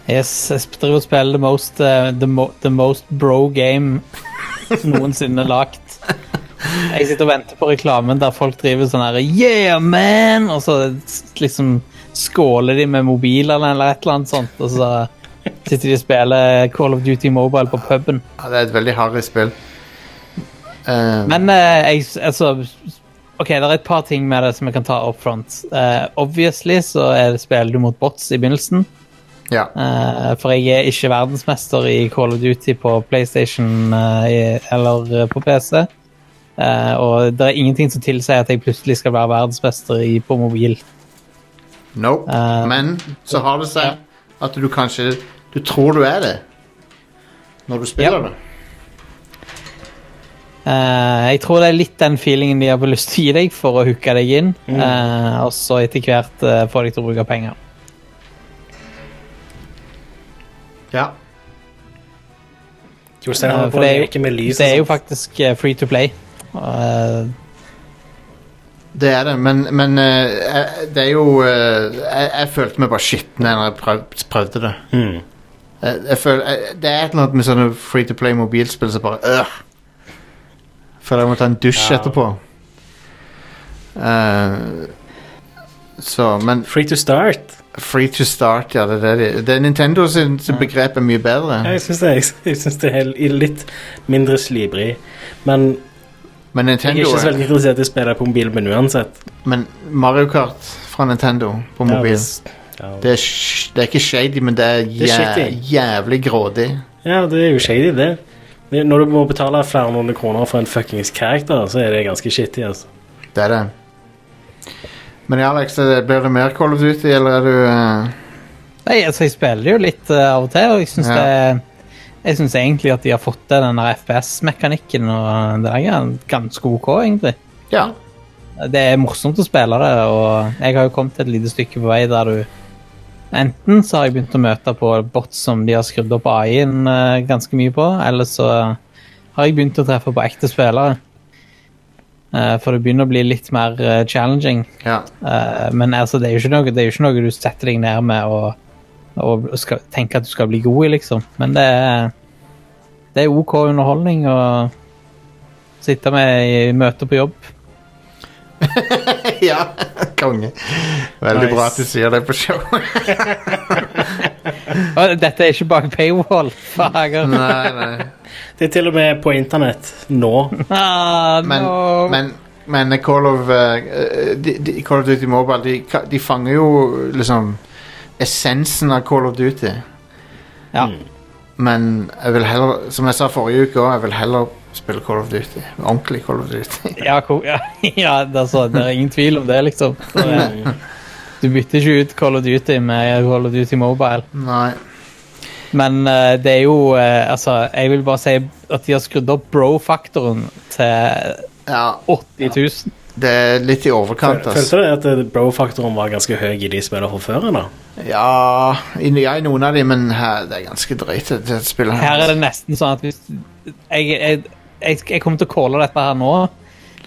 S7: Yes, jeg driver og spiller the most, eh, the, mo the most bro game noensinne lagt. Jeg sitter og venter på reklamen der folk driver sånn her Yeah, man! Og så s- liksom skåler de med mobilene eller et eller annet sånt. Og så sitter de og spiller Call of Duty Mobile på puben.
S1: Ja, det er et veldig harry spill. Eh,
S7: Men eh, jeg, s- altså OK, det er et par ting med det som jeg kan ta up front. Eh, obviously så er det, spiller du mot bots i begynnelsen.
S1: ja.
S7: Eh, for jeg er ikke verdensmester i Call of Duty på PlayStation eh, i- eller eh, på PC. Eh, og det er ingenting som tilsier at jeg plutselig skal være verdensmester i, på mobil.
S1: Nope.
S7: Eh,
S1: Men så har det seg at du kanskje Du tror du er det når du spiller
S7: Ja.
S1: det.
S7: Eh, jeg tror det er litt den feelingen de har lyst til å gi deg for å hooke deg inn, eh, og så etter hvert eh, få deg til å bruke penger.
S1: Ja.
S2: Jostein
S7: Eh,
S2: holder på
S7: for
S2: å
S7: det er jo-
S2: leke med lys.
S7: Det er
S2: og
S7: jo faktisk eh, free to play. Eh,
S1: Det er det, men, men eh, jeg- det er jo eh, jeg, jeg følte meg bare skitten da jeg prøv, prøvde det.
S2: sånt. Mm.
S1: Jeg, jeg føler, jeg, det er et eller annet med sånne free to play mobilspill som bare øh. Føler jeg må ta en dusj
S2: Ja.
S1: etterpå. Eh, så, men
S2: Free to start.
S1: free to start, ja. Det er det de Det er Nintendo sin, sin begrep er mye bedre.
S2: Ja, jeg syns det, jeg, jeg synes det er helt- litt mindre slibrig. Men
S1: Men
S2: jeg er
S1: Nintendo
S2: ikke så
S1: er-
S2: veldig interessert i å spille på mobilen min uansett.
S1: Men Mario Kart fra Nintendo på
S2: Ja,
S1: mobil
S2: hvis- Ja,
S1: det, er, sh- det er ikke shady, men det er,
S2: er shitty.
S1: jæ jævlig grådig.
S2: ja, det er jo shady, det. Men Når du må betale flere hundre kroner for en fuckings character, så er det ganske shitty. altså.
S1: Det er det. Men ja, Alex, er det, blir det mer Call of Duty, eller er du eh,
S7: Nei, altså, jeg spiller jo litt eh, av og til, og jeg syns
S1: Ja.
S7: det Jeg syns egentlig at de har fått til den FPS-mekanikken, og det er ganske OK, egentlig.
S1: Ja.
S7: Det er morsomt å spille det, og jeg har jo kommet et lite stykke på vei der du Enten så har jeg begynt å møte på bots som de har skrudd opp AI-en eh, ganske mye på, eller så har jeg begynt å treffe på ekte spillere. Eh, For det begynner å bli litt mer eh, challenging.
S1: ja.
S7: Eh, men altså, det er jo ikke noe, det er jo ikke noe du setter deg ned med og, og skal, tenker at du skal bli god i, liksom. Men det er, det er OK underholdning å sitte med i møte på jobb.
S1: ja. Konge. Veldig
S2: Nice.
S1: bra at du sier det på show.
S7: Og dette er ikke bak paywall, fager.
S1: nei, nei.
S2: Det er til og med på internett nå.
S7: Ah,
S1: Men,
S7: no.
S1: men, men Call of, eh, de, de, Call of Duty Mobile de, ka- de fanger jo liksom essensen av Call of Duty.
S7: Ja.
S1: Men jeg vil heller, som jeg sa forrige uke også, jeg vil heller spille Call of Duty. Ordentlig Call of Duty.
S7: Ja, ko- ja, ja det, er så- det er ingen tvil om det, liksom.
S2: Eh,
S7: Du bytter ikke ut Call of Duty med Call of Duty Mobile.
S1: Nei.
S7: Men eh, det er jo eh, Altså, jeg vil bare si at de har skrudd opp bro-faktoren til
S1: Ja,
S7: 80 000.
S1: det er litt i overkant, altså. ass.
S2: Følte du at eh, bro-faktoren var ganske høy i de spillene fra før? eller?
S1: Ja, i, ja, i noen av de, men her, det er ganske drøyt, det- det spillet
S7: Her er det nesten sånn at hvis Jeg, jeg, jeg, jeg kommer til å calle dette her nå,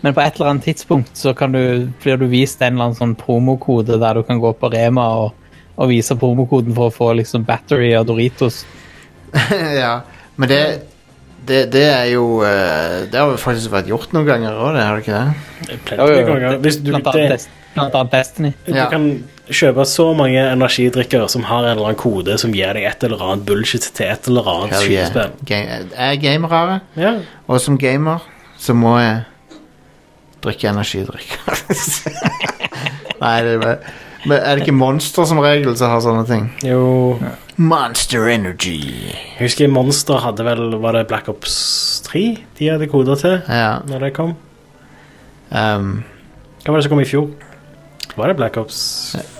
S7: men på et eller annet tidspunkt så kan du, blir du vist en eller annen sånn promokode der du kan gå på Rema og, og vise promokoden for å få liksom battery og Doritos.
S1: ja, men det, det, det er jo eh, Det har jo faktisk vært gjort noen ganger òg, det, har det ikke det?
S2: Plenty ganger. Hvis du,
S7: Blant annet,
S2: det,
S7: Des- blant annet Destiny.
S2: du
S1: Ja.
S2: kan kjøpe så mange energidrikker som har en eller annen kode som gir deg et eller annet bullshit til et eller annet
S1: Hell yeah.
S2: skytespill.
S1: Ga- Jeg er gamere,
S2: Ja.
S1: og som gamer så må jeg drikke energidrikk. Nei, det er bare Men er det ikke Monster som regel som har sånne ting?
S2: Jo
S1: Monster Energy.
S2: Jeg husker Monster hadde vel Var det Black Ops 3 de hadde koder til
S1: Ja.
S2: når det kom?
S1: ehm,
S2: Hva var det som kom i fjor? Var det Black Ops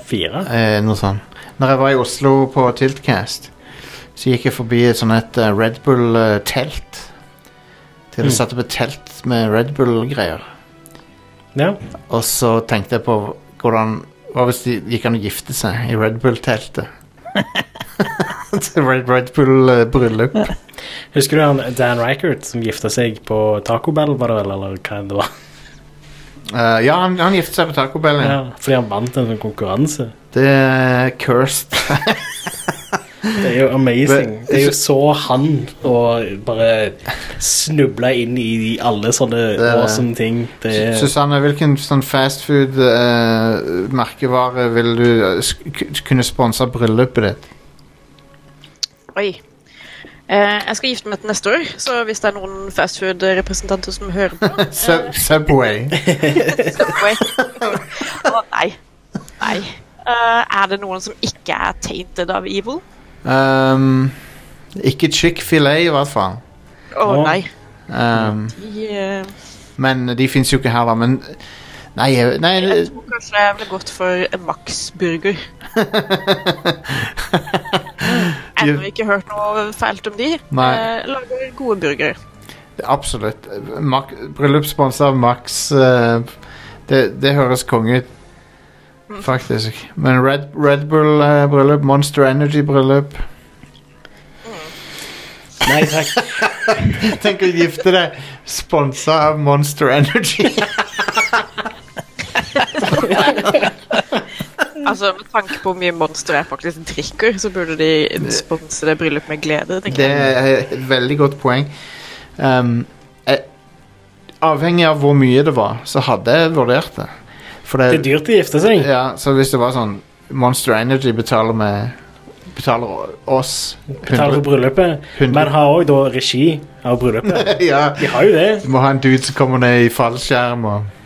S2: 4?
S1: eh, noe sånt. Når jeg var i Oslo på Tiltcast, så gikk jeg forbi et sånt et eh, Red Bull-telt.
S2: Mm.
S1: Til jeg satte opp et telt med Red Bull-greier.
S2: Ja.
S1: Og så tenkte jeg på hvordan Hva hvis de gikk an å gifte seg i Red Bull-teltet? Til Red, Red Bull-bryllup.
S2: Husker du han Dan Reichert som gifta seg på Taco Bell, var det vel, eller hva det var?
S1: Eh, ja, han, han giftet seg på Taco Bell. Ja.
S2: Ja, fordi han vant en sånn konkurranse.
S1: Det er cursed.
S2: Det er jo amazing.
S1: Men-
S2: Det er jo så han å bare snuble inn i alle sånne
S1: Det er det.
S2: awesome ting. Det
S1: Su-
S2: er
S1: Susanne, hvilken sånn fastfood-merkevare vil du eh, sk k- kunne sponse bryllupet ditt?
S3: Oi. Eh, jeg skal gifte meg til neste år, så hvis det er noen fastfood-representanter som hører på
S1: Sub Subway.
S3: Subway. Å, Nei. Nei. Eh, er det noen som ikke er tainted av evil?
S1: Um, ikke chick-filet, i hvert fall.
S3: Å nei.
S1: Um,
S3: De, eh,
S1: men de fins jo ikke her, da. Men Nei, jeg- nei
S3: jeg
S1: det-
S3: tror kanskje jeg ville gått for en Max Burger. Ennå ikke hørt noe feilt om de.
S1: Nei.
S3: Eh, lager gode burgere.
S1: Absolutt. Mak Bryllupssponsa av Max eh, det, det høres konge ut. Faktisk. Men Red, Red Bull-bryllup, Monster Energy-bryllup Mm.
S2: Nei takk.
S1: Tenk å gifte deg sponsa av Monster Energy.
S3: Altså, Med tanke på hvor mye Monster jeg faktisk drikker, så burde de sponse det bryllupet med glede. tenker
S1: Det
S3: jeg.
S1: er et veldig godt poeng. Um, jeg, avhengig av hvor mye det var, så hadde jeg vurdert det. For
S2: Det er dyrt å gifte seg.
S1: Ja, så hvis det var sånn Monster Energy betaler med Betaler oss
S2: Betaler for
S1: 100
S2: bryllupet.
S1: 100.
S2: Men har òg da regi av bryllupet.
S1: Ja,
S2: De har jo det.
S1: du må ha en dude som kommer ned i fallskjerm og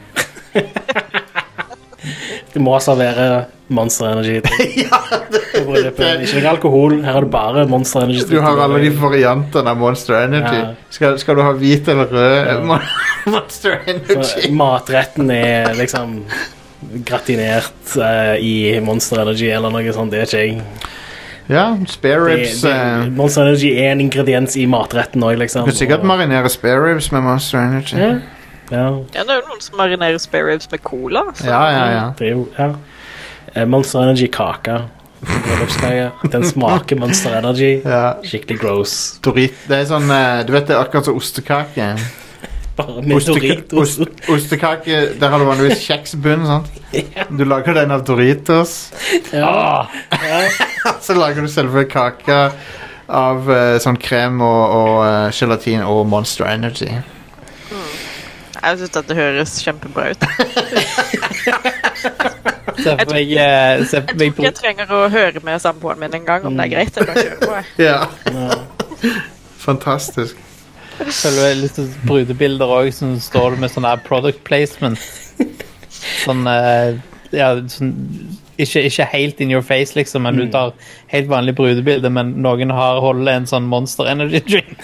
S2: De må servere Monster Energy.
S1: ja,
S2: Ikke noe alkohol, her er det bare Monster Energy.
S1: du har alle de variantene av Monster Energy.
S2: Ja.
S1: Skal, skal du ha hvit eller rød eh, Mon- Monster
S2: Så
S1: Energy?
S2: Matretten er liksom gratinert eh, i Monster Energy eller noe sånt. Det er ikke jeg.
S1: Ja, spare
S2: Det,
S1: ribs.
S2: det,
S1: eh,
S2: Monster Energy er en ingrediens i matretten òg, liksom.
S1: Du kan sikkert
S2: Og-
S1: marinere spare ribs med Monster Energy.
S2: ja, ja,
S3: Ja, det er jo noen som marinerer spare ribs med cola. altså. Så.
S1: Ja, ja, ja.
S2: det er jo ja. Eh, Monster Energy-kake. Bryllupskake. Den smaker Monster Energy.
S1: ja.
S2: Skikkelig gross.
S1: Dorit, det er sånn eh, Du vet det er akkurat som ostekake.
S2: Bare med
S1: Osteka-
S2: Doritos.
S1: ost- ostekake Der har du vanligvis kjeksbunn, sant? Du lager den av Doritos. Ah.
S2: Ja.
S1: Så lager du selve kaka av eh, sånn krem og, og eh, gelatin og Monster Energy.
S3: Jeg syns dette høres kjempebra ut.
S7: Se for meg, eh, se for meg
S3: Jeg trenger å høre med samboeren min en gang om det er greit. Jeg bare kjører på, jeg.
S1: Ja. Fantastisk.
S7: Følger jeg litt sånn brudebilder òg, som står det med sånn her product placement. Sånn eh, Ja, sånn ikke, ikke helt in your face, liksom, men du tar helt vanlig brudebilde, men noen har holder en sånn Monster Energy Drink.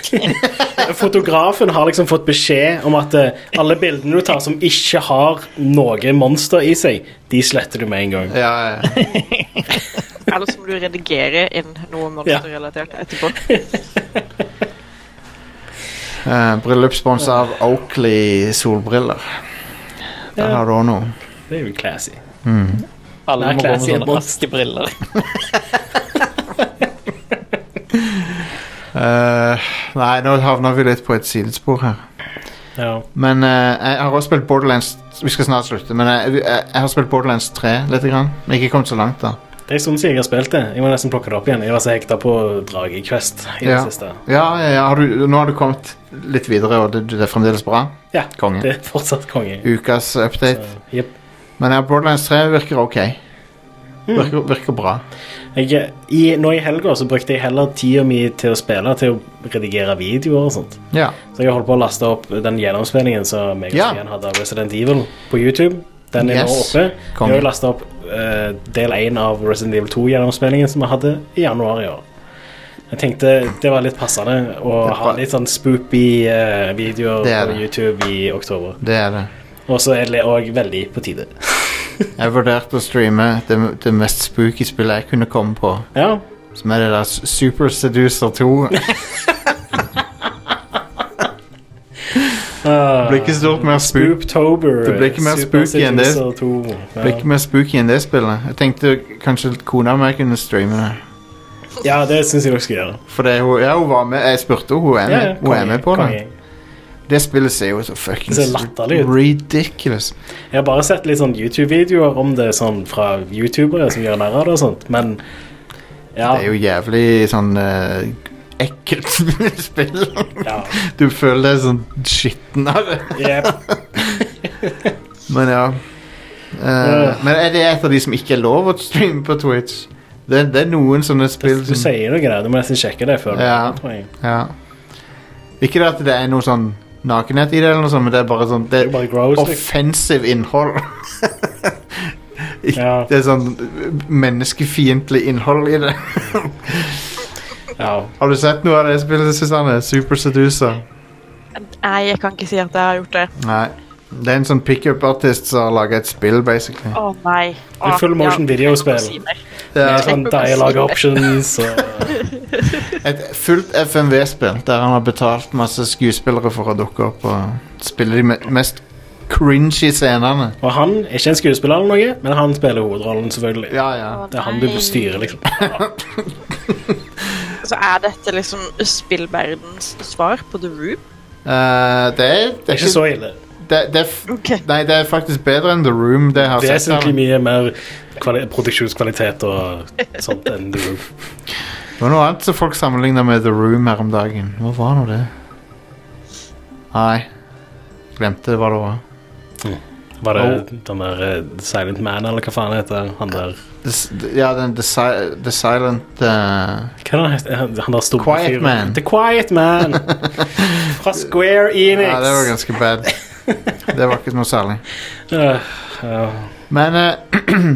S2: Fotografen har liksom fått beskjed om at eh, alle bildene du tar som ikke har noe monster i seg, de sletter du med en gang.
S1: Ja, ja.
S3: Eller så må du redigere inn noe monsterrelatert etterpå.
S1: Eh, Bryllupsspons av Oakley solbriller. Der
S2: Ja.
S1: har du òg noe.
S2: Det er jo classy.
S7: Mm. Alle
S2: Nei,
S7: må gå med
S2: classy
S7: sånne
S2: monster.
S7: raske briller.
S1: Eh, nei, nå havner vi litt på et sidespor her.
S2: Ja.
S1: Men eh, jeg har også spilt Borderlands Vi skal snart slutte, men jeg, jeg, jeg har spilt Borderlands 3 litt. Grann. Men ikke kommet så langt, da.
S2: Det er en stund siden jeg har spilt det. Jeg må nesten plukke det opp igjen. Jeg var så hekta på Dragequest i det
S1: Ja.
S2: siste.
S1: Ja, ja, ja har du, Nå har du kommet litt videre, og det, det er fremdeles bra.
S2: Ja,
S1: Konge.
S2: det er fortsatt konge.
S1: Ukas update.
S2: Jep.
S1: Men ja, Borderlands 3 virker ok. Virker, virker bra.
S2: Jeg, i, nå i helga så brukte jeg heller tida mi til å spille, til å redigere videoer og sånt.
S1: Ja.
S2: Så jeg holdt på å laste opp den gjennomspillingen som jeg og
S1: Ja.
S2: Stian hadde av Resident Evil på YouTube. Den er nå
S1: Yes.
S2: oppe.
S1: Konge.
S2: Jeg har lasta opp eh, del én av Resident Evil 2-gjennomspillingen som jeg hadde i januar i år. Jeg tenkte det var litt passende å
S1: Det er
S2: ha
S1: bra.
S2: litt sånn spoopy eh, videoer
S1: Det er
S2: på
S1: det.
S2: YouTube i oktober.
S1: Det er det.
S2: Og så er det òg veldig på tide.
S1: Jeg vurderte å streame det, det mest spooky spillet jeg kunne komme på,
S2: Ja,
S1: som er det der S- Super Seducer 2. Det
S2: Uh,
S1: blir ikke stort mer spook
S2: Spooptober.
S1: Det blir ikke mer
S2: Super
S1: spooky enn det.
S2: Seducer 2. Ja.
S1: blir ikke mer spooky enn det spillet. Jeg tenkte kanskje kona mi kunne streame det.
S2: ja, det syns jeg dere skal gjøre.
S1: For det, hun, ja, hun var med. Jeg spurte henne. Hun er med,
S2: Ja,
S1: hun er
S2: ja, konge,
S1: med på det.
S2: konge.
S1: Det spillet ser jo så fucking
S2: Det ser latterlig ut.
S1: ridiculous.
S2: Jeg har bare sett litt sånn YouTube-videoer om det sånn fra youtubere som gjør narr av det og sånt, men ja,
S1: Det er jo jævlig sånn eh, ekkelt spill.
S2: ja,
S1: Du føler deg sånn skitten av det.
S2: jep.
S1: Men ja. Eh, men er det et av de som ikke er lov å streame på Twitch? Det, det er noen sånne spill
S2: Du
S1: som
S2: sier noe der, du må nesten sjekke det før. du-
S1: Ja.
S2: tror jeg.
S1: ja. Ikke det at det er noe sånn nakenhet i det, eller noe sånt, men det er bare sånn Det
S2: Det er bare gross, liksom.
S1: offensive innhold. Ik-
S2: Ja.
S1: Det er sånn menneskefiendtlig innhold i det.
S2: Ja.
S1: Har du sett noe av det spillet, Susanne? Super Seducer?
S3: Nei, jeg kan ikke si at jeg har gjort det.
S1: Nei. Det er en sånn pickup-artist som har laga et spill, basically.
S3: Å nei.
S2: er full motion videospill.
S1: Ja,
S2: Med sånn dialogue options og
S1: et fullt FMV-spill der han har betalt masse skuespillere for å dukke opp og spille de me- mest cringy scenene.
S2: Og han er ikke en skuespiller eller noe, men han spiller hovedrollen, selvfølgelig.
S1: Ja, ja.
S2: Det er han du bestyrer, liksom.
S3: Så er dette liksom spillverdens svar på The Room?
S1: Eh, det, er, det
S2: Det
S1: er
S2: er ikke så ille.
S1: det, det er, f-
S3: Ok.
S1: Nei, det er faktisk bedre enn The Room. Det jeg har
S2: Det er
S1: jeg sett
S2: selvfølgelig
S1: av det.
S2: mye mer kvali produksjonskvalitet og sånt enn du
S1: Det var noe annet som folk sammenligna med The Room her om dagen. Hva var nå det? Nei. Glemte hva det var.
S2: Var det den der eh, Silent Man, eller hva faen heter han der
S1: The, s- ja, den The, si the Silent eh,
S2: Hva er det han heter? Han- Han der store
S1: Quiet
S2: fyren.
S1: Man.
S2: The Quiet Man! Fra Square Enix.
S1: Ja, det var ganske bad.
S2: Eh,
S1: Det var ikke noe særlig.
S2: Øh, ja.
S1: Men eh,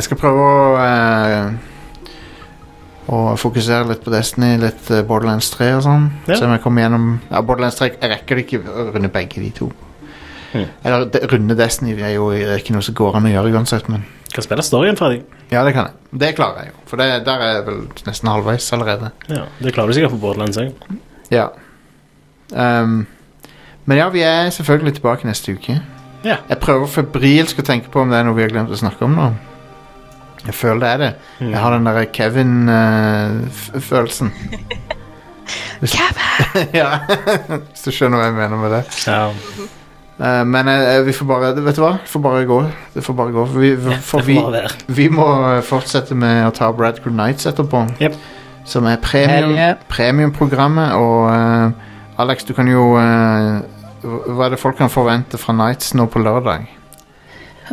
S1: Jeg skal prøve å eh, Å fokusere litt på Destiny, litt eh, Borderlands 3 og sånn.
S2: Ja.
S1: Se om jeg kommer gjennom ja, Borderlands 3 jeg rekker det ikke å runde begge de to. Eller de, runde Destiny det er jo det er ikke noe som går an å gjøre uansett, men
S2: Kan spille storyen ferdig.
S1: ja, det kan jeg. Det klarer jeg jo, for det, der er jeg vel nesten halvveis allerede.
S2: Ja, det klarer du sikkert på Borderlands òg.
S1: Ja. Ehm, men ja, vi er selvfølgelig tilbake neste uke.
S2: Ja.
S1: Jeg prøver febrilsk å tenke på om det er noe vi har glemt å snakke om nå. Jeg føler det er det.
S2: Mm.
S1: Jeg har den eh, derre Kevin-følelsen. Kevin! ja, hvis du skjønner hva jeg mener med det.
S2: Ja.
S1: Eh, men eh, vi får bare Vet du hva? Det får bare gå. Det får bare gå. For vi, for
S2: Det
S1: vi,
S2: får bare være.
S1: vi må eh, fortsette med å ta Bradcrew Nights etterpå.
S2: Jep.
S1: Som er
S7: Hell yeah.
S1: premium, premiumprogrammet. Og eh, Alex, du kan jo eh, hva- Hva er det folk kan forvente fra Nights nå på lørdag?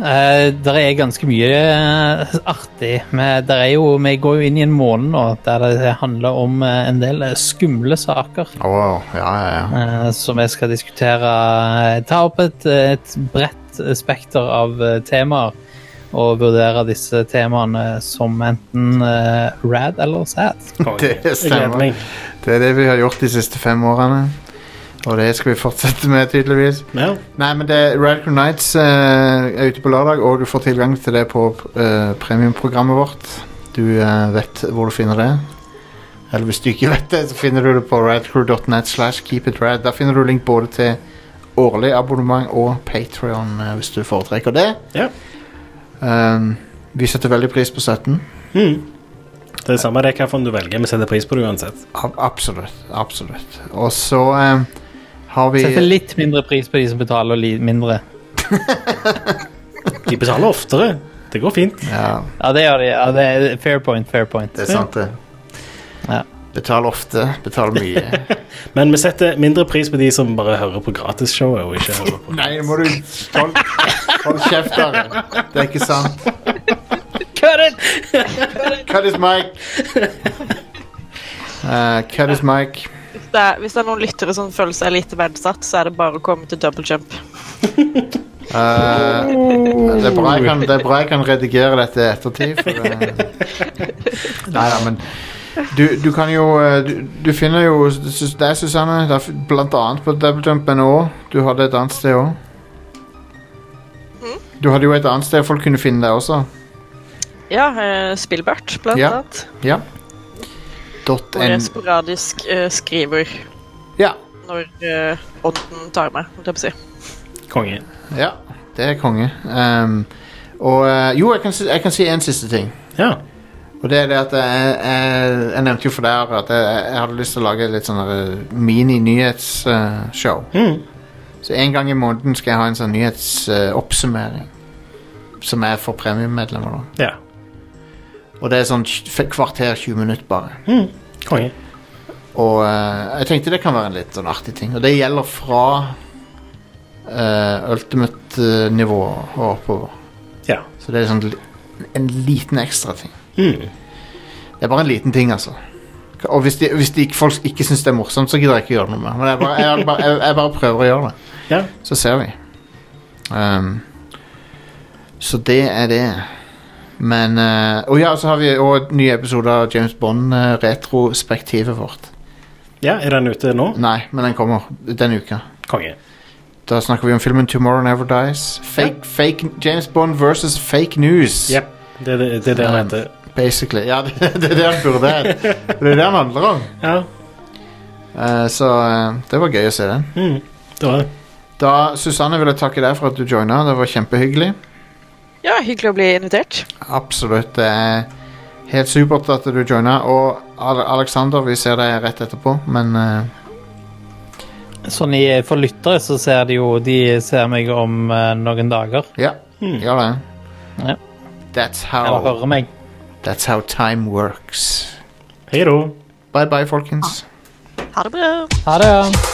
S7: Eh, der er ganske mye eh, artig. Men der er jo, vi går jo inn i en måned nå der det handler om eh, en del eh, skumle saker.
S1: Å, ja, ja, ja.
S7: eh, som jeg skal diskutere. Eh, Ta opp et, et bredt spekter av eh, temaer og vurdere disse temaene som enten eh, rad eller sad.
S1: Det
S2: Jeg gleder
S1: stemmer.
S2: meg.
S1: Det er det vi har gjort de siste fem årene. Og det skal vi fortsette med, tydeligvis.
S2: Ja.
S1: Nei, men det Radical Nights eh, er ute på lørdag, og du får tilgang til det på eh, premiumprogrammet vårt. Du eh, vet hvor du finner det. Eller hvis du ikke vet det, så finner du det på radcrew.net. slash keep it rad. Der finner du link både til årlig abonnement og Patrion, eh, hvis du foretrekker det.
S2: Ja.
S1: Um, vi setter veldig pris på støtten.
S2: Mm. Det er samme det hvilken du velger, vi setter pris på det uansett.
S1: Ab absolutt. Absolutt. Og så eh, har vi
S7: Sette litt mindre pris på de som betaler li mindre.
S2: De betaler oftere. Det går fint.
S1: Ja,
S7: Ja, det gjør de. Ja, det er fair point, fair point.
S1: det er sant, det.
S7: Ja.
S1: Betal ofte, betal mye.
S2: Men vi setter mindre pris på de som bare hører på gratisshowet. og ikke hører på
S1: Nei, nå må du Hold, hold kjeft, da. Det er ikke sant.
S7: Cut it!
S1: Cut his mic. Eh, cut his mic.
S3: Hvis det, er, hvis det er noen lyttere som føler seg lite verdsatt, så er det bare å komme til double jump.
S1: Eh, det, er bra jeg kan, det er bra jeg kan redigere dette i ettertid. For det... Nei da, men du, du kan jo eh, du, du finner jo Det er Susanne, det er f- blant annet på Double Jump NO. Du hadde et annet sted òg. Du hadde jo et annet sted folk kunne finne deg også.
S3: Ja, uh, Spillbart, blant
S1: Ja.
S3: annet.
S1: Ja. Dot
S3: Hvor jeg
S1: N...
S3: sporadisk eh, skriver
S1: Ja.
S3: når eh, ånden tar meg, holdt jeg på å si.
S2: kongen.
S1: Ja, det er konge. Ehm, og eh, jo, jeg kan, si- jeg kan si en siste ting.
S2: Ja.
S1: Og det er det at jeg, jeg, jeg nevnte jo for deg at jeg, jeg hadde lyst til å lage litt sånn der, eh, mini-nyhetsshow.
S2: Mm.
S1: Så en gang i måneden skal jeg ha en sånn nyhetsoppsummering. som er for premiummedlemmer, da.
S2: ja.
S1: Og det er sånn tj- f- kvarter 20 minutter bare.
S2: Konge.
S1: Og eh, jeg tenkte det kan være en litt sånn artig ting. Og det gjelder fra eh, ultimate-nivå og oppover.
S2: Ja.
S1: Så det er sånn li- en liten ekstra ting.
S2: Mm.
S1: Det er bare en liten ting, altså. Og hvis, de, hvis de, ikke- folk ikke syns det er morsomt, så gidder jeg ikke gjøre noe med Men jeg bare, jeg, bare, jeg, jeg bare prøver å gjøre det.
S2: Ja.
S1: Så ser vi. Ehm, så det er det. Men eh, Og ja, så har vi òg nye episoder av James Bond-retrospektivet vårt.
S2: ja. Er den ute nå?
S1: Nei, men den kommer denne uka.
S2: Konge.
S1: Da snakker vi om filmen 'Tomorrow Never Dies'. Fake, fake James Bond versus fake news.
S2: Jep. Det er det, det, er det den heter.
S1: Basically. Ja, det, det er det han burde hett. Det er det han handler om.
S2: Ja.
S1: Eh, så eh, det var gøy å se den.
S2: Mm. Det var det.
S1: Da, Susanne, vil jeg takke deg for at du joina. Det var kjempehyggelig.
S3: Ja, hyggelig å bli invitert.
S1: Absolutt. Det er helt supert at du joina. Og Ale- Alexander, vi ser deg rett etterpå, men eh,
S7: Sånn i, for lyttere så ser de jo De ser meg om eh, noen dager.
S1: ja. Gjør det.
S7: Ja.
S1: That's
S7: Eller
S1: how,
S7: hører meg.
S1: that's how time works.
S2: Hei da.
S1: Bye bye, folkens.
S3: Ha det bra.
S7: Ha det. ja.